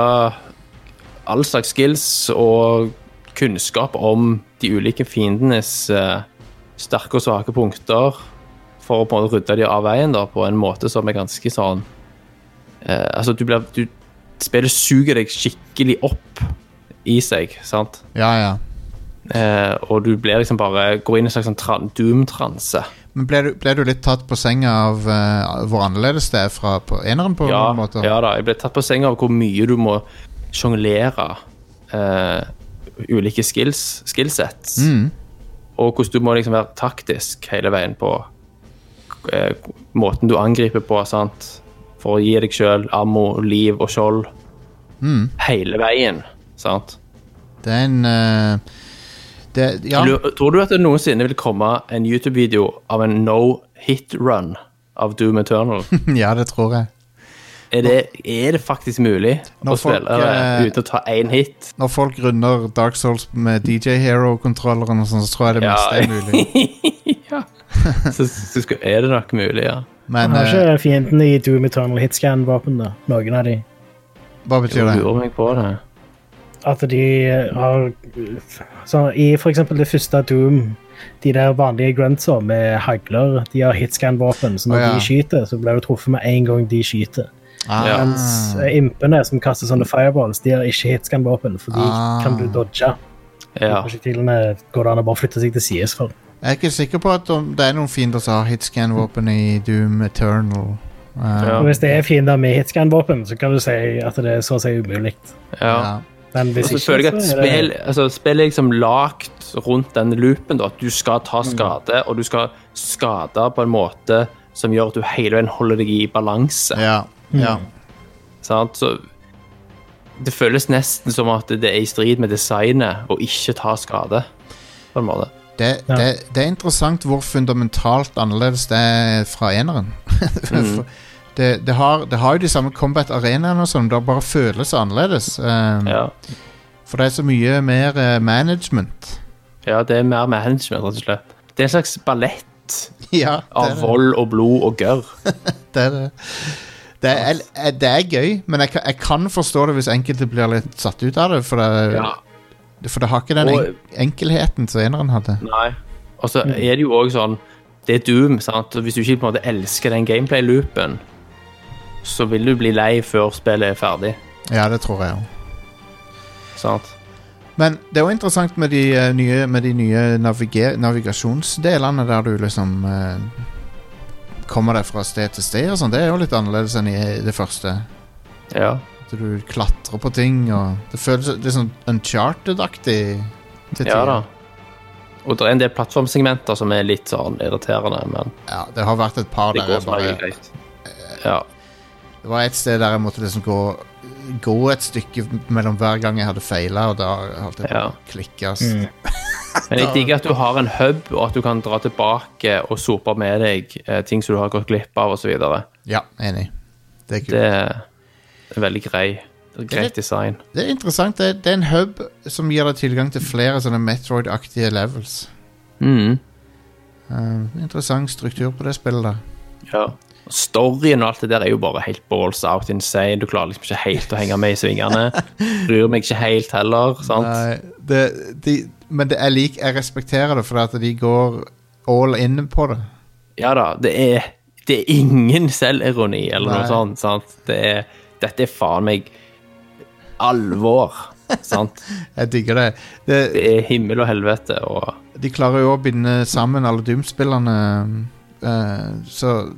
Speaker 3: all slags skills og kunnskap om de ulike fiendenes eh, sterke og svake punkter for å på en måte rydde de av veien da, på en måte som er ganske sånn eh, Altså, du blir du, Spillet suger deg skikkelig opp i seg, sant?
Speaker 2: Ja, ja.
Speaker 3: Eh, og du blir liksom bare Går inn i en slags sånn tran, doom-transe.
Speaker 2: Men ble du, ble du litt tatt på senga av eh, hvor annerledes det er fra på eneren, på
Speaker 3: Ja,
Speaker 2: noen måter?
Speaker 3: ja da, jeg ble tatt på senga av hvor mye du må sjonglere eh, eh, ulike skills, skillsets.
Speaker 2: Mm.
Speaker 3: Og hvordan du må liksom være taktisk hele veien på eh, måten du angriper på, sant? for å gi deg sjøl ammo, liv og skjold
Speaker 2: Mm.
Speaker 3: hele veien. sant?
Speaker 2: Det er en eh, det, Ja.
Speaker 3: Lu- Tror du at det noensinne vil komme en YouTube-video av en no hit run av Doom Eternal?
Speaker 2: ja, det tror jeg.
Speaker 3: Er det, er det faktisk mulig
Speaker 2: Når
Speaker 3: å
Speaker 2: folk,
Speaker 3: spille det
Speaker 2: eh,
Speaker 3: uten å ta én hit?
Speaker 2: Når folk runder Dark Souls med DJ Hero-kontrolleren, og sånn, så tror jeg det
Speaker 3: Ja.
Speaker 2: meste er mulig.
Speaker 3: ja. Så, så skal, er det nok mulig, ja.
Speaker 2: Men
Speaker 4: Har
Speaker 2: eh,
Speaker 4: ikke fiendene i Doom Eternal hitscan-våpen, da? Noen av de.
Speaker 2: hva
Speaker 3: Jeg
Speaker 2: betyr det?
Speaker 3: lurer meg på det.
Speaker 4: At de eh, har så I for eksempel det første Doom, de der vanlige gruntsa med hagler, de har hitscan-våpen, så når
Speaker 2: Å, ja.
Speaker 4: de skyter, så blir du truffet med en gang de skyter.
Speaker 2: Ah,
Speaker 3: Ja.
Speaker 4: Mens eh, impene som kaster sånne fireballs, de har ikke hitscan-våpen, for de
Speaker 2: Ah.
Speaker 4: kan du dodge.
Speaker 3: Ja.
Speaker 4: Prosjektilene går det an å bare flytte seg til sides for.
Speaker 2: Jeg er ikke sikker på at om det er noen fiender som har hitscan-våpen i Doom Eternal. Eh,
Speaker 3: Ja.
Speaker 4: Og hvis det er fiender med hitscan-våpen, så kan du si at det er så å si umulig.
Speaker 3: ja.
Speaker 2: ja.
Speaker 4: Men
Speaker 3: Og
Speaker 4: hvis
Speaker 3: så
Speaker 4: ikke,
Speaker 3: føler jeg at
Speaker 4: så er det-
Speaker 3: spill, altså, spill er liksom lagt rundt den loopen, da, at du skal ta
Speaker 2: Mm.
Speaker 3: skade, og du skal skade på en måte som gjør at du hele veien holder deg i balanse.
Speaker 2: Ja. ja.
Speaker 3: Sant? Så det føles nesten som at det er i strid med designet å ikke ta skade, på en måte.
Speaker 2: Det,
Speaker 4: Ja.
Speaker 2: det, det er interessant hvor fundamentalt annerledes det er fra eneren.
Speaker 3: Mhm.
Speaker 2: For- det, det, har, det har jo de samme combat-arenaene og sånn, det bare føles annerledes. eh,
Speaker 3: Ja.
Speaker 2: For det er så mye mer eh, management.
Speaker 3: ja, det er mer management, rett og slett. Det er en slags ballett
Speaker 2: ja, det er
Speaker 3: av
Speaker 2: det.
Speaker 3: vold og blod og gørr.
Speaker 2: det er det. Det er, jeg- det er gøy, men jeg kan, jeg kan forstå det hvis enkelte blir litt satt ut av det. For det,
Speaker 3: Ja.
Speaker 2: for det har ikke den
Speaker 3: Og-
Speaker 2: en, enkelheten som eneren hadde.
Speaker 3: Nei. Og så er det jo òg sånn Det er Doom, sant. Og hvis du ikke på en måte elsker den gameplay-loopen, så vil du bli lei før spillet er ferdig,
Speaker 2: Ja, det tror jeg òg.
Speaker 3: sant.
Speaker 2: Men det er jo interessant med de eh, nye, med de nye naviger, navigasjonsdelene der du liksom eh, kommer deg fra sted til sted og sånn. Det er jo litt annerledes enn i det første.
Speaker 3: Ja.
Speaker 2: At du klatrer på ting og Det føles litt sånn uncharted-aktig. til
Speaker 3: ja
Speaker 2: tider.
Speaker 3: da. Og det er en del plattformsegmenter som er litt sånn irriterende, men
Speaker 2: Ja, det har vært et par
Speaker 3: det
Speaker 2: der
Speaker 3: går
Speaker 2: jeg
Speaker 3: som regel
Speaker 2: bare,
Speaker 3: greit. Ja.
Speaker 2: Det var et sted der jeg måtte liksom gå Gå et stykke mellom hver gang jeg hadde feila, og da holdt jeg på
Speaker 3: Ja.
Speaker 2: å klikke. ass.
Speaker 3: Men jeg digger at du har en hub, og at du kan dra tilbake og sope med deg eh, ting som du har gått glipp av, osv. Det
Speaker 2: Ja, enig. Det er kult.
Speaker 3: er veldig grei.
Speaker 2: litt-
Speaker 3: Greit design.
Speaker 2: Det er interessant. Det, det er en hub som gir deg tilgang til flere sånne Metroid-aktige levels.
Speaker 3: Mm.
Speaker 2: Eh, interessant struktur på det spillet, da.
Speaker 3: Ja. Storyen og alt det der er jo bare helt balls out insane. Du klarer liksom ikke helt å henge med i svingene. Bryr meg ikke helt heller, sant?
Speaker 2: Nei, Eh, det, de, men det, jeg, lik, jeg respekterer det, for at de går all in på det.
Speaker 3: Ja da, det er, det er ingen selvironi eller
Speaker 2: Nei.
Speaker 3: noe sånt, sant? Det er, dette er faen meg alvor, sant?
Speaker 2: Jeg digger det. det
Speaker 3: Det er himmel og helvete og
Speaker 2: de klarer jo å binde sammen alle Doom-spillerne, eh, så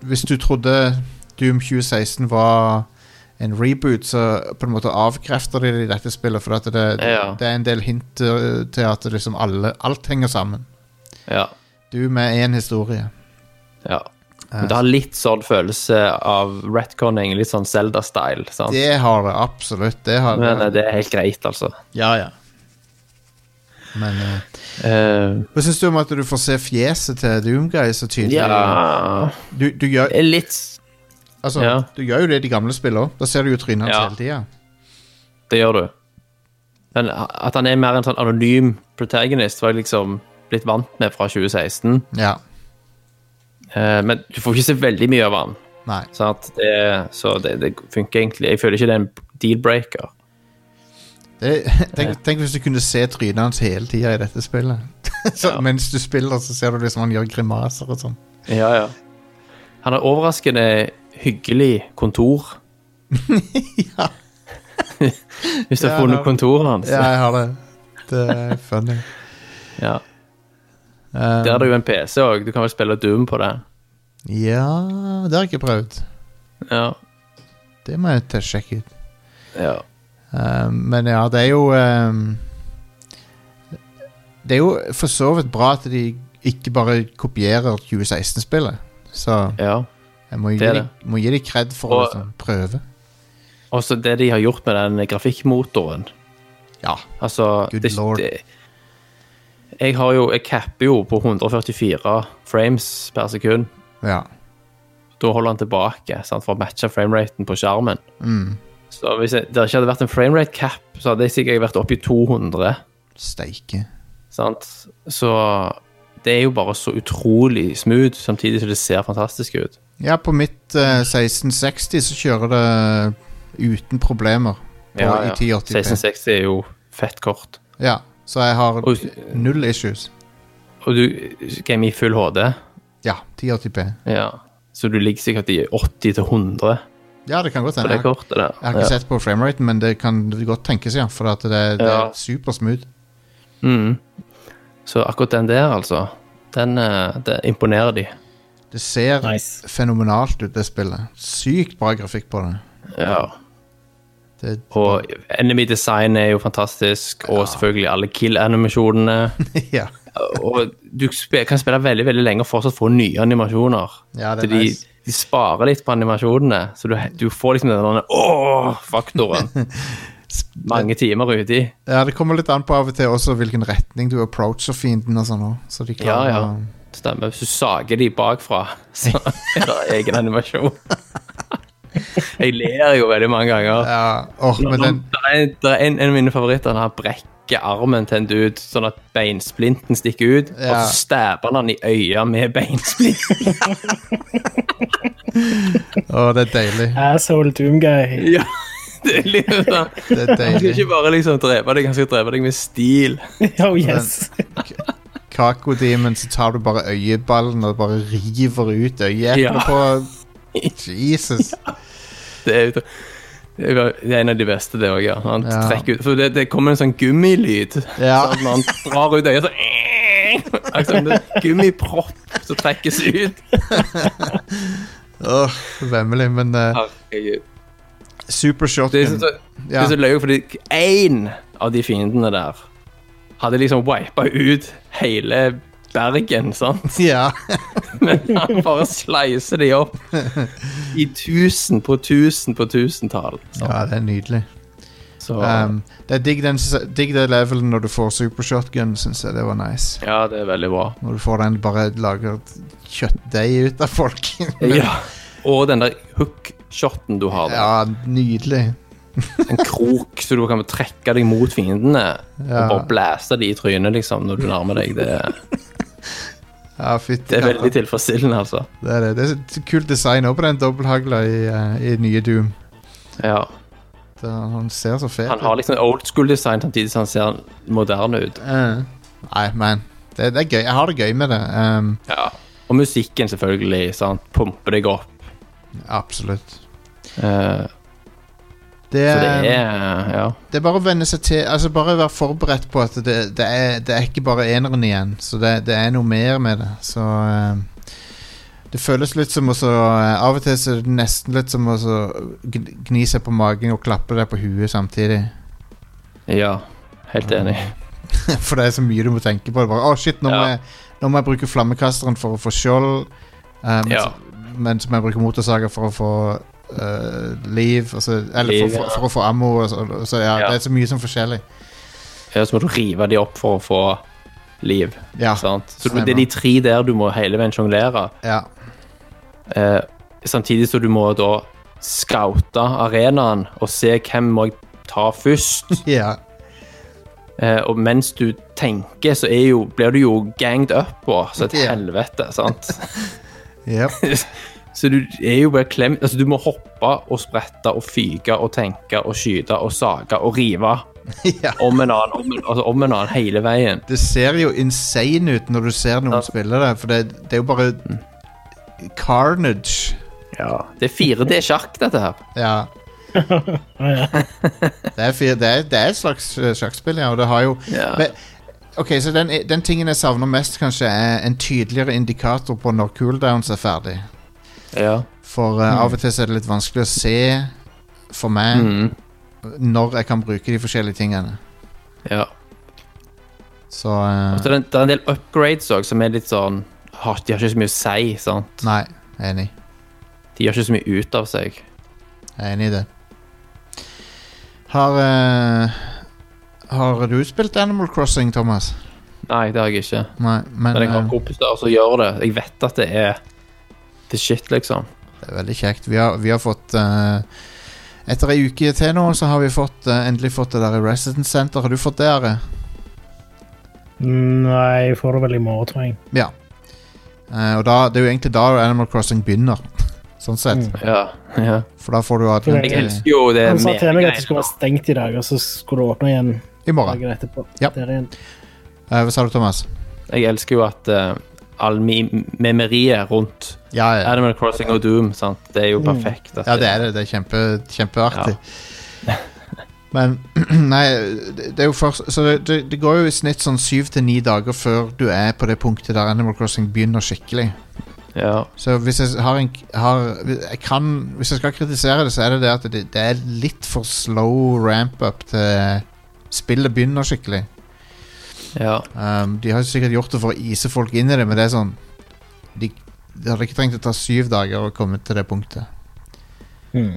Speaker 2: Hvis du trodde Doom 2016 var en reboot, så på en måte avkrefter de det i dette spillet, for at det,
Speaker 3: Ja.
Speaker 2: det er en del hint eh, til at det liksom alle, alt henger sammen.
Speaker 3: Ja.
Speaker 2: Doom er én historie.
Speaker 3: ja. Men det har litt sånn følelse av retconning, litt sånn Zelda-style, sant?
Speaker 2: Det har det absolutt. Det har
Speaker 3: Men eh, det er helt greit, altså.
Speaker 2: Ja, ja. Men eh,
Speaker 3: Eh,
Speaker 2: Hva syns du om at du får se fjeset til Doomguy så tydelig?
Speaker 3: ja
Speaker 2: Du, du, gjør,
Speaker 3: Litt
Speaker 2: altså,
Speaker 3: ja.
Speaker 2: du gjør jo det i de gamle spillene òg. Da ser du jo trynet hans
Speaker 3: Ja.
Speaker 2: hele tida.
Speaker 3: Det gjør du. Men at han er mer en sånn anonym protagonist, var jeg liksom blitt vant med fra 2016.
Speaker 2: Ja.
Speaker 3: Eh, men du får ikke se veldig mye av han.
Speaker 2: Nei.
Speaker 3: Så, at det, så det, det funker egentlig. Jeg føler ikke det er en deal-breaker.
Speaker 2: Det, tenk, tenk hvis du kunne se trynet hans hele tida i dette spillet. så,
Speaker 3: Ja.
Speaker 2: Mens du spiller, så ser du liksom han gjør grimaser og sånn.
Speaker 3: Ja, ja. Han har overraskende hyggelig kontor.
Speaker 2: Ja.
Speaker 3: Hvis du
Speaker 2: Ja,
Speaker 3: har funnet
Speaker 2: da-
Speaker 3: kontoret hans.
Speaker 2: Ja, jeg har det. Det er funny.
Speaker 3: Ja.
Speaker 2: Um,
Speaker 3: Der er det jo en PC òg. Du kan vel spille Doom på det.
Speaker 2: Ja Det har jeg ikke prøvd.
Speaker 3: Ja.
Speaker 2: Det må jeg ta- sjekke ut.
Speaker 3: ja.
Speaker 2: Um, men ja, det er jo um, Det er jo for så vidt bra at de ikke bare kopierer 2016-spillet. Så
Speaker 3: Ja.
Speaker 2: jeg må gi,
Speaker 3: det er
Speaker 2: de, må gi de cred for å
Speaker 3: Og-
Speaker 2: liksom, prøve.
Speaker 3: Og så det de har gjort med den grafikkmotoren
Speaker 2: Ja.
Speaker 3: Altså
Speaker 2: Good lord.
Speaker 3: Jeg har jo Jeg capper jo på 144 frames per sekund.
Speaker 2: ja.
Speaker 3: Da holder han tilbake sant, for å matche frameraten på skjermen.
Speaker 2: Mm.
Speaker 3: Så hvis jeg, det ikke hadde vært en framerate cap, så hadde jeg sikkert vært oppe i 200.
Speaker 2: Steike.
Speaker 3: Sant? Så det er jo bare så utrolig smooth, samtidig som det ser fantastisk ut.
Speaker 2: Ja, på mitt eh, 1660 så kjører det uten problemer. På,
Speaker 3: Ja, ja.
Speaker 2: I 1080p.
Speaker 3: 1660 er jo fett kort.
Speaker 2: Ja, så jeg har
Speaker 3: Og-
Speaker 2: null issues.
Speaker 3: Og du gamer i full HD,
Speaker 2: Ja, 1080p.
Speaker 3: ja. så du ligger sikkert i 80-100
Speaker 2: Ja, det kan godt
Speaker 3: på
Speaker 2: hende.
Speaker 3: det
Speaker 2: Jeg, har-
Speaker 3: kortet der.
Speaker 2: jeg har ikke sett på frameraten, men det kan godt tenkes, ja. For at det, det
Speaker 3: Ja.
Speaker 2: er supersmooth.
Speaker 3: Mm. Så akkurat den der, altså, den, eh, det imponerer de.
Speaker 2: Det ser
Speaker 4: Nice.
Speaker 2: fenomenalt ut, det spillet. Sykt bra grafikk på det.
Speaker 3: Ja.
Speaker 2: det
Speaker 3: Og enemy design er jo fantastisk, og selvfølgelig alle kill-animasjonene.
Speaker 2: ja.
Speaker 3: og du spe- kan spille veldig veldig lenge og fortsatt få nye animasjoner.
Speaker 2: Ja, det er
Speaker 3: Så de,
Speaker 2: nice.
Speaker 3: de sparer litt på animasjonene, så du, du får liksom den åh-faktoren mange timer uti.
Speaker 2: ja, det kommer litt an på av og til også hvilken retning du approacher fienden og sånn også, Så de
Speaker 3: Ja,
Speaker 2: klarer
Speaker 3: ja.
Speaker 2: å-
Speaker 3: Stemmer. Hvis du sager de bakfra, så er det egen animasjon. Jeg ler jo veldig mange ganger.
Speaker 2: ja. Åh, men den
Speaker 3: Det er, det er en, en av mine favoritter. Han brekker armen til en dude sånn at beinsplinten stikker ut, og
Speaker 2: Ja.
Speaker 3: så stabber han han i øyet med beinsplinten.
Speaker 2: Å, det er deilig.
Speaker 4: Asshole Doom Guy.
Speaker 3: Ja, det er litt sånn
Speaker 2: Det er
Speaker 3: Han skal
Speaker 2: deilig.
Speaker 3: ikke bare liksom drepe deg, han skal drepe deg med stil.
Speaker 4: Oh yes.
Speaker 2: Kakodemon, så tar du bare øyeballen og bare river ut øyeeplet
Speaker 3: Ja.
Speaker 2: på Jesus.
Speaker 3: Det er, jo- det er jo- det er en av de beste, det òg. Ja. Han
Speaker 2: Ja.
Speaker 3: trekker ut For det, det kommer en sånn gummilyd.
Speaker 2: Ja.
Speaker 3: Sånn, når han drar ut øyet, så Akkurat som det er gummipropp som trekkes ut.
Speaker 2: Åh, vemmelig, men uh,
Speaker 3: Herregud.
Speaker 2: Super
Speaker 3: Det er
Speaker 2: Shotgun
Speaker 3: så, så, det
Speaker 2: ja.
Speaker 3: er så løye, fordi én av de fiendene der hadde liksom wipa ut hele Bergen, sant?
Speaker 2: ja.
Speaker 3: Men han bare sleiser de opp i tusen på tusen på tusentall. sant?
Speaker 2: ja, det er nydelig.
Speaker 3: Så
Speaker 2: Um, det er digg, den, s- digg det levelen når du får Super Shotgun, syns jeg. Det var nice.
Speaker 3: Ja, det er veldig bra.
Speaker 2: Når du får den bare lager et kjøttdeig ut av folk. Men-
Speaker 3: Ja. Og den der hook-shoten du har, da.
Speaker 2: ja, nydelig.
Speaker 3: en krok så du kan trekke deg mot fiendene
Speaker 2: Ja.
Speaker 3: og bare blæste de i trynet liksom, når du nærmer deg. Det,
Speaker 2: Ja, fytti
Speaker 3: det er
Speaker 2: katta.
Speaker 3: veldig tilfredsstillende, altså.
Speaker 2: Det er det. Det er så kult design òg på den dobbelthagla i, eh, i nye Doom.
Speaker 3: Ja.
Speaker 2: Det- Han ser så fet
Speaker 3: Han har liksom old school-design samtidig som han ser moderne ut.
Speaker 2: Eh, Nei, men det, det er gøy. Jeg har det gøy med det. ehm,
Speaker 3: Ja. Og musikken, selvfølgelig. Sant? Pumper deg opp.
Speaker 2: absolutt.
Speaker 3: Eh,
Speaker 2: Det,
Speaker 3: så
Speaker 2: er-
Speaker 3: det er Ja.
Speaker 2: det er bare å venne seg til Altså Bare være forberedt på at det, det, er, det er ikke bare eneren igjen. Så det, det er noe mer med det. Så ehm, Det føles litt som å så eh, Av og til så er det nesten litt som å så gn- gni seg på magen og klappe deg på huet samtidig.
Speaker 3: ja. Helt enig.
Speaker 2: For det er så mye du må tenke på. Det er Bare, oh, shit, nå,
Speaker 3: Ja.
Speaker 2: må jeg, nå må jeg bruke flammekasteren for å få skjold, eh, mens,
Speaker 3: Ja.
Speaker 2: mens jeg bruker motorsager for å få eh, liv og så- Eller
Speaker 3: Liv,
Speaker 2: for, for,
Speaker 3: ja.
Speaker 2: for å få ammo. Og så, og så ja,
Speaker 3: Ja.
Speaker 2: Det er så mye som forskjellig.
Speaker 3: Ja, så må du rive de opp for å få liv.
Speaker 2: Ja.
Speaker 3: Sant? Så
Speaker 2: Stemmer.
Speaker 3: det er de tre der du må hele veien sjonglere.
Speaker 2: ja.
Speaker 3: Eh, samtidig som du må da scoute arenaen og se hvem må jeg ta først.
Speaker 2: ja.
Speaker 3: Eh, og mens du tenker, så er jo, blir du jo ganged up på så et
Speaker 2: Ja.
Speaker 3: helvete, sant?
Speaker 2: Jep.
Speaker 3: Så du er jo bare klemt. Altså, du må hoppe og sprette og fyke og tenke og skyte og sage og rive
Speaker 2: ja.
Speaker 3: om en annen, om en, altså, om en annen hele veien.
Speaker 2: Det ser jo insane ut når du ser noen
Speaker 3: Ja. Mm.
Speaker 2: spille det, for det, det er jo bare carnage.
Speaker 3: Det er 4D-sjakk, dette her.
Speaker 2: Ja. det, er, fir- det, er, det er et slags eh, sjakkspill, ja, og det har jo
Speaker 3: Ja.
Speaker 2: Men, Ok, så den, den tingen jeg savner mest, kanskje, er en tydeligere indikator på når cooldowns er ferdig.
Speaker 3: Ja. Mm.
Speaker 2: For eh, av og til så er det litt vanskelig å se for meg når jeg kan bruke de forskjellige tingene.
Speaker 3: Ja.
Speaker 2: Så eh,
Speaker 3: Og så er det, det er en del upgrades òg som er litt sånn har, De har ikke så mye å si, sant?
Speaker 2: Nei, jeg er enig.
Speaker 3: De gjør ikke så mye ut av seg.
Speaker 2: Jeg er enig i det. Har eh, Har du spilt Animal Crossing, Thomas?
Speaker 3: Nei, det har jeg ikke.
Speaker 2: Nei, men,
Speaker 3: Men jeg har
Speaker 2: eh,
Speaker 3: kompiser som gjør det. Jeg vet at det er the shit, liksom.
Speaker 2: Det er veldig kjekt. Vi har, vi har fått eh, Etter ei uke til nå, så har vi fått, eh, endelig fått det der i Residence Center. Har du fått det, Are?
Speaker 4: Nei, jeg får det vel i morgen, tror jeg.
Speaker 2: Ja. Eh, og da, det er jo egentlig da Animal Crossing begynner, sånn sett.
Speaker 4: Mm.
Speaker 3: Ja, ja.
Speaker 2: For da får du adgang
Speaker 4: Jeg
Speaker 3: Jeg
Speaker 2: til
Speaker 3: elsker jo det
Speaker 4: Han sa til meg at
Speaker 3: megagreiene.
Speaker 4: det skulle være stengt i dag, og så skulle det åpne igjen
Speaker 2: I morgen.
Speaker 4: dagen etterpå.
Speaker 2: Ja.
Speaker 4: Der igjen.
Speaker 2: Eh, hva sa du, Thomas?
Speaker 3: Jeg elsker jo at eh, all mi- memeriet rundt
Speaker 2: Ja, ja.
Speaker 3: Animal Crossing og Doom, sant? Det er jo perfekt. at
Speaker 2: Ja, det er det. Det er kjempe, kjempeartig. Men nei, det det er jo først Så det, det, det går jo i snitt sånn syv til ni dager før du er på det punktet der Animal Crossing begynner skikkelig.
Speaker 3: Ja,
Speaker 2: Så hvis jeg har en har, jeg kan, Hvis jeg skal kritisere det, så er det det at det, det er litt for slow ramp up til spillet begynner skikkelig.
Speaker 3: ja.
Speaker 2: Um, de har sikkert gjort det for å ise folk inn i det, men det er sånn De, de hadde ikke trengt å ta syv dager å komme til det punktet.
Speaker 3: Hmm.
Speaker 4: Mm.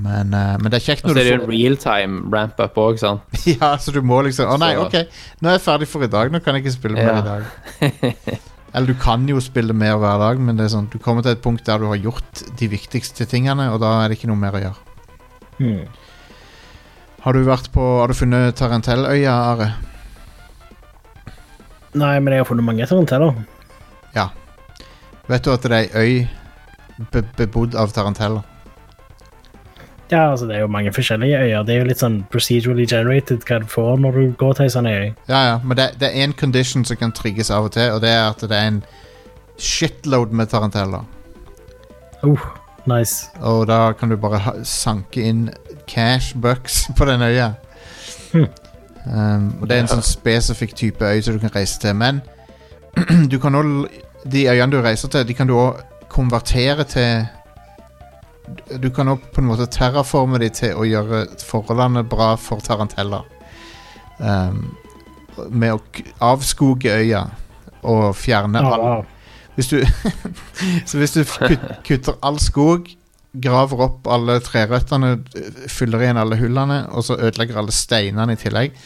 Speaker 2: Men, eh, men det er kjekt
Speaker 3: Og så
Speaker 2: når
Speaker 3: er det
Speaker 2: du
Speaker 3: jo en realtime ramp-up òg, sant?
Speaker 2: Ja, så du må liksom Å nei,
Speaker 3: Så-
Speaker 2: ok, nå er jeg ferdig for i dag. Nå kan jeg ikke spille mer
Speaker 3: Ja.
Speaker 2: i dag. Eller du kan jo spille mer hver dag, men det er sånn, du kommer til et punkt der du har gjort de viktigste tingene, og da er det ikke noe mer å gjøre.
Speaker 3: Hmm.
Speaker 4: Mm.
Speaker 2: Har du vært på Har du funnet Tarantelløya, Are?
Speaker 4: Nei, men jeg har funnet mange taranteller.
Speaker 2: Vet du at det er ei øy be bebodd av taranteller?
Speaker 4: Ja, altså Det er jo mange forskjellige øyer. Det er jo litt sånn procedurally generated hva du får når du går til ei sånn øy.
Speaker 2: Ja, ja, men det, det er én condition som kan trigges av og til, og det er at det er en shitload med taranteller.
Speaker 4: Uh, nice.
Speaker 2: Og da kan du bare ha, sanke inn cash bucks på den øya.
Speaker 4: Hmm.
Speaker 2: Um, og det er en sånn spesifikk type øy som du kan reise til. Men du kan også, de øyene du reiser til, de kan du òg konvertere til Du kan òg på en måte terraforme de til å gjøre forholdene bra for taranteller. Um, med å k- avskoge øya og fjerne
Speaker 4: Ah,
Speaker 2: all
Speaker 4: wow.
Speaker 2: hvis du, så hvis du kut- kutter all skog, graver opp alle trerøttene, fyller igjen alle hullene, og så ødelegger alle steinene i tillegg,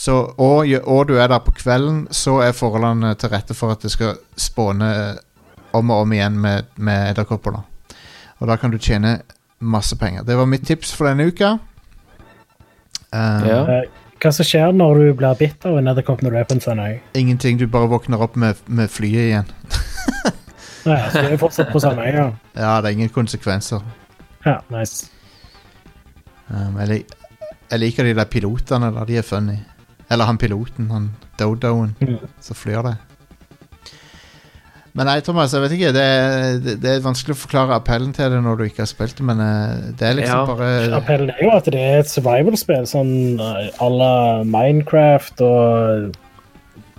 Speaker 2: så, og, gjø- og du er der på kvelden, så er forholdene til rette for at det skal spåne eh, om og om igjen med, med edderkopper. da. Og da kan du tjene masse penger. Det var mitt tips for denne uka. Eh,
Speaker 3: Ja.
Speaker 4: Eh, Hva som skjer når du blir bitt av en edderkopp når du er på en sånn øy?
Speaker 2: Ingenting. Du bare våkner opp med, med flyet igjen.
Speaker 4: Ja, så du altså, er fortsatt på samme øy, ja.
Speaker 2: Ja, det er ingen konsekvenser.
Speaker 4: ja nice.
Speaker 2: Um, jeg, lik- jeg liker de der pilotene da, de er funny. Eller han piloten, han Dodoen,
Speaker 4: Mm.
Speaker 2: som flyr det. Men nei, Thomas, jeg vet ikke. Det er, det, det er vanskelig å forklare appellen til det når du ikke har spilt det, men eh, det er liksom
Speaker 3: Ja.
Speaker 2: bare
Speaker 4: Appellen er jo at det er et survival-spill, sånn eh, à la Minecraft og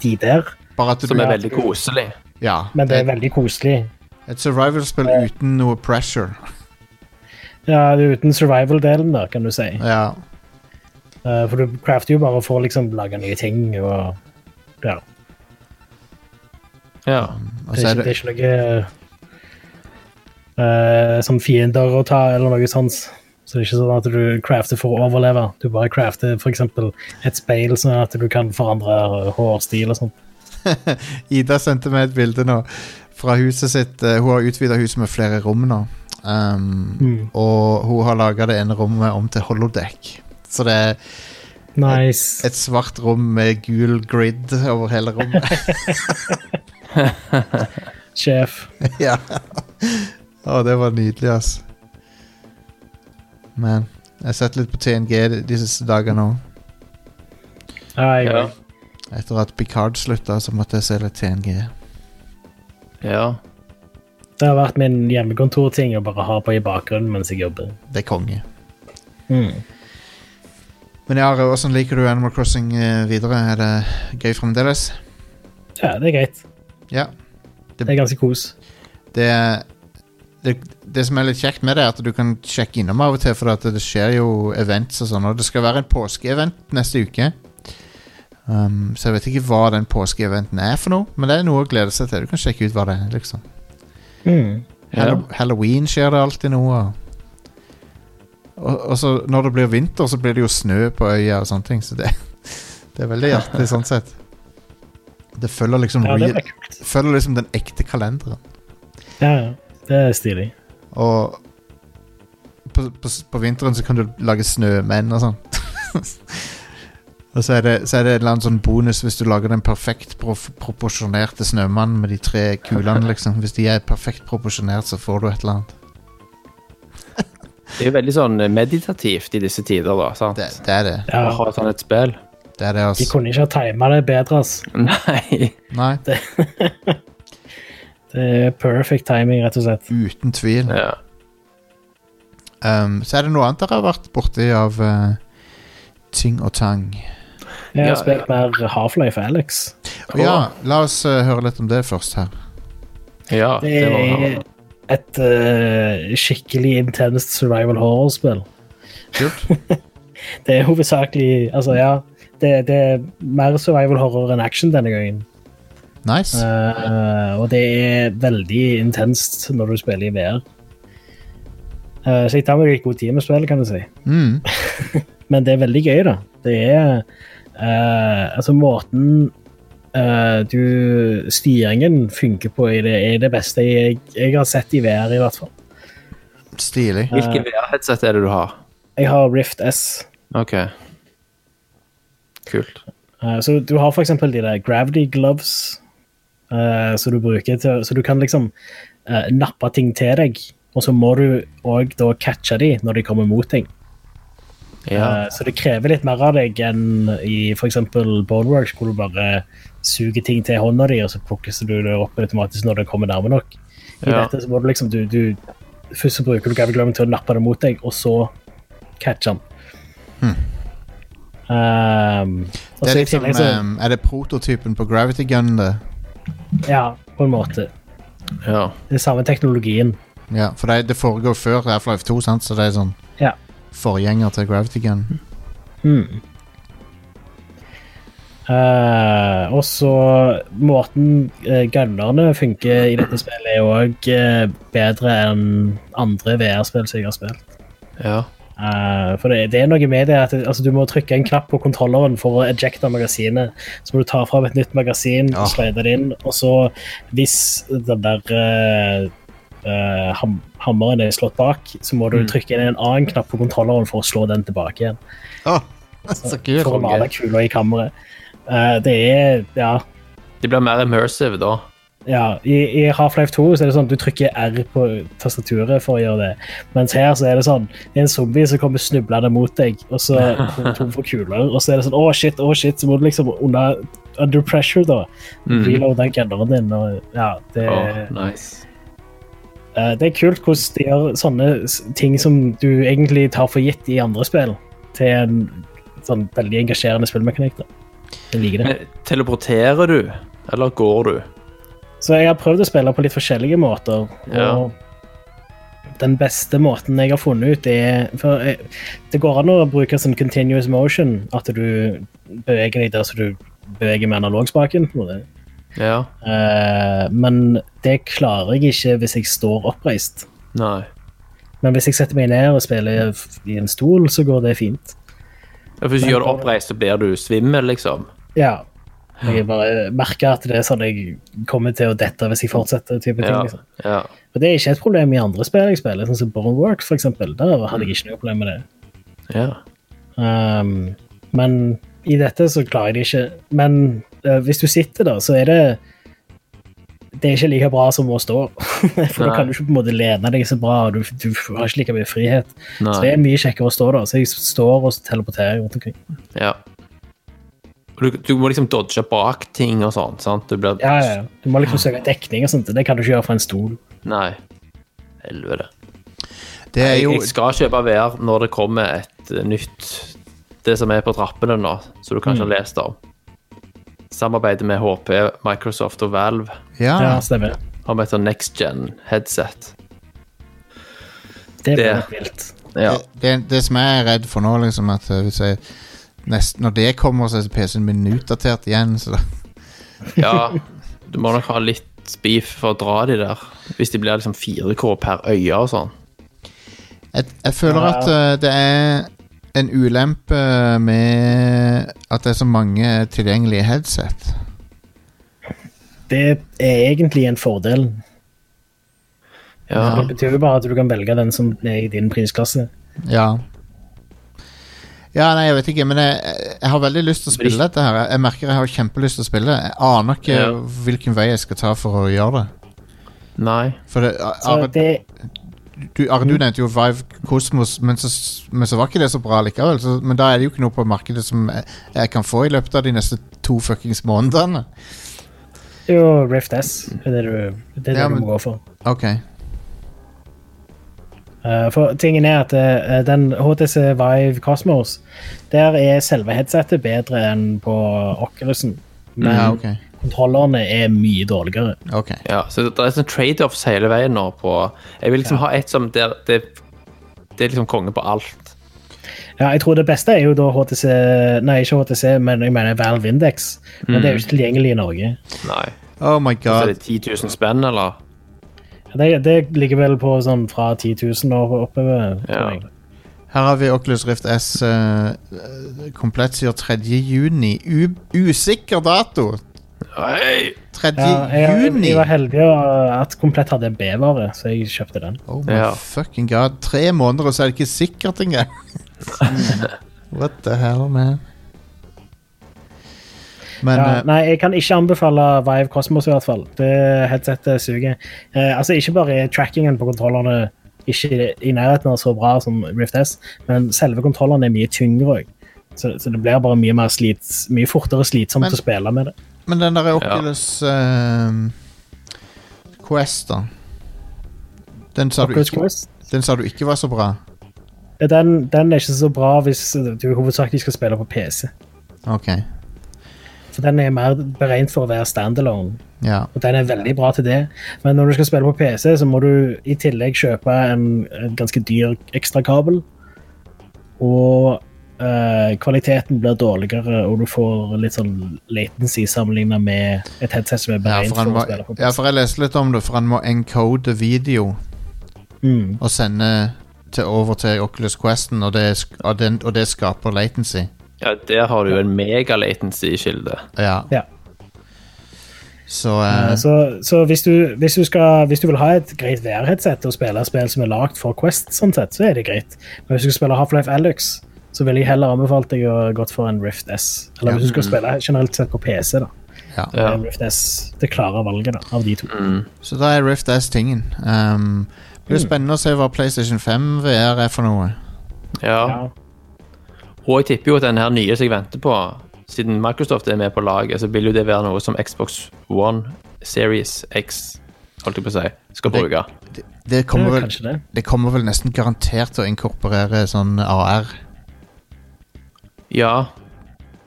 Speaker 4: de der.
Speaker 2: Bare at du
Speaker 3: Som er veldig koselig.
Speaker 2: Ja.
Speaker 4: Men det er
Speaker 2: et,
Speaker 4: veldig koselig.
Speaker 2: et survival-spill uten noe pressure.
Speaker 4: Ja, det er Uten survival-delen, da, kan du si.
Speaker 2: Ja.
Speaker 4: Eh, For du crafter jo bare for å liksom lage nye ting og Ja.
Speaker 3: Ja.
Speaker 2: Og
Speaker 4: Det
Speaker 2: så
Speaker 4: er
Speaker 2: er
Speaker 4: ikke, det
Speaker 2: det,
Speaker 4: er ikke noe eh, som fiender å ta, eller noe sånt. Så det er ikke sånn at du crafter for å overleve. Du bare crafter f.eks. et speil, sånn at du kan forandre eh, hårstil og sånt.
Speaker 2: Ida sendte meg et bilde nå fra huset sitt. Eh, Hun har utvida huset med flere rom nå. Um,
Speaker 4: Mm.
Speaker 2: Og hun har laga det ene rommet om til holodeck. Så det er
Speaker 4: Nice.
Speaker 2: et svart rom med gul grid over hele rommet.
Speaker 4: Sjef.
Speaker 2: ja. Å, det var nydelig, ass. Men jeg har sett litt på TNG de siste dagene òg.
Speaker 4: Nei,
Speaker 3: Ja.
Speaker 2: Etter at Picard slutta, så måtte jeg se litt TNG.
Speaker 3: ja.
Speaker 4: Det har vært min hjemmekontorting å bare ha på i bakgrunnen mens jeg jobber.
Speaker 2: Det er konge. Men ja, Are, hvordan liker du Animal Crossing eh, videre? Er det gøy fremdeles?
Speaker 4: Ja, det er greit.
Speaker 2: Ja.
Speaker 4: Det er ganske kos.
Speaker 2: Det er det, det som er litt kjekt med det, er at du kan sjekke innom av og til, for at det skjer jo events og sånn. Og det skal være en påskeevent neste uke. Um, så jeg vet ikke hva den påskeeventen er for noe, men det er noe å glede seg til. Du kan sjekke ut hva det er, liksom.
Speaker 4: Mm.
Speaker 2: Hall- Halloween skjer det alltid noe. og- Og, og så når det blir vinter, så blir det jo snø på øya og sånne ting, så det, det er veldig hjertelig sånn sett. Det følger liksom,
Speaker 4: Ja, det
Speaker 2: real-
Speaker 4: blir kult.
Speaker 2: følger liksom den ekte kalenderen.
Speaker 4: Ja, ja. Det er stilig.
Speaker 2: Og på, på, på vinteren så kan du lage snømenn og sånn. og så er, det, så er det en eller annen sånn bonus hvis du lager den perfekt prof proporsjonerte snømannen med de tre kulene, liksom. Hvis de er perfekt proporsjonert, så får du et eller annet.
Speaker 3: Det er jo veldig sånn meditativt i disse tider, da. sant?
Speaker 2: Det, det er det.
Speaker 4: Ja,
Speaker 3: Å ha sånn et spill.
Speaker 2: Det er det,
Speaker 4: de
Speaker 2: altså.
Speaker 4: kunne ikke ha tima det bedre, ass.
Speaker 3: Nei.
Speaker 2: Nei,
Speaker 4: Det er perfect timing, rett og slett.
Speaker 2: uten tvil.
Speaker 3: Ja.
Speaker 2: Um, så er det noe annet dere har vært borti av eh, ting og tang.
Speaker 4: Jeg
Speaker 3: Ja,
Speaker 4: har spilt mer Half-Life Alex.
Speaker 2: Og ja, la oss eh, høre litt om det først her.
Speaker 3: ja
Speaker 4: Det
Speaker 3: det
Speaker 4: er
Speaker 3: var
Speaker 4: et eh, skikkelig intenst survival horror-spill.
Speaker 2: Kult.
Speaker 4: Det er hovedsakelig Altså, ja. Det, det er mer survival horror enn action denne gangen.
Speaker 2: Nice.
Speaker 4: Eh, og det er veldig intenst når du spiller i VR. Eh, så jeg tar meg litt god tid med spillet, kan du si.
Speaker 2: Mm.
Speaker 4: Men det er veldig gøy, da. Det er eh, Altså, måten eh, du Styringen funker på, i det, er det beste jeg, jeg har sett i VR, i hvert fall.
Speaker 2: Stilig.
Speaker 3: Hvilke VR-headset er det du har?
Speaker 4: Jeg har Rift S.
Speaker 3: OK. Kult.
Speaker 4: Eh, Så du har for eksempel de der gravity gloves, eh, så du bruker til Så du kan liksom eh, nappe ting til deg, og så må du òg da catche de når de kommer mot deg.
Speaker 3: Ja.
Speaker 4: Eh, Så det krever litt mer av deg enn i for eksempel Boneworks, hvor du bare suger ting til hånda di, og så plukkes du det opp automatisk når det kommer nærme nok. I
Speaker 3: Ja.
Speaker 4: dette så må du liksom du, du Først så bruker du gravity gloven til å nappe det mot deg, og så catche den. Um, og
Speaker 2: Hm. Det
Speaker 4: så
Speaker 2: er,
Speaker 4: i
Speaker 2: liksom,
Speaker 4: tillegg så-
Speaker 2: ehm, er det prototypen på Gravity Gun, det?
Speaker 4: Ja, på en måte.
Speaker 3: ja.
Speaker 4: Det er samme teknologien.
Speaker 2: Ja, for det, det foregår før Half-Life 2, sant? så det er sånn
Speaker 4: Ja.
Speaker 2: forgjenger til Gravity Gun.
Speaker 4: Eh, og så måten uh, gunnerne funker i dette spillet, er òg bedre enn andre VR-spill som jeg har spilt.
Speaker 3: ja.
Speaker 4: Eh, for det, det er noe med det at det- altså, du må trykke en knapp på kontrolleren for å ejecte magasinet. Så må du ta fram et nytt magasin
Speaker 2: Ja.
Speaker 4: og slide det inn. Og så, hvis den der eh, eh, ham hammeren er slått bak, så må du trykke inn en annen knapp på kontrolleren for å slå den tilbake igjen.
Speaker 2: Åh, så kult!
Speaker 4: for å lade kula i kammeret. Eh, det er Ja.
Speaker 3: Det blir mer immersive da.
Speaker 4: ja. I, i Half-Life 2 så er det sånn at du trykker R på tastaturet for å gjøre det. Mens her så er det sånn det er en zombie som kommer snublende mot deg, og så går du tom for kuler. Og så er det sånn Å, shit, å, shit. Så må du liksom under, under pressure, da. Reloade den gunneren din. Og, ja, det,
Speaker 3: Mm. Åh, nice.
Speaker 4: eh, det er kult hvordan de gjør sånne s- ting som du egentlig tar for gitt i andre spill, til en sånn veldig engasjerende spillmekanikk. da. Jeg liker det.
Speaker 3: Men teleporterer du, eller går du?
Speaker 4: Så jeg har prøvd å spille på litt forskjellige måter.
Speaker 3: Ja.
Speaker 4: Og den beste måten jeg har funnet ut, er For jeg, det går an å bruke sånn continuous motion, at du beveger deg der så du beveger med analogspaken. på en måte.
Speaker 3: Ja.
Speaker 4: Eh, men det klarer jeg ikke hvis jeg står oppreist.
Speaker 3: Nei.
Speaker 4: Men hvis jeg setter meg ned og spiller f- i en stol, så går det fint.
Speaker 3: Ja, for Hvis du gjør det oppreist, så blir du svimmel, liksom.
Speaker 4: Ja. Jeg bare merker at det er sånn jeg kommer til å dette hvis jeg fortsetter. type ting
Speaker 3: Ja.
Speaker 4: liksom.
Speaker 3: ja.
Speaker 4: Og det er ikke et problem i andre spill jeg spiller, sånn som Boneworks for eksempel. Der hadde jeg ikke noe problem med det.
Speaker 3: ja.
Speaker 4: Um, men i dette så klarer jeg det ikke. Men eh, hvis du sitter der, så er det Det er ikke like bra som å stå. For da
Speaker 3: Nei.
Speaker 4: kan du ikke på en måte lene deg så bra, og du, du har ikke like mye frihet.
Speaker 3: Nei.
Speaker 4: Så det er mye kjekkere å stå der. Så jeg står og teleporterer rundt omkring.
Speaker 3: ja. Og Du, du må liksom dodge bak ting og sånn, sant? Du blir
Speaker 4: Ja, ja, ja. Du må liksom søke dekning og sånt. Det kan du ikke gjøre fra en stol.
Speaker 3: Nei. Helvete.
Speaker 2: Det er
Speaker 3: Jeg,
Speaker 2: jo
Speaker 3: jeg skal kjøpe VR når det kommer et eh, nytt Det som er på trappene nå, så du kanskje har lest om. Samarbeidet med HP, Microsoft og Valve
Speaker 2: Ja,
Speaker 4: Ja, stemmer.
Speaker 3: om et sånt next gen headset. Det-
Speaker 4: Det blir nok vilt.
Speaker 3: Ja.
Speaker 2: Det, det som jeg er redd for nå, liksom at eh, hvis jeg nest, Når det kommer, så er PC-en min utdatert igjen. Så da,
Speaker 3: ja. Du må nok ha litt beef for å dra de der. Hvis de blir liksom 4K per øye og sånn.
Speaker 2: jeg, jeg føler
Speaker 4: Ja.
Speaker 2: at eh, det er en ulempe med at det er så mange tilgjengelige headset.
Speaker 4: Det er egentlig en fordel.
Speaker 3: Ja.
Speaker 4: Det betyr jo bare at du kan velge den som er i din prisklasse.
Speaker 2: Ja. Ja, nei, jeg vet ikke, men jeg, jeg har veldig lyst til å spille dette her. Jeg merker jeg har kjempelyst til å spille. Jeg aner ikke
Speaker 3: Ja.
Speaker 2: hvilken vei jeg skal ta for å gjøre det.
Speaker 3: Nei.
Speaker 2: For det,
Speaker 4: Så
Speaker 2: Are,
Speaker 4: det,
Speaker 2: du, Are, du nevnte jo Vive Cosmos, men så, men så var ikke det så bra likevel. Så, men da er det jo ikke noe på markedet som jeg, jeg kan få i løpet av de neste to fuckings månedene.
Speaker 4: det er jo Rift S det er det du, det er det
Speaker 2: Ja, men-
Speaker 4: du må gå for.
Speaker 2: Ok.
Speaker 4: Eh, for tingen er at eh, den HTC Vive Cosmos, der er selve headsetet bedre enn på Oculusen. Men
Speaker 3: Mm.
Speaker 2: Ja, ok.
Speaker 4: kontrollerne er mye dårligere.
Speaker 2: Ok.
Speaker 3: Ja, så det det er sånn trade-offs hele veien nå på Jeg vil liksom ha et som der det, det er liksom konge på alt.
Speaker 4: Ja, jeg tror det beste er jo da HTC Nei, ikke HTC, men jeg mener Valve Index. Men det er
Speaker 2: Mm.
Speaker 4: jo ikke tilgjengelig i Norge.
Speaker 3: Nei.
Speaker 2: Oh my
Speaker 3: Så
Speaker 2: god.
Speaker 3: er det 10 000 spenn, eller?
Speaker 4: Det, det ligger vel på sånn fra 10 000 og oppover.
Speaker 3: Ja.
Speaker 4: tror jeg.
Speaker 2: Her har vi Oculus Rift S eh, eh, komplett sier 3. juni. U usikker dato!
Speaker 3: Hei!
Speaker 2: 3.
Speaker 4: Ja, jeg,
Speaker 2: juni!
Speaker 4: jeg var heldig og- at Komplett hadde en B-vare, så jeg kjøpte den.
Speaker 2: Oh my
Speaker 3: Ja.
Speaker 2: fucking god. Tre måneder, og så er det ikke sikkert engang! What the hell, man? Men
Speaker 4: Ja,
Speaker 2: eh,
Speaker 4: nei, jeg kan ikke anbefale Vive Cosmos i hvert fall. Det headsetet suger. Eh, altså, ikke bare er trackingen på kontrollene ikke i nærheten av så bra som Rift S, men selve kontrollene er mye tyngre òg. Så, så det blir bare mye, mer slits, mye fortere slitsomt
Speaker 2: Men-
Speaker 4: å spille med det.
Speaker 2: Men den der Oculus ehm, Quest, da. Den sa, du
Speaker 4: Oculus
Speaker 2: ikke,
Speaker 4: Quest.
Speaker 2: den sa du ikke var så bra.
Speaker 4: Den, den er ikke så bra hvis du hovedsakelig skal spille på PC.
Speaker 2: Ok.
Speaker 4: For Den er mer beregnet for å være standalone,
Speaker 2: Ja.
Speaker 4: og den er veldig bra til det. Men når du skal spille på PC, så må du i tillegg kjøpe en, en ganske dyr ekstrakabel. Og eh, kvaliteten blir dårligere, og du får litt sånn latency sammenligna med et headset som er
Speaker 2: Ja
Speaker 4: beregnet
Speaker 2: for, han
Speaker 4: for,
Speaker 2: må,
Speaker 4: å spille på PC.
Speaker 2: ja, for jeg leste litt om det, for han må encode video
Speaker 4: Mm.
Speaker 2: og sende til, over til Oculus Questen, og det, sk- og, den, og det skaper latency.
Speaker 3: Ja, der har du jo en megalatency-kilde.
Speaker 2: Ja.
Speaker 4: Ja.
Speaker 2: Så eh,
Speaker 4: Så, så hvis, du, hvis, du skal, hvis du vil ha et greit VR-headset og spille spill som er lagd for Quest, sånn sett, så er det greit. Men hvis du skal spille Half-Life Alyx, så ville jeg heller anbefalt deg å gått for en Rift S. Eller hvis du skal spille generelt sett på PC, da.
Speaker 2: ja.
Speaker 3: Ja.
Speaker 4: En Rift S Eh, det klare valget da, av de to.
Speaker 2: Så da er Rift S tingen. Um, det
Speaker 4: Mm.
Speaker 2: blir spennende å se hva PlayStation 5 VR er for noe.
Speaker 3: Ja.
Speaker 4: Ja.
Speaker 3: Og jeg tipper jo at den her nye som jeg venter på, siden Microsoft er med på laget, så vil jo det være noe som Xbox One Series X holdt jeg på å si, skal
Speaker 2: Det-
Speaker 3: bruke.
Speaker 2: Det, det
Speaker 4: Ja,
Speaker 2: kommer vel
Speaker 4: kanskje det.
Speaker 2: Det kommer vel nesten garantert til å inkorporere sånn AR
Speaker 3: Ja,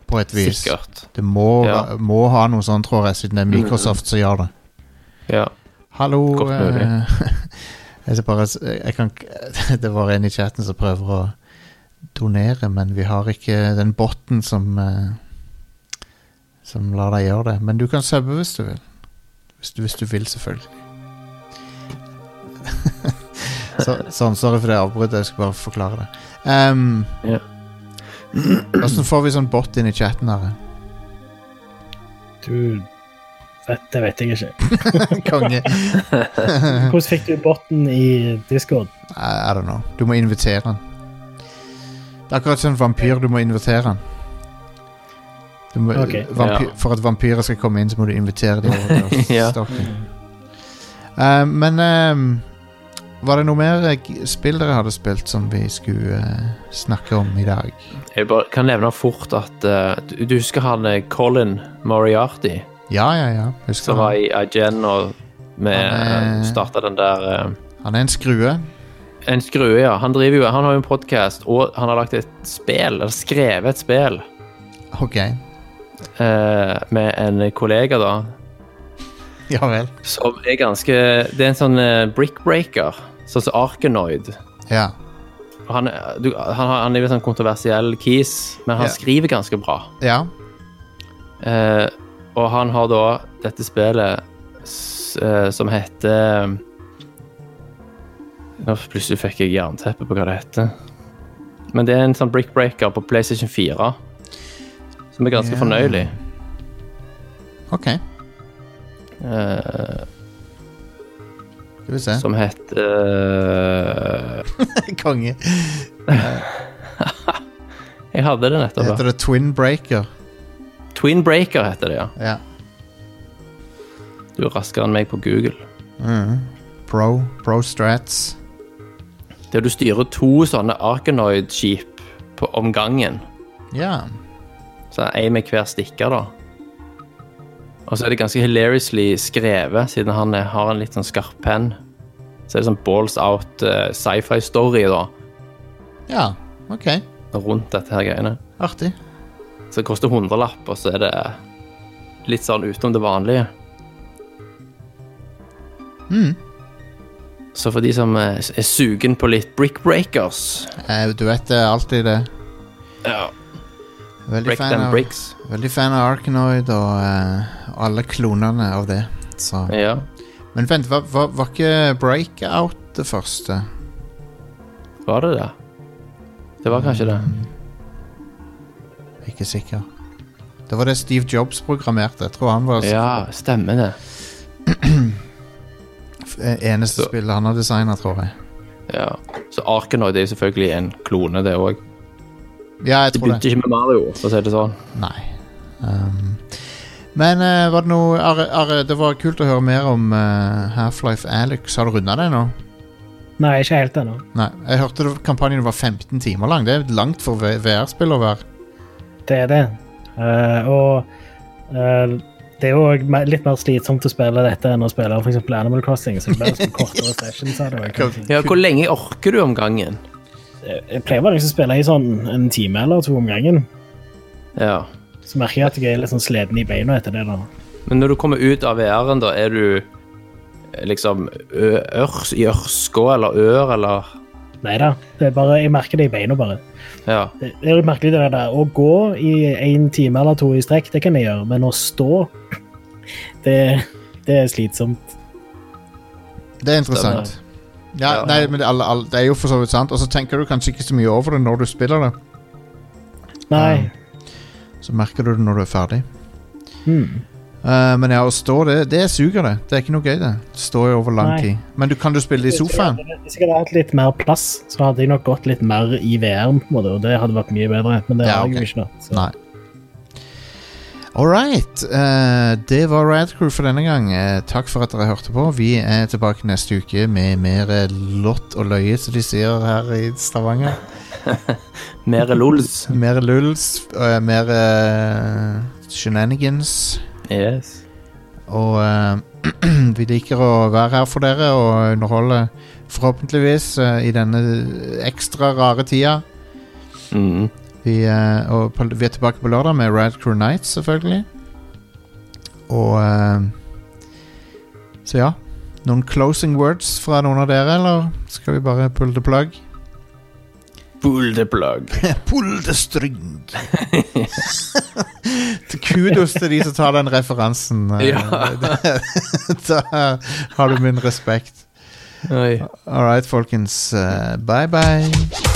Speaker 2: på et vis.
Speaker 3: sikkert.
Speaker 2: Det må,
Speaker 3: Ja. Mm.
Speaker 2: va- må ha noe sånn, tror jeg, siden det er Microsoft som gjør det.
Speaker 3: Ja.
Speaker 2: Hallo
Speaker 3: Godt mulig.
Speaker 2: eh, Jeg skal bare s- jeg kan, k- Det var en i chatten som prøver å donere, men vi har ikke den botten som eh, Som lar deg gjøre det. Men du kan subbe hvis du vil. Hvis du, hvis du vil, selvfølgelig. så, sånn, sorry for det avbruddet. Jeg skal bare forklare det. Um,
Speaker 3: Ja.
Speaker 2: Hvordan får vi sånn bot inn i chatten her?
Speaker 4: Du vet, Det vet jeg ikke.
Speaker 2: Konge. I,
Speaker 4: Hvordan fikk du botten i Discord?
Speaker 2: I don't know. Du må invitere han. Det er akkurat som en vampyr. Du må invitere han. Du må,
Speaker 4: Ok.
Speaker 2: vampy-
Speaker 3: Ja.
Speaker 2: For at vampyrer skal komme inn, så må du invitere dem over til
Speaker 3: Ja.
Speaker 2: stokken. Eh, men eh, var det noe mer eh, g- spill dere hadde spilt som vi skulle eh, snakke om i dag?
Speaker 3: Jeg bare kan nevne fort at eh, du, du husker han eh, Colin Moriarty,
Speaker 2: Ja, ja, ja. Husker
Speaker 3: som var
Speaker 2: han.
Speaker 3: i IGN og med,
Speaker 2: Han er-
Speaker 3: eh, starta den der eh,
Speaker 2: Han er en skrue.
Speaker 3: En skrue, ja. Han driver jo, han har jo en podkast, og han har lagt et spill, eller skrevet et spill,
Speaker 2: Ok.
Speaker 3: eh, med en kollega, da,
Speaker 2: Ja vel.
Speaker 3: som er ganske Det er en sånn eh, brickbreaker, sånn som Arkanoid.
Speaker 2: Ja.
Speaker 3: Og Han, er- du, han, har- han er litt sånn kontroversiell kis, men han
Speaker 2: Ja.
Speaker 3: skriver ganske bra.
Speaker 2: ja.
Speaker 3: Eh, og han har da dette spillet s, eh, som heter eh, Nå plutselig fikk jeg jernteppe på hva det heter. Men det er en sånn brickbreaker på PlayStation 4 som er ganske
Speaker 2: Ja.
Speaker 3: fornøyelig.
Speaker 2: OK.
Speaker 3: eh,
Speaker 2: Skal vi se.
Speaker 3: som eh, heter
Speaker 2: Konge.
Speaker 3: Jeg hadde det nettopp. ja.
Speaker 2: Heter det Twin Breaker?
Speaker 3: Twin Breaker heter det, ja.
Speaker 2: Ja.
Speaker 3: Du er raskere enn meg på Google.
Speaker 2: Pro. Pro Strats.
Speaker 3: Der du styrer to sånne Arkanoid-skip på- om gangen.
Speaker 2: Ja.
Speaker 3: Så er ei med hver stikker, da. Og så er det ganske hilariously skrevet, siden han er, har en litt sånn skarp penn. Så er det sånn balls out eh, sci-fi-story, da,
Speaker 2: Ja. OK.
Speaker 3: rundt dette her greiene.
Speaker 2: Artig.
Speaker 3: Så det koster hundrelapp, og så er det litt sånn utenom det vanlige.
Speaker 2: Mm.
Speaker 3: Så for de som eh, er sugen på litt brick breakers
Speaker 2: Eh, du vet det er alltid det.
Speaker 3: ja,
Speaker 2: Veldig
Speaker 3: Break
Speaker 2: fan,
Speaker 3: them
Speaker 2: av,
Speaker 3: bricks.
Speaker 2: veldig fan av Arkanoid og eh, alle klonene av det. Så.
Speaker 3: Ja.
Speaker 2: Men vent, var, var, var ikke Breakout det første?
Speaker 3: Var det det? Det var kanskje det.
Speaker 2: Mm. Ikke sikker. Det var det Steve Jobs programmerte. Jeg tror han var
Speaker 3: Ja, stemmer det.
Speaker 2: s- eh, eneste
Speaker 3: Så-
Speaker 2: spillet han har designa, tror jeg.
Speaker 3: Ja. Så Arkanoid er jo selvfølgelig en klone, det òg.
Speaker 2: Ja, jeg
Speaker 3: Det
Speaker 2: tror
Speaker 3: begynte
Speaker 2: det.
Speaker 3: ikke med Mario, for å si det sånn.
Speaker 2: Nei. Um, men eh, var det noe Are, Are, det var kult å høre mer om eh, Half-Life Alex. Har du runda det nå?
Speaker 4: Nei, ikke helt ennå.
Speaker 2: Nei. Jeg hørte det, kampanjen var 15 timer lang. Det er langt for V- VR-spill å være.
Speaker 4: Det er det. Eh, og eh, det er jo også me- litt mer slitsomt å spille dette enn å spille for eksempel Animal Crossing. Så det blir liksom kortere sessions av det. kanskje.
Speaker 3: Ja, hvor lenge orker du om gangen?
Speaker 4: Jeg pleier bare liksom å spille i sånn en time eller to om gangen.
Speaker 3: Ja.
Speaker 4: Så merker jeg at jeg er litt sånn sliten i beina etter det. da.
Speaker 3: Men når du kommer ut av VR-en, da er du eh, liksom ø- ørs, i ørska eller ør eller
Speaker 4: Nei da. Det er bare, jeg merker det i beina, bare.
Speaker 3: Ja.
Speaker 4: Det det er jo merkelig det der. Å gå i en time eller to i strekk, det kan jeg gjøre, men å stå Det, det er slitsomt.
Speaker 2: Det er interessant. Ja,
Speaker 3: Ja.
Speaker 2: nei, men det, alle, alle, det er jo for så vidt sant. Og så tenker du kanskje ikke så mye over det når du spiller det.
Speaker 4: Nei.
Speaker 2: Så merker du det når du er ferdig.
Speaker 4: Hmm.
Speaker 2: Eh, men ja, å stå det, det suger det. Det er ikke noe gøy, det. Det står jo over lang
Speaker 4: Nei.
Speaker 2: tid. Men du kan du spille det i sofaen.
Speaker 4: Hvis jeg hadde hatt litt mer plass, så hadde jeg nok gått litt mer i VR, på en måte, og det hadde vært mye bedre, men det
Speaker 2: Ja,
Speaker 4: har
Speaker 2: ok.
Speaker 4: jeg jo ikke nå. så-
Speaker 2: Nei. All right. eh, det var Radcrew for denne gang. Eh, takk for at dere hørte på. Vi er tilbake neste uke med mer eh, lott og løye, som de sier her i Stavanger.
Speaker 3: Mer lols.
Speaker 2: Mer lulls, eh, mer eh, shenanigans.
Speaker 3: Yes.
Speaker 2: Og eh, vi liker å være her for dere og underholde, forhåpentligvis, eh, i denne ekstra rare tida.
Speaker 3: Mm.
Speaker 2: Vi, eh, og på, vi er tilbake på lørdag med Rad Crew Nights, selvfølgelig. Og eh, Så ja. Noen closing words fra noen av dere, eller skal vi bare pull the plug?
Speaker 3: Pull the plug.
Speaker 2: pull the string! Kudos til de som tar den referansen. eh,
Speaker 3: Ja.
Speaker 2: da har du min respekt.
Speaker 3: Oi.
Speaker 2: All right, folkens. eh, bye, bye.